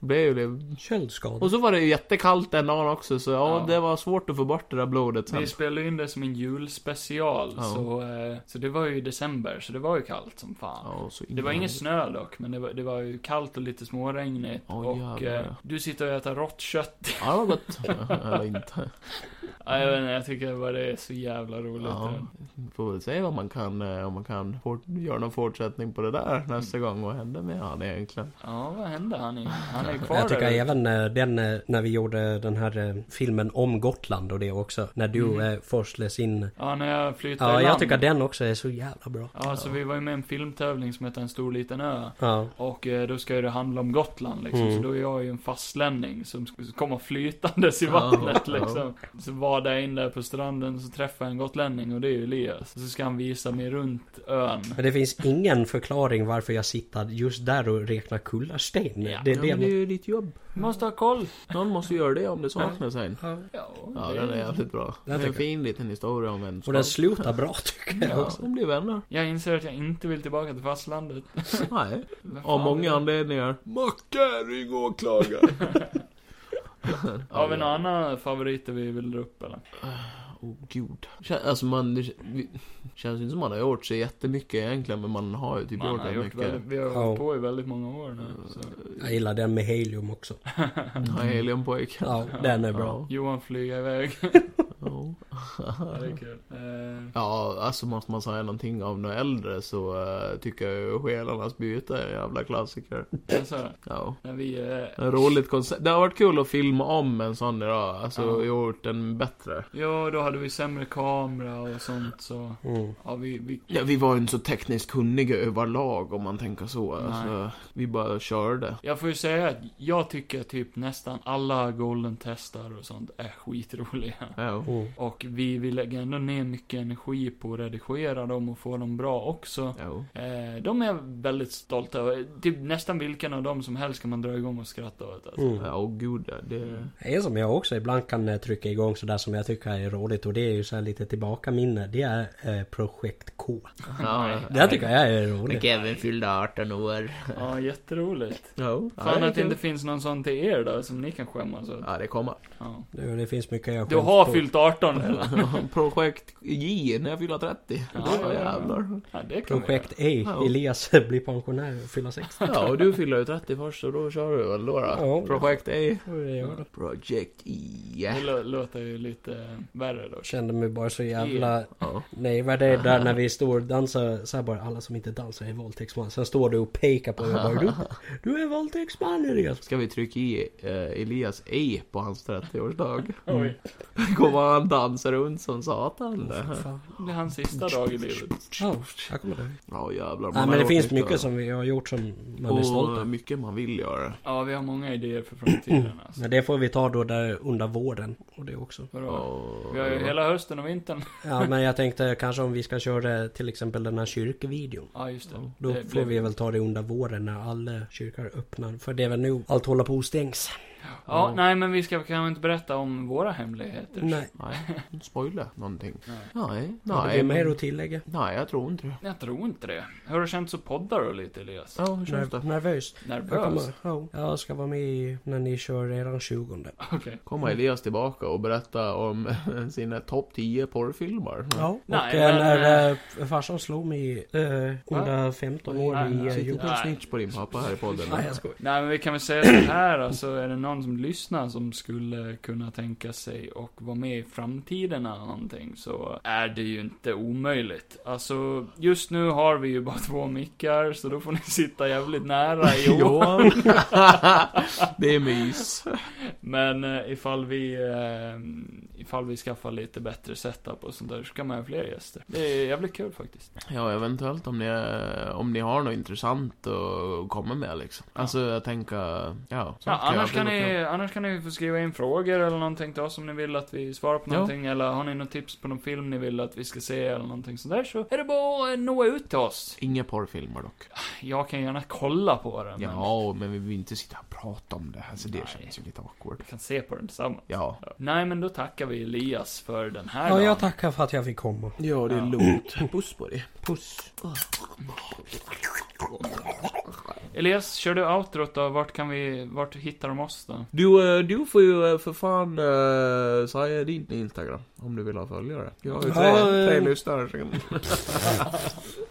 [SPEAKER 2] blev ju det.
[SPEAKER 3] Köldskada.
[SPEAKER 2] Och så var det ju jättekallt den dagen också, så ja,
[SPEAKER 1] Ja.
[SPEAKER 2] det var svårt att få bort det där blodet sen.
[SPEAKER 1] Vi spelade in det som en julspecial,
[SPEAKER 2] Ja.
[SPEAKER 1] så, eh, så det var ju i december, så det var ju kallt som fan.
[SPEAKER 2] Ja, så
[SPEAKER 1] Det var
[SPEAKER 2] innan-
[SPEAKER 1] ingen snö dock, men det var, det var ju kallt och lite småregnigt.
[SPEAKER 2] Åh,
[SPEAKER 1] och
[SPEAKER 2] jävlar.
[SPEAKER 1] eh, du sitter och äter rått kött.
[SPEAKER 2] Ja, det var gott. Eller inte.
[SPEAKER 1] ja, jag vet inte, jag tycker bara det är så jävla roligt.
[SPEAKER 2] Ja, får väl se om man kan, eh, om man kan fort, göra någon fortsättning på det där nästa gång. Vad hände med han egentligen?
[SPEAKER 1] ja vad hände? Han är, han är kvar
[SPEAKER 3] Jag
[SPEAKER 1] där.
[SPEAKER 3] tycker även eh, den eh, när vi gjorde den här eh, filmen om Gotland och det också. När du
[SPEAKER 1] Mm.
[SPEAKER 3] eh, forsles in.
[SPEAKER 1] Ja, när jag flyttade
[SPEAKER 3] Ja,
[SPEAKER 1] i
[SPEAKER 3] jag
[SPEAKER 1] land.
[SPEAKER 3] tycker den också är så jävla bra.
[SPEAKER 1] Ja, så vi var ju med i en filmtävling som hette En stor liten ö.
[SPEAKER 3] Ja.
[SPEAKER 1] Och eh, då ska ju det handla om Gotland liksom.
[SPEAKER 3] Mm.
[SPEAKER 1] Så då är jag ju en fastlänning som sk- kommer flytandes i vattnet
[SPEAKER 2] ja.
[SPEAKER 1] liksom. Så var jag in där på stranden så träffar jag en gotlänning och det är ju Elias. Så ska han visa mig runt ön.
[SPEAKER 3] Men det finns ingen förklaring varför jag sitter just där och räknar kullersten.
[SPEAKER 1] Ja.
[SPEAKER 3] Det är
[SPEAKER 2] Ja, men det är
[SPEAKER 3] det.
[SPEAKER 2] ju ditt jobb.
[SPEAKER 1] Måste ha koll.
[SPEAKER 2] Någon måste göra det om det saknas en.
[SPEAKER 3] Ja.
[SPEAKER 1] Ja,
[SPEAKER 2] Ja,
[SPEAKER 1] det-
[SPEAKER 2] den är jävligt bra. Det är
[SPEAKER 3] tycker
[SPEAKER 2] en
[SPEAKER 3] jag.
[SPEAKER 2] fin liten historia om
[SPEAKER 3] Och
[SPEAKER 2] vänskap.
[SPEAKER 3] den slutar bra tycker jag
[SPEAKER 2] Ja,
[SPEAKER 3] också.
[SPEAKER 2] de blir vänner.
[SPEAKER 1] Jag inser att jag inte vill tillbaka till fastlandet.
[SPEAKER 2] Nej,
[SPEAKER 1] Vad fan
[SPEAKER 2] av många
[SPEAKER 1] är det?
[SPEAKER 2] anledningar. Macka, ring åklagaren.
[SPEAKER 1] Har vi några andra favoriter vi vill dra upp eller?
[SPEAKER 2] Åh gud. Kän, alltså man, det k- vi- känns ju inte som man har gjort så jättemycket egentligen, men man har ju typ
[SPEAKER 1] Man
[SPEAKER 2] gjort
[SPEAKER 1] har
[SPEAKER 2] rätt
[SPEAKER 1] gjort
[SPEAKER 2] mycket.
[SPEAKER 1] väldigt, vi har
[SPEAKER 3] Ja.
[SPEAKER 1] hållit på i väldigt många år nu. Så.
[SPEAKER 3] Jag gillar den med helium också.
[SPEAKER 2] Ja, Helionpojken.
[SPEAKER 3] Ja, den är bra.
[SPEAKER 1] Johan flyger iväg.
[SPEAKER 2] Ja.
[SPEAKER 1] Ja, det är kul. Eh,
[SPEAKER 2] Ja, alltså måste man säga någonting om några äldre så eh, tycker jag ju Själarnas byte är en jävla klassiker.
[SPEAKER 1] alltså,
[SPEAKER 2] Ja.
[SPEAKER 1] när vi... Eh,
[SPEAKER 2] En roligt koncept. Det har varit kul att filma om en sån idag. Alltså
[SPEAKER 1] Ja.
[SPEAKER 2] gjort den bättre.
[SPEAKER 1] ja, då hade vi sämre kamera och sånt så...
[SPEAKER 3] Mm.
[SPEAKER 1] Ja, vi... vi
[SPEAKER 2] Ja, vi var ju inte så tekniskt kunniga överlag om man tänker så. Alltså, vi bara körde.
[SPEAKER 1] jag får ju säga att jag tycker typ nästan alla Golden Testar och sånt är skitroliga.
[SPEAKER 2] Ja.
[SPEAKER 3] Mm.
[SPEAKER 1] Och vi, vi lägger ändå ner mycket energi på att redigera dem och få dem bra också.
[SPEAKER 2] Jo.
[SPEAKER 1] Eh, de är jag väldigt stolt över. Typ nästan vilken av dem som helst kan man dra igång och skratta åt. Alltså.
[SPEAKER 4] Mm.
[SPEAKER 2] Ja, åh gud ja, det...
[SPEAKER 3] Det är som jag också ibland kan eh, trycka igång sådär som jag tycker är roligt och det är ju så här lite tillbaka minne. Det är eh, Projekt K.
[SPEAKER 2] Ja,
[SPEAKER 3] Det tycker jag är roligt.
[SPEAKER 2] Kevin fyllde 18 år.
[SPEAKER 1] Ja, jätteroligt.
[SPEAKER 2] Ja,
[SPEAKER 1] Fan
[SPEAKER 2] det är
[SPEAKER 1] att det inte
[SPEAKER 2] kul.
[SPEAKER 1] finns någon sån till er då, som ni kan skämmas åt.
[SPEAKER 2] Ja, det kommer.
[SPEAKER 1] Ja.
[SPEAKER 3] Du, det finns mycket jag
[SPEAKER 1] Du
[SPEAKER 3] skäms
[SPEAKER 1] har
[SPEAKER 3] på.
[SPEAKER 1] fyllt 18 eller?
[SPEAKER 2] Projekt J när jag fyller 30.
[SPEAKER 1] Ja,
[SPEAKER 2] Ja,
[SPEAKER 1] ja, ja.
[SPEAKER 2] jävlar.
[SPEAKER 1] Ja, det kan vi göra.
[SPEAKER 3] Projekt E.
[SPEAKER 2] Ja.
[SPEAKER 3] Elias blir pensionär och fyller 60.
[SPEAKER 2] Ja, och du fyller ju 30 först och då kör du väl då?
[SPEAKER 3] Ja.
[SPEAKER 2] då. Projekt E. A.
[SPEAKER 3] Det är jag.
[SPEAKER 2] Project E.
[SPEAKER 1] Det lå- låter ju lite värre då.
[SPEAKER 3] Kände mig bara så jävla
[SPEAKER 2] Ja.
[SPEAKER 3] Nej vad det är där när vi står och dansar så här bara alla som inte dansar är våldtäktsman. Sen står du och pekar på mig och bara du, du är våldtäktsman Elias.
[SPEAKER 2] Ska vi trycka i eh, Elias E på hans 30-årsdag?
[SPEAKER 3] Mm.
[SPEAKER 2] Kommer han dansa runt som satan?
[SPEAKER 1] Det är hans sista dag i livet.
[SPEAKER 3] Ja, jag kommer dö.
[SPEAKER 2] Ja jävlar.
[SPEAKER 3] Nej
[SPEAKER 2] man
[SPEAKER 3] men det
[SPEAKER 2] har
[SPEAKER 3] finns
[SPEAKER 2] gjort mycket,
[SPEAKER 3] mycket som vi har gjort som man är stolt
[SPEAKER 2] Och
[SPEAKER 3] över.
[SPEAKER 2] mycket man vill göra.
[SPEAKER 1] Ja, vi har många idéer för framtiden alltså.
[SPEAKER 3] Mm. Men det får vi ta då där under våren och det också.
[SPEAKER 1] Vadå?
[SPEAKER 2] Och,
[SPEAKER 1] Vi har ju hela hösten och vintern.
[SPEAKER 3] Ja men jag tänkte kanske om vi ska köra till exempel den här kyrkvideon.
[SPEAKER 1] Ja, just det.
[SPEAKER 3] Då
[SPEAKER 1] det
[SPEAKER 3] får vi väl ta det under våren när alla kyrkor öppnar. För det är väl nu allt håller på och stängs.
[SPEAKER 1] Ja, nej men vi ska kanske inte berätta om våra hemligheter.
[SPEAKER 3] Nej.
[SPEAKER 2] Nej, spoila någonting.
[SPEAKER 1] Nej.
[SPEAKER 2] Nej,
[SPEAKER 3] Har du
[SPEAKER 2] nej.
[SPEAKER 3] mer
[SPEAKER 2] men-
[SPEAKER 3] att tillägga?
[SPEAKER 2] Nej, jag tror inte det.
[SPEAKER 1] Jag tror inte det. Hur har du känt så poddar då lite Elias?
[SPEAKER 2] Ja, hur känns
[SPEAKER 3] Nerv-
[SPEAKER 2] det?
[SPEAKER 3] nervös? Jag,
[SPEAKER 1] Nervös?
[SPEAKER 3] kommer, ja, jag ska vara med i- när ni kör eran 20
[SPEAKER 1] Okej.
[SPEAKER 2] Kommer Elias tillbaka och berätta om sina topp 10 porrfilmer?
[SPEAKER 3] Ja, och
[SPEAKER 1] Nej,
[SPEAKER 3] eh,
[SPEAKER 1] men,
[SPEAKER 3] när äh, farsan slog mig eh, under 15 år
[SPEAKER 1] Nej,
[SPEAKER 3] i
[SPEAKER 1] nej.
[SPEAKER 3] eh,
[SPEAKER 2] Sitter
[SPEAKER 3] Jokkmokk.
[SPEAKER 2] du och
[SPEAKER 1] Nej.
[SPEAKER 2] snitch på din pappa här i podden?
[SPEAKER 3] Nej, jag skojar.
[SPEAKER 1] Nej men vi kan väl säga så här alltså, är det någon som lyssnar som skulle kunna tänka sig och vara med i framtiden eller någonting så är det ju inte omöjligt. Alltså, just nu har vi ju bara två mickar så då får ni sitta jävligt nära Johan.
[SPEAKER 2] Johan! det är mys.
[SPEAKER 1] Men eh, ifall vi, eh, ifall vi skaffar lite bättre setup och sånt där så kan man ha fler gäster. Det är jävligt kul faktiskt.
[SPEAKER 2] Ja, eventuellt om ni, om ni har något intressant att komma med liksom. Alltså, jag tänker... Ja,
[SPEAKER 1] Ja,
[SPEAKER 2] sånt
[SPEAKER 1] annars, kan
[SPEAKER 2] jag absolut
[SPEAKER 1] ni, annars kan ni få skriva in frågor eller någonting till oss om ni vill att vi svarar på
[SPEAKER 2] Ja.
[SPEAKER 1] någonting. Eller har ni något tips på någon film ni vill att vi ska se göra eller någonting sånt där så är det bara att eh, nå ut till oss.
[SPEAKER 2] Inga porrfilmer dock.
[SPEAKER 1] Jag kan gärna kolla på den. Men
[SPEAKER 2] Ja, men vi vill inte sitta och prata om det. Alltså, det
[SPEAKER 1] Nej.
[SPEAKER 2] känns ju lite awkward.
[SPEAKER 1] vi kan se på den tillsammans.
[SPEAKER 2] Ja.
[SPEAKER 1] Ja. Nej, men då tackar vi Elias för den här
[SPEAKER 3] Ja,
[SPEAKER 1] dagen.
[SPEAKER 3] jag tackar för att jag fick komma.
[SPEAKER 2] Ja, det är lugnt. Puss på dig. Puss.
[SPEAKER 1] Elias, kör du outrot då? Vart kan vi, vart hittar de oss då?
[SPEAKER 2] Du, eh, du får ju eh, för fan uh, säga din Instagram om du vill ha följare. Jag har ju tre,
[SPEAKER 3] Ja, eh.
[SPEAKER 2] tre lyssnare. så-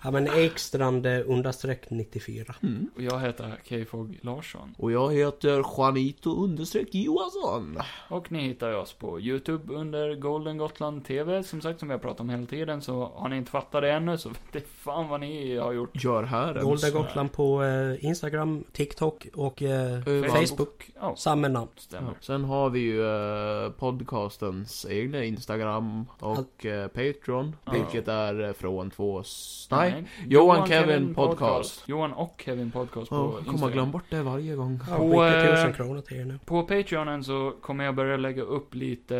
[SPEAKER 3] Ja, men Ekstrand eh, understreck 94.
[SPEAKER 2] Mm.
[SPEAKER 1] Och jag heter K-Fog Larsson.
[SPEAKER 2] Och jag heter Juanito understreck Johansson.
[SPEAKER 1] Och ni hittar ju oss på YouTube under Golden Gotland TV. Som sagt, som vi har pratat om hela tiden, så har ni inte fattat det ännu så vet inte fan vad ni har gjort.
[SPEAKER 2] Gör här ens.
[SPEAKER 3] Golda Gotland på eh, Instagram, TikTok och eh,
[SPEAKER 2] Facebook.
[SPEAKER 3] Facebook.
[SPEAKER 1] Ja,
[SPEAKER 3] Samma namn.
[SPEAKER 2] Ja.
[SPEAKER 1] stämmer.
[SPEAKER 2] Sen har vi ju eh, podcastens egna Instagram och eh, Patreon.
[SPEAKER 1] Ja.
[SPEAKER 2] Vilket är eh, från två... s- Nej. Johan Kevin Podcast.
[SPEAKER 1] Johan och Kevin Podcast på
[SPEAKER 2] Ja, jag kommer
[SPEAKER 1] Instagram.
[SPEAKER 2] att glömma bort det varje gång.
[SPEAKER 3] Ja,
[SPEAKER 1] På,
[SPEAKER 3] skicka
[SPEAKER 1] eh,
[SPEAKER 3] tusen kronor till er nu.
[SPEAKER 1] På Patreonen så kommer jag börja lägga upp lite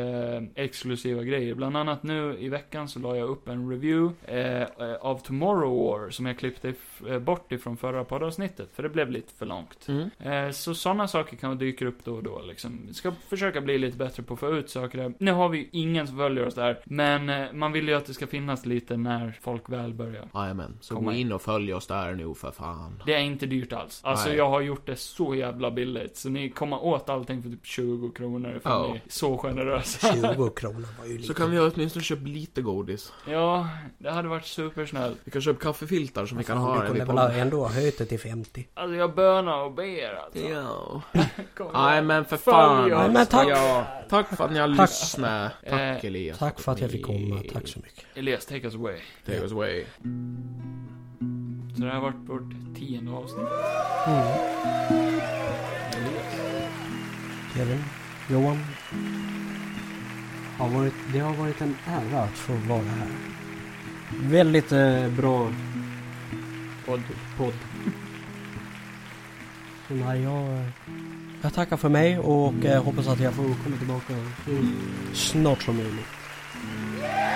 [SPEAKER 1] eh, exklusiva grejer. Bland annat nu i veckan så la jag upp en review eh, eh, av Tomorrow War som jag klippte f- eh, bort ifrån förra poddavsnittet, för det blev lite för långt.
[SPEAKER 2] Mm.
[SPEAKER 1] Eh, Så sådana saker kan dyka upp då och då liksom. Ska försöka bli lite bättre på att få ut saker där. Nu har vi ju ingen som följer oss där, men eh, man vill ju att det ska finnas lite när folk väl börjar.
[SPEAKER 2] Jajamän. Så
[SPEAKER 1] Kom
[SPEAKER 2] gå
[SPEAKER 1] igen.
[SPEAKER 2] in och följ oss där nu för fan.
[SPEAKER 1] Det är inte dyrt alls. Alltså
[SPEAKER 2] Nej.
[SPEAKER 1] jag har gjort det så jävla billigt, så ni kommer åt allting för typ 20 kronor, för
[SPEAKER 2] Ja.
[SPEAKER 1] ni är så generösa.
[SPEAKER 3] 20 kronor var ju lite.
[SPEAKER 2] Så kan vi åtminstone köpa lite godis.
[SPEAKER 1] Ja, det hade varit supersnällt.
[SPEAKER 2] Vi kan köpa kaffefiltar som vi kan
[SPEAKER 3] Fan,
[SPEAKER 2] ha
[SPEAKER 3] Du
[SPEAKER 2] här i
[SPEAKER 3] kunde väl ha
[SPEAKER 2] podden.
[SPEAKER 3] ändå ha höjt det till 50.
[SPEAKER 1] Alltså jag bönar och ber alltså.
[SPEAKER 2] Ja.
[SPEAKER 1] Kom
[SPEAKER 2] Nej
[SPEAKER 1] igen.
[SPEAKER 2] men för
[SPEAKER 1] Följ
[SPEAKER 2] fan. alltså.
[SPEAKER 1] oss.
[SPEAKER 3] Nej, men tack.
[SPEAKER 2] Ja, tack för att ni har
[SPEAKER 3] Tack.
[SPEAKER 2] lyssnat. Tack
[SPEAKER 1] Eh,
[SPEAKER 2] Elias.
[SPEAKER 3] Tack för att jag fick komma. Tack så mycket.
[SPEAKER 1] Elias, take us away.
[SPEAKER 2] Take us away.
[SPEAKER 1] Så det här har varit vårt tionde avsnitt.
[SPEAKER 3] Kevin, Johan. Har varit, det har varit en ära att få vara här. Väldigt eh, bra
[SPEAKER 1] Podd.
[SPEAKER 3] podd. Så Nej, jag, eh, jag tackar för mig och eh, hoppas att jag får komma tillbaka så snart som möjligt.
[SPEAKER 8] Yeah!